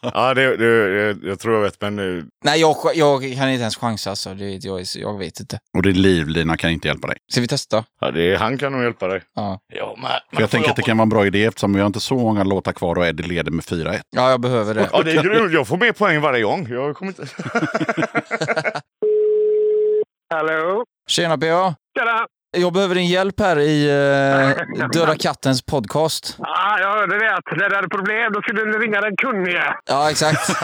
[SPEAKER 6] Ja, det, det, jag, jag tror jag vet, men eh,
[SPEAKER 5] Nej, jag, jag kan inte ens chansa. Alltså. Det, jag, jag vet inte.
[SPEAKER 1] Och din livlina kan inte hjälpa dig.
[SPEAKER 5] Ska vi testa?
[SPEAKER 6] ja, det, han kan nog hjälpa dig.
[SPEAKER 5] Ja.
[SPEAKER 6] Ja, men,
[SPEAKER 1] För jag tänker att det kan vara en bra idé eftersom vi har inte så många låtar kvar och Eddie leder med 4-1.
[SPEAKER 5] Ja, jag behöver det.
[SPEAKER 6] Ja, det är grymt. Jag får mer poäng varje gång. Jag kommer inte...
[SPEAKER 9] Hallå?
[SPEAKER 5] Tjena PA!
[SPEAKER 9] Tjena!
[SPEAKER 5] Jag behöver din hjälp här i eh, Döda kattens podcast.
[SPEAKER 9] Ah, jag hörde det att när det hade problem då skulle du ringa den kunnige.
[SPEAKER 5] Ja, exakt.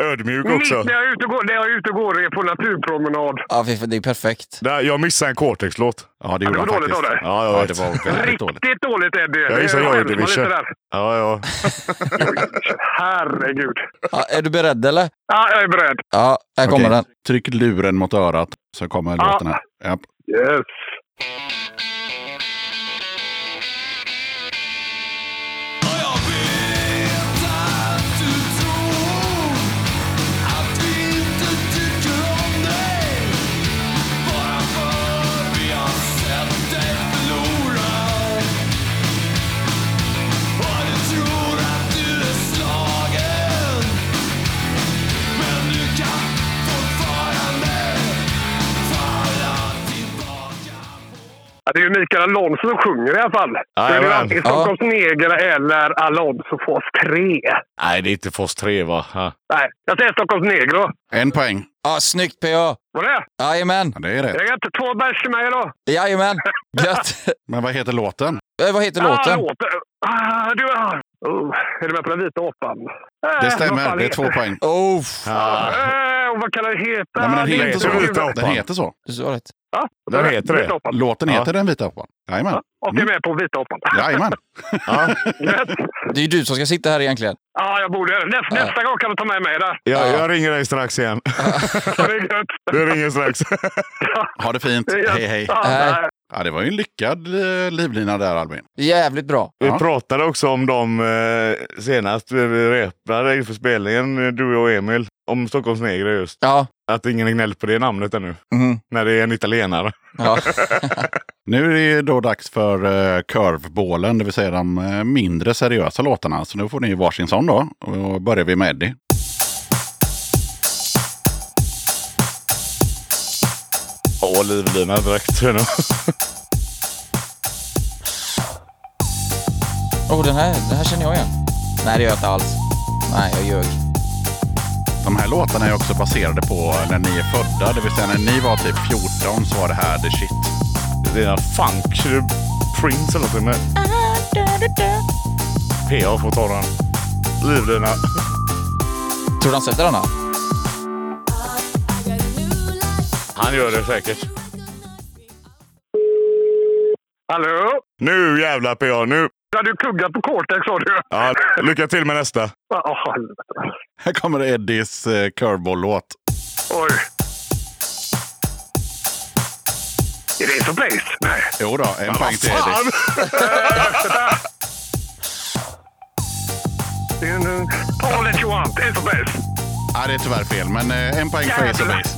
[SPEAKER 6] Ödmjuk också.
[SPEAKER 9] Mitt när jag är ute och går, när jag är ute och går är på naturpromenad.
[SPEAKER 5] Ja, fy fan, det är perfekt.
[SPEAKER 6] Där, jag missade en Cortex-låt.
[SPEAKER 1] Ja, det
[SPEAKER 9] Ja, det
[SPEAKER 1] gjorde
[SPEAKER 9] var
[SPEAKER 1] han
[SPEAKER 9] dåligt
[SPEAKER 1] faktiskt.
[SPEAKER 9] av dig.
[SPEAKER 6] Ja, jag
[SPEAKER 1] Ja,
[SPEAKER 6] vet.
[SPEAKER 1] det var väldigt dåligt.
[SPEAKER 9] Riktigt dåligt Eddie!
[SPEAKER 6] Jag gissar
[SPEAKER 9] Det är
[SPEAKER 6] Joy
[SPEAKER 9] skäms man
[SPEAKER 6] Division.
[SPEAKER 9] lite där.
[SPEAKER 6] Ja, ja.
[SPEAKER 9] Herregud.
[SPEAKER 5] Ja, är du beredd eller?
[SPEAKER 9] Ja, jag är beredd.
[SPEAKER 5] Ja, här
[SPEAKER 1] Okej,
[SPEAKER 5] kommer den.
[SPEAKER 1] Tryck luren mot örat så kommer
[SPEAKER 9] Ja.
[SPEAKER 1] låten här. Japp.
[SPEAKER 9] Yes. Ja, det är ju Mikael Alonso som sjunger i alla fall. Då är det ju
[SPEAKER 6] Jajamän.
[SPEAKER 9] antingen Stockholms Negra eller Alonso Fas 3.
[SPEAKER 6] Nej, det är inte Fos 3 va? Ja.
[SPEAKER 9] Nej, jag säger Stockholms Negro.
[SPEAKER 1] En poäng.
[SPEAKER 5] Ja, snyggt PA!
[SPEAKER 9] Var det?
[SPEAKER 5] Jajamän!
[SPEAKER 1] Ja, det är rätt.
[SPEAKER 9] Jag inte två bärs till mig idag.
[SPEAKER 5] Jajamän! Gött!
[SPEAKER 1] Men vad heter låten?
[SPEAKER 5] Eh, Vad heter
[SPEAKER 9] Ah,
[SPEAKER 5] låten?
[SPEAKER 9] låten. Ah, du, ah. Oh, är du med på den vita apan? Eh,
[SPEAKER 1] Det
[SPEAKER 9] vad
[SPEAKER 1] stämmer,
[SPEAKER 9] fan
[SPEAKER 1] det är
[SPEAKER 9] heter-
[SPEAKER 1] två poäng.
[SPEAKER 5] Oh,
[SPEAKER 9] Eh, och vad kan den heta?
[SPEAKER 1] Nej, men den
[SPEAKER 9] Det är
[SPEAKER 1] heter
[SPEAKER 9] inte
[SPEAKER 1] så.
[SPEAKER 6] Den
[SPEAKER 9] kul.
[SPEAKER 6] vita apan.
[SPEAKER 1] Den heter så.
[SPEAKER 5] du sa rätt.
[SPEAKER 9] Ja,
[SPEAKER 6] Den
[SPEAKER 9] är-
[SPEAKER 6] heter det.
[SPEAKER 9] Vita apan.
[SPEAKER 1] Låten
[SPEAKER 6] Ja.
[SPEAKER 1] heter Den vita apan. Jajamän.
[SPEAKER 9] Och jag är med på Vita apan.
[SPEAKER 1] Jajamän.
[SPEAKER 6] Ja,
[SPEAKER 9] Gött.
[SPEAKER 5] Det är ju du som ska sitta här egentligen.
[SPEAKER 9] Ja, jag borde Nä, Nästa gång kan du ta med mig där.
[SPEAKER 6] jag, jag ringer dig strax igen.
[SPEAKER 9] Ja, Det är gött.
[SPEAKER 6] Du ringer strax.
[SPEAKER 1] Ha det fint.
[SPEAKER 9] Det är gött.
[SPEAKER 1] Hej, hej.
[SPEAKER 9] Ja,
[SPEAKER 5] Hej.
[SPEAKER 9] nej.
[SPEAKER 1] Ja, det var ju en lyckad eh, livlina där, Albin.
[SPEAKER 5] Jävligt bra.
[SPEAKER 6] Vi
[SPEAKER 1] Ja.
[SPEAKER 6] pratade också om dem eh, senast vi vi repade inför spelningen, eh, du och Emil, om Stockholms negrer just.
[SPEAKER 5] Ja.
[SPEAKER 6] Att ingen har gnällt på det namnet ännu,
[SPEAKER 5] Mhm.
[SPEAKER 6] när det är en italienare.
[SPEAKER 5] ja.
[SPEAKER 1] Nu är det ju då dags för uh, curvebålen, det vill säga de eh, mindre seriösa låtarna. Så nu får ni varsin sån då. Och då börjar vi med Eddie.
[SPEAKER 6] Åh, livlina direkt.
[SPEAKER 5] Oh, den, här, den här känner jag igen. Nej, det gör jag inte alls. Nej, jag ljög.
[SPEAKER 1] De här låtarna är också baserade på när ni är födda, det vill säga när ni var typ 14 så var det här the shit.
[SPEAKER 6] det är en funk. det är Prince eller något. men PA får ta den. Livlina.
[SPEAKER 5] Tror du han sätter den här?
[SPEAKER 6] Han gör det säkert.
[SPEAKER 9] Hallå?
[SPEAKER 6] Nu jävla PA, nu!
[SPEAKER 9] Ja, du tuggat på Cortex sa du.
[SPEAKER 6] Ja, lycka till med nästa.
[SPEAKER 9] Ja, helvete.
[SPEAKER 1] Här kommer Eddies eh, curveball-låt.
[SPEAKER 9] Oj. Är det Ace of Base? Nej.
[SPEAKER 1] Jo då, en poäng till Eddie.
[SPEAKER 9] Det är en- eh, All that you want, Ace of Base.
[SPEAKER 1] Ja, det är tyvärr fel, men eh, en poäng för Ace of
[SPEAKER 9] Jävlar.
[SPEAKER 1] Base.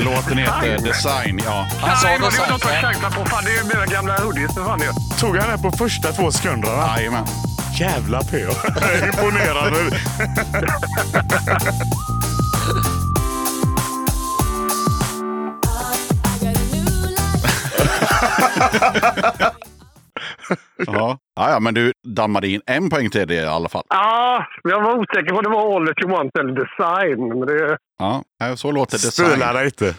[SPEAKER 1] Låten heter Design, ja.
[SPEAKER 5] Han sa
[SPEAKER 9] Nej,
[SPEAKER 5] det
[SPEAKER 9] vad det var något jag
[SPEAKER 5] sen.
[SPEAKER 9] chansade på. Fan, det är ju mina gamla hoodies för fan ju.
[SPEAKER 6] Tog han det på första två sekunderna?
[SPEAKER 1] Jajamän.
[SPEAKER 6] Jävla PA. Imponerande.
[SPEAKER 1] Ja. Ja, ja, men du dammade in en poäng till Eddie i alla fall.
[SPEAKER 9] Ja, jag var osäker på om det var All that you want eller Design. Men det...
[SPEAKER 1] Ja, eh, så låter Design.
[SPEAKER 6] Stila dig inte.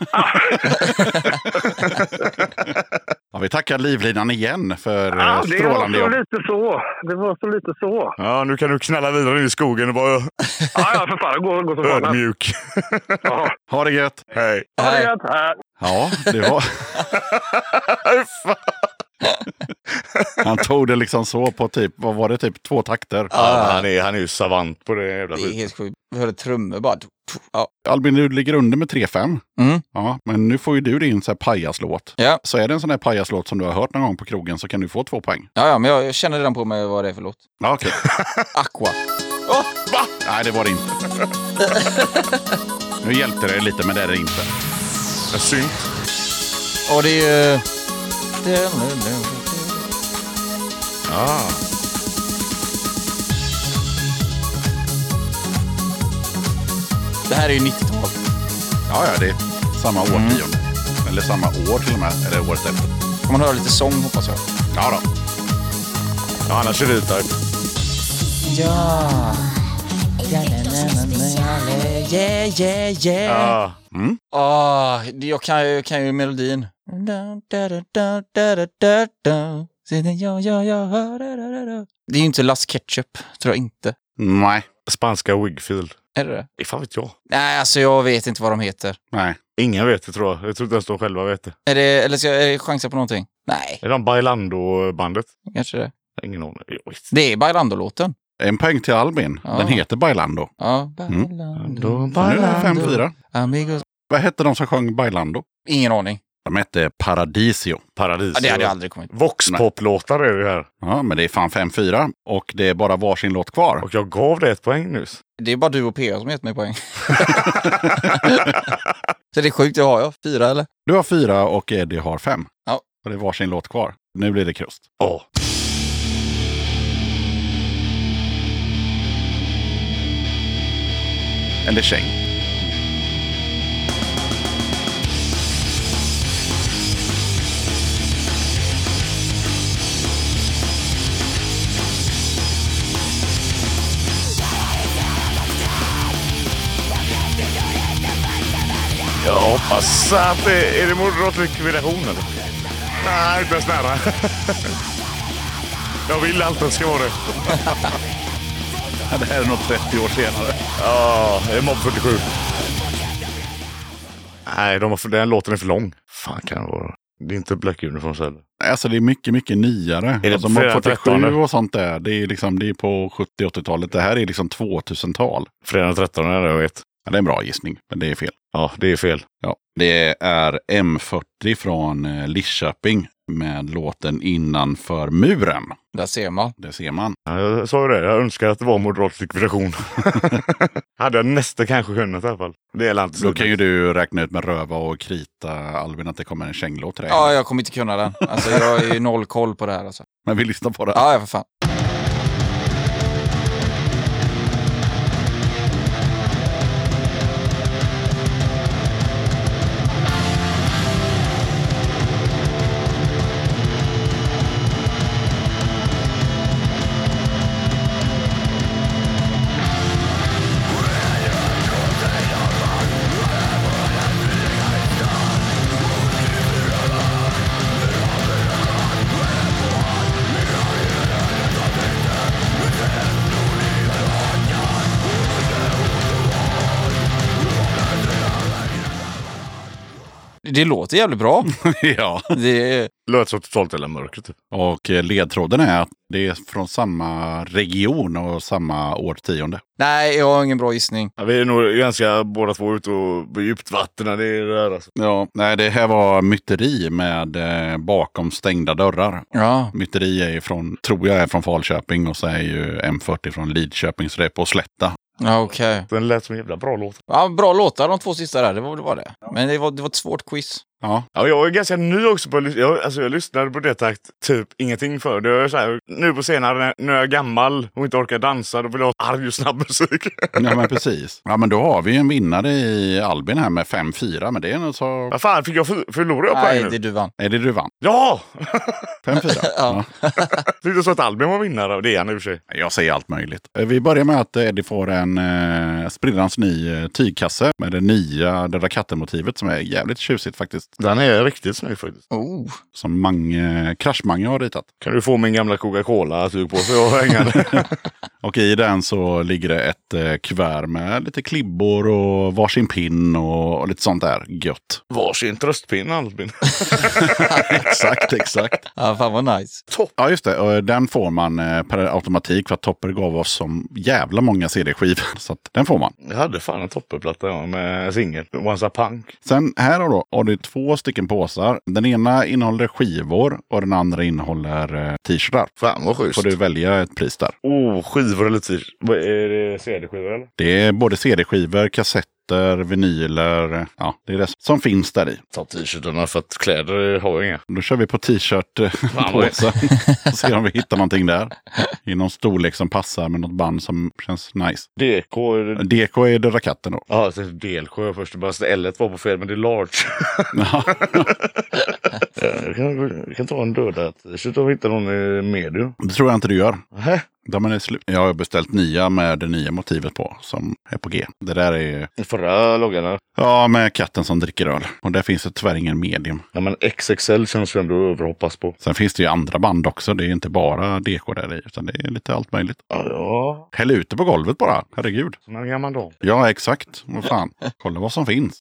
[SPEAKER 1] Ja, vi tackar Livlinan igen för eh,
[SPEAKER 9] Ja, det var
[SPEAKER 1] strålande
[SPEAKER 9] så
[SPEAKER 1] jobb.
[SPEAKER 9] lite så. Det var så lite så.
[SPEAKER 6] Ja, nu kan du knalla vidare in i skogen och vara
[SPEAKER 9] Ja, ja, för fan. Gå, gå som fan.
[SPEAKER 6] ödmjuk.
[SPEAKER 9] Ja.
[SPEAKER 1] Ha det gött!
[SPEAKER 6] Hej.
[SPEAKER 9] Ha det
[SPEAKER 5] Nej.
[SPEAKER 9] gött. Ja.
[SPEAKER 1] Ja, det var... Han tog det liksom så på typ, vad var det, typ två takter.
[SPEAKER 6] Ja, han, är, han är ju savant på det jävla
[SPEAKER 5] Ah. Det är
[SPEAKER 6] skiten.
[SPEAKER 5] helt sjukt. Vi hörde trummor bara. Tuff, tuff. Ja.
[SPEAKER 1] Albin, du ligger under med 3-5.
[SPEAKER 5] Mm.
[SPEAKER 1] Ja, men nu får ju du din så här pajaslåt.
[SPEAKER 5] Ja.
[SPEAKER 1] Så är det en sån här pajaslåt som du har hört någon gång på krogen så kan du få två poäng.
[SPEAKER 5] Ja, ja, men jag, jag känner redan på mig vad det är för låt.
[SPEAKER 1] Ja, okej.
[SPEAKER 5] Aqua.
[SPEAKER 1] Nej, det var det inte. nu hjälpte det lite, men det är det inte.
[SPEAKER 6] En synt.
[SPEAKER 5] Och det är ju...
[SPEAKER 6] Ah.
[SPEAKER 5] Det här är ju 90-tal.
[SPEAKER 1] Ja, ja, det är samma årtionde. Eller samma år till och med, eller året efter.
[SPEAKER 5] Får man höra lite sång hoppas jag.
[SPEAKER 1] Ja då.
[SPEAKER 6] Ja, annars är det typ.
[SPEAKER 5] Ja. Yeah, yeah, yeah.
[SPEAKER 6] Ja.
[SPEAKER 5] Ah, det- jag kan, ju- jag kan ju melodin. Sedan jag, jag, jag hör- da, da, da, da. Det är ju inte Las Ketchup, tror jag inte.
[SPEAKER 1] Nej,
[SPEAKER 6] Spanska Wigfield.
[SPEAKER 5] Är det det
[SPEAKER 6] Det fan vet jag.
[SPEAKER 5] Nej, alltså jag vet inte vad de heter.
[SPEAKER 1] nej.
[SPEAKER 6] Ingen vet det tror jag. Jag tror inte ens de själva vet det.
[SPEAKER 5] Är det, eller ska jag är det chansa på någonting? Nej,
[SPEAKER 6] Är de Bailando-bandet?
[SPEAKER 5] kanske det.
[SPEAKER 6] Ingen aning. Jag vet
[SPEAKER 5] Det är Bailando-låten.
[SPEAKER 1] En poäng till Albin.
[SPEAKER 5] Ja.
[SPEAKER 1] Den heter Bailando.
[SPEAKER 5] Ja,
[SPEAKER 1] Mm.
[SPEAKER 5] Bailando.
[SPEAKER 1] Så nu är det 5-4.
[SPEAKER 5] Amigos.
[SPEAKER 1] Vad hette de som sjöng Bailando?
[SPEAKER 5] Ingen aning.
[SPEAKER 1] De hette Paradisio.
[SPEAKER 6] Paradis.
[SPEAKER 5] Ja, det hade jag aldrig kommit
[SPEAKER 6] Voxpop-låtar är det här.
[SPEAKER 1] Ja, men det är fan 5-4 och det är bara varsin låt kvar.
[SPEAKER 6] Och jag gav det ett poäng nyss.
[SPEAKER 5] Det är bara du och PA som gett mig poäng. Så det är sjukt, det har jag. Fyra eller?
[SPEAKER 1] Du har fyra och Eddie har fem.
[SPEAKER 5] Ja.
[SPEAKER 1] Och det är varsin låt kvar. Nu blir det krust.
[SPEAKER 6] Ja.
[SPEAKER 1] Eller käng.
[SPEAKER 6] hoppas att det... Är det moderat likvidation eller? Nej, inte ens nära. Jag vill alltid att det ska vara det.
[SPEAKER 1] Det här är nog 30 år senare.
[SPEAKER 6] Ja, det är mobb 47. Nej, de har för, den låten är för lång. Fan kan det vara. Det är inte Black Uniforms heller.
[SPEAKER 1] Alltså det är mycket, mycket nyare.
[SPEAKER 6] det
[SPEAKER 1] alltså,
[SPEAKER 6] på
[SPEAKER 1] Mob
[SPEAKER 6] fredag
[SPEAKER 1] 47
[SPEAKER 6] 13?
[SPEAKER 1] och sånt där, det är, liksom, det är på 70-80-talet. Det här är liksom 2000-tal.
[SPEAKER 6] Fredag den 13 är det jag vet.
[SPEAKER 1] Ja, det är en bra gissning, men det är fel.
[SPEAKER 6] Ja, det är fel.
[SPEAKER 1] Ja. Det är M40 från eh, Lidköping med låten Innanför muren.
[SPEAKER 5] Där ser man.
[SPEAKER 1] Det ser man.
[SPEAKER 6] Ja, jag sa ju det, jag önskar att det var moderat likvidation. Hade jag nästan kanske kunnat i alla fall. Det är landet.
[SPEAKER 1] Då kan ju du räkna ut med röva och krita Albin att det kommer en känglåt till dig.
[SPEAKER 5] Ja, jag kommer inte kunna den. Alltså, jag är ju noll koll på det här. Alltså.
[SPEAKER 1] Men vi lyssnar på det.
[SPEAKER 5] Ja, ja, för fan. Det låter jävligt bra.
[SPEAKER 1] ja.
[SPEAKER 5] Det är...
[SPEAKER 6] Låt så totalt eller mörker typ.
[SPEAKER 1] Och eh, ledtråden är att det är från samma region och samma årtionde.
[SPEAKER 5] Nej, jag har ingen bra gissning.
[SPEAKER 6] Ja, vi är nog ganska båda två ute och på djupt vatten när det är det här alltså.
[SPEAKER 1] Ja, nej, det här var myteri med eh, bakom stängda dörrar.
[SPEAKER 5] Ja.
[SPEAKER 1] Myteri är ju från, tror jag är från Falköping och så är ju M40 från Lidköping, så det är på slätta.
[SPEAKER 5] Ja, okej.
[SPEAKER 6] Den lät som en jävla bra låt.
[SPEAKER 5] Ja, bra låtar de två sista där, det var, det, var det. Men det var, det var ett svårt quiz.
[SPEAKER 1] Ja,
[SPEAKER 6] Ja, jag är ganska ny också på att lys- jag, alltså, jag lyssnade på det takt typ ingenting för. Det är så här, nu på senare, när- när jag är gammal och inte orkar dansa, då vill jag ha arg och snabb musik.
[SPEAKER 1] ja men precis. Ja, men då har vi en vinnare i Albin här med 5-4, men det är nog så...
[SPEAKER 6] Vad fan, fick jag för, förlorade jag
[SPEAKER 5] Nej,
[SPEAKER 6] poäng
[SPEAKER 5] det är
[SPEAKER 6] nu?
[SPEAKER 5] du vann.
[SPEAKER 1] Är det du vann?
[SPEAKER 6] Ja!
[SPEAKER 1] 5-4?
[SPEAKER 5] Ja.
[SPEAKER 6] Tyckte så att Albin var vinnare. Det är han i och för sig.
[SPEAKER 1] Jag säger allt möjligt. Eh, Vi börjar med att eh, Eddie får en eh, sprillans ny eh, tygkasse med det nya Döda katten-motivet som är jävligt tjusigt faktiskt.
[SPEAKER 6] Den är riktigt snygg faktiskt.
[SPEAKER 5] Oh.
[SPEAKER 1] Som Mange, Crash Mange har ritat.
[SPEAKER 6] Kan du få min gamla Coca-Cola-tyg på sig och hänga den?
[SPEAKER 1] Och i den så ligger det ett eh, kuvert med lite klibbor och varsin pinn och, och lite sånt där gött.
[SPEAKER 6] Varsin tröstpinne Albin.
[SPEAKER 1] exakt, exakt.
[SPEAKER 5] Ja, fan vad nice.
[SPEAKER 1] Ja, just det. Och den får man eh, per automatik för att Topper gav oss som jävla många CD-skivor. Så att den får man.
[SPEAKER 6] Jag hade fan en toppenplatta jag med en singel. Once a punk.
[SPEAKER 1] Sen här har, då, har du två stycken påsar. Den ena innehåller skivor och den andra innehåller eh, t-shirtar.
[SPEAKER 6] Fan vad schysst.
[SPEAKER 1] Får du välja ett pris där.
[SPEAKER 6] Oh, skivor eller t-shirt. Vad Är det CD-skivor eller?
[SPEAKER 1] Det är både CD-skivor, kassetter, vinyler. Ja, det är det som finns där i.
[SPEAKER 6] Ta t-shirtarna för att kläder har jag inga.
[SPEAKER 1] Då kör vi på
[SPEAKER 6] vad det-
[SPEAKER 1] t-shirt-påsen. och ser om vi hittar någonting där. I någon storlek som passar med något band som känns nice.
[SPEAKER 6] DK.
[SPEAKER 1] DK är Döda katten då.
[SPEAKER 6] Ja, det är Delsjö först. Det bara L var på fel, men det är large.
[SPEAKER 1] Ja,
[SPEAKER 6] Jag kan, jag kan ta en döda t-shirt om vi hittar någon i medium.
[SPEAKER 1] det tror jag inte du gör.
[SPEAKER 6] Nähä?
[SPEAKER 1] De är slut. Jag har beställt nya med det nya motivet på som är på G. Det där är
[SPEAKER 6] Förra loggan här.
[SPEAKER 1] ja, med katten som dricker öl. Och där finns det tyvärr ingen medium.
[SPEAKER 6] Ja, men XXL känns ju ändå överhoppas på.
[SPEAKER 1] Sen finns det ju andra band också. Det är inte bara DK där i, utan det är lite allt möjligt.
[SPEAKER 6] Ja, ja.
[SPEAKER 1] Häll ut det på golvet bara. Herregud.
[SPEAKER 6] Som en gammal dam.
[SPEAKER 1] Ja, exakt. Vad fan. Kolla vad som finns.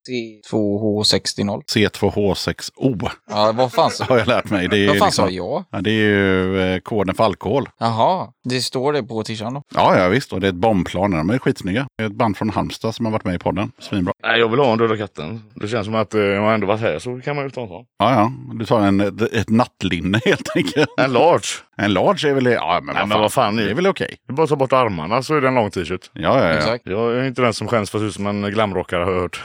[SPEAKER 5] 2H60.
[SPEAKER 1] C2H6O
[SPEAKER 5] Ja, vad fan sa,
[SPEAKER 1] har jag lärt mig. Det är,
[SPEAKER 5] vad fan
[SPEAKER 1] liksom-
[SPEAKER 5] sa jag?
[SPEAKER 1] Ja, det är ju eh, koden för alkohol.
[SPEAKER 5] Jaha, det står det på t-shirten då.
[SPEAKER 1] Ja, ja visst. Och det är ett bombplan. De är skitsnygga. Det är ett band från Halmstad som har varit med i podden. Svinbra.
[SPEAKER 6] Nej, jag vill ha en Döda katten. Det känns som att eh, jag har ändå varit här så kan man ju ta en sån.
[SPEAKER 1] Ja, ja. Du tar en, ett, ett nattlinne helt enkelt.
[SPEAKER 6] En large.
[SPEAKER 1] En large är väl... Ja, men,
[SPEAKER 6] Nej,
[SPEAKER 1] vad,
[SPEAKER 6] men
[SPEAKER 1] fan.
[SPEAKER 6] vad fan.
[SPEAKER 1] Det är
[SPEAKER 6] Ni...
[SPEAKER 1] väl okej.
[SPEAKER 6] Det är bara att ta bort armarna så är det en lång t-shirt.
[SPEAKER 1] Ja, ja, ja.
[SPEAKER 5] Exakt.
[SPEAKER 6] Jag är inte den som skäms för att se ut som en glamrockare har jag hört.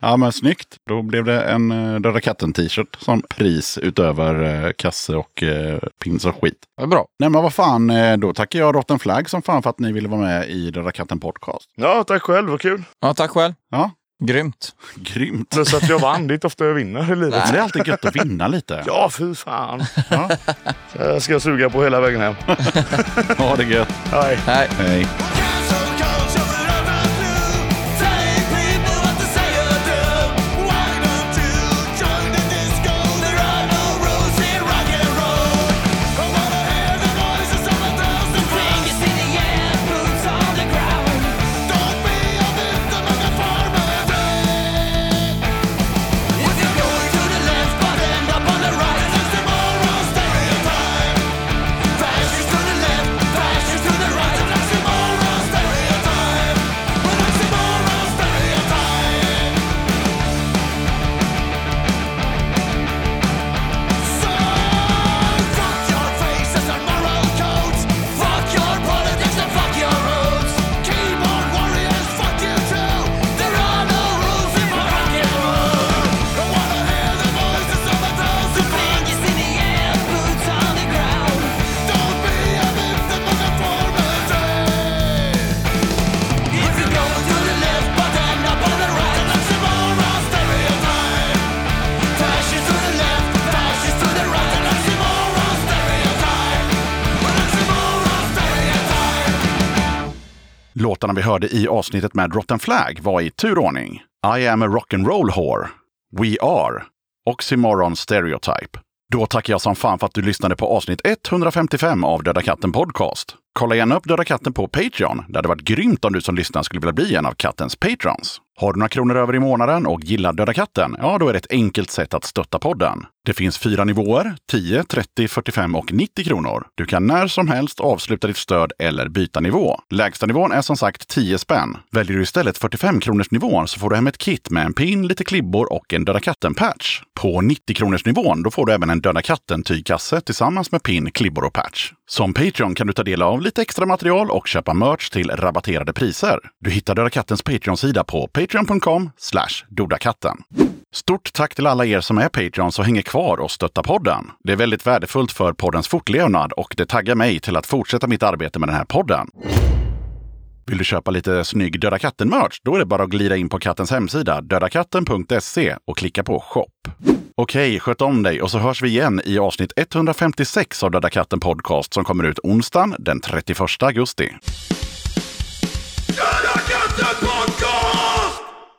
[SPEAKER 1] Ja, men snyggt. Då blev det en eh, Döda katten-t-shirt som pris utöver eh, kasse och eh, pins och skit.
[SPEAKER 5] Det är bra.
[SPEAKER 1] Nej, men vad fan. eh, Då tackar jag Rotten Flagg som fan för att ni ville vara med i Döda katten Podcast.
[SPEAKER 6] Ja, tack själv. Vad kul.
[SPEAKER 5] Ja, tack själv.
[SPEAKER 1] Ja,
[SPEAKER 5] Grymt.
[SPEAKER 1] grymt.
[SPEAKER 6] Plus att jag vann. Det är inte ofta jag vinner i livet.
[SPEAKER 1] Men Det är alltid gött att vinna lite.
[SPEAKER 6] Ja, fy fan. Ja. Jag ska suga på hela vägen hem.
[SPEAKER 1] Ha det gött.
[SPEAKER 6] Hej.
[SPEAKER 5] Nej.
[SPEAKER 1] Hej.
[SPEAKER 7] Cancel culture and other blue, telling people what to
[SPEAKER 1] Låtarna vi hörde i avsnittet med Rotten Flag var i turordning I am a rock'n'roll whore, We are, Oxymoron Stereotype. Då tackar jag som fan för att du lyssnade på avsnitt 155 av Döda katten Podcast. Kolla gärna upp Döda katten på Patreon. Det hade varit grymt om du som lyssnar skulle vilja bli en av kattens patrons. Har du några kronor över i månaden och gillar Döda katten? Ja, då är det ett enkelt sätt att stötta podden. Det finns fyra nivåer, 10, 30, 45 och 90 kronor. Du kan när som helst avsluta ditt stöd eller byta nivå. Lägsta nivån är som sagt 10 spänn. Väljer du istället 45 kronors nivån så får du hem ett kit med en pin, lite klibbor och en Döda katten-patch. På 90 kronors nivån då får du även en Döda katten-tygkasse tillsammans med pin, klibbor och patch. Som Patreon kan du ta del av lite extra material och köpa merch till rabatterade priser. Du hittar Döda kattens Patreon-sida på patreon.com dodakatten. Stort tack till alla er som är Patreons och hänger kvar och stöttar podden. Det är väldigt värdefullt för poddens fortlevnad och det taggar mig till att fortsätta mitt arbete med den här podden. Vill du köpa lite snygg Döda katten-merch? Då är det bara att glida in på kattens hemsida, dödakatten.se, och klicka på shop. Okej, sköt om dig och så hörs vi igen i avsnitt 156 av Döda katten podcast som kommer ut onsdagen den 31 augusti.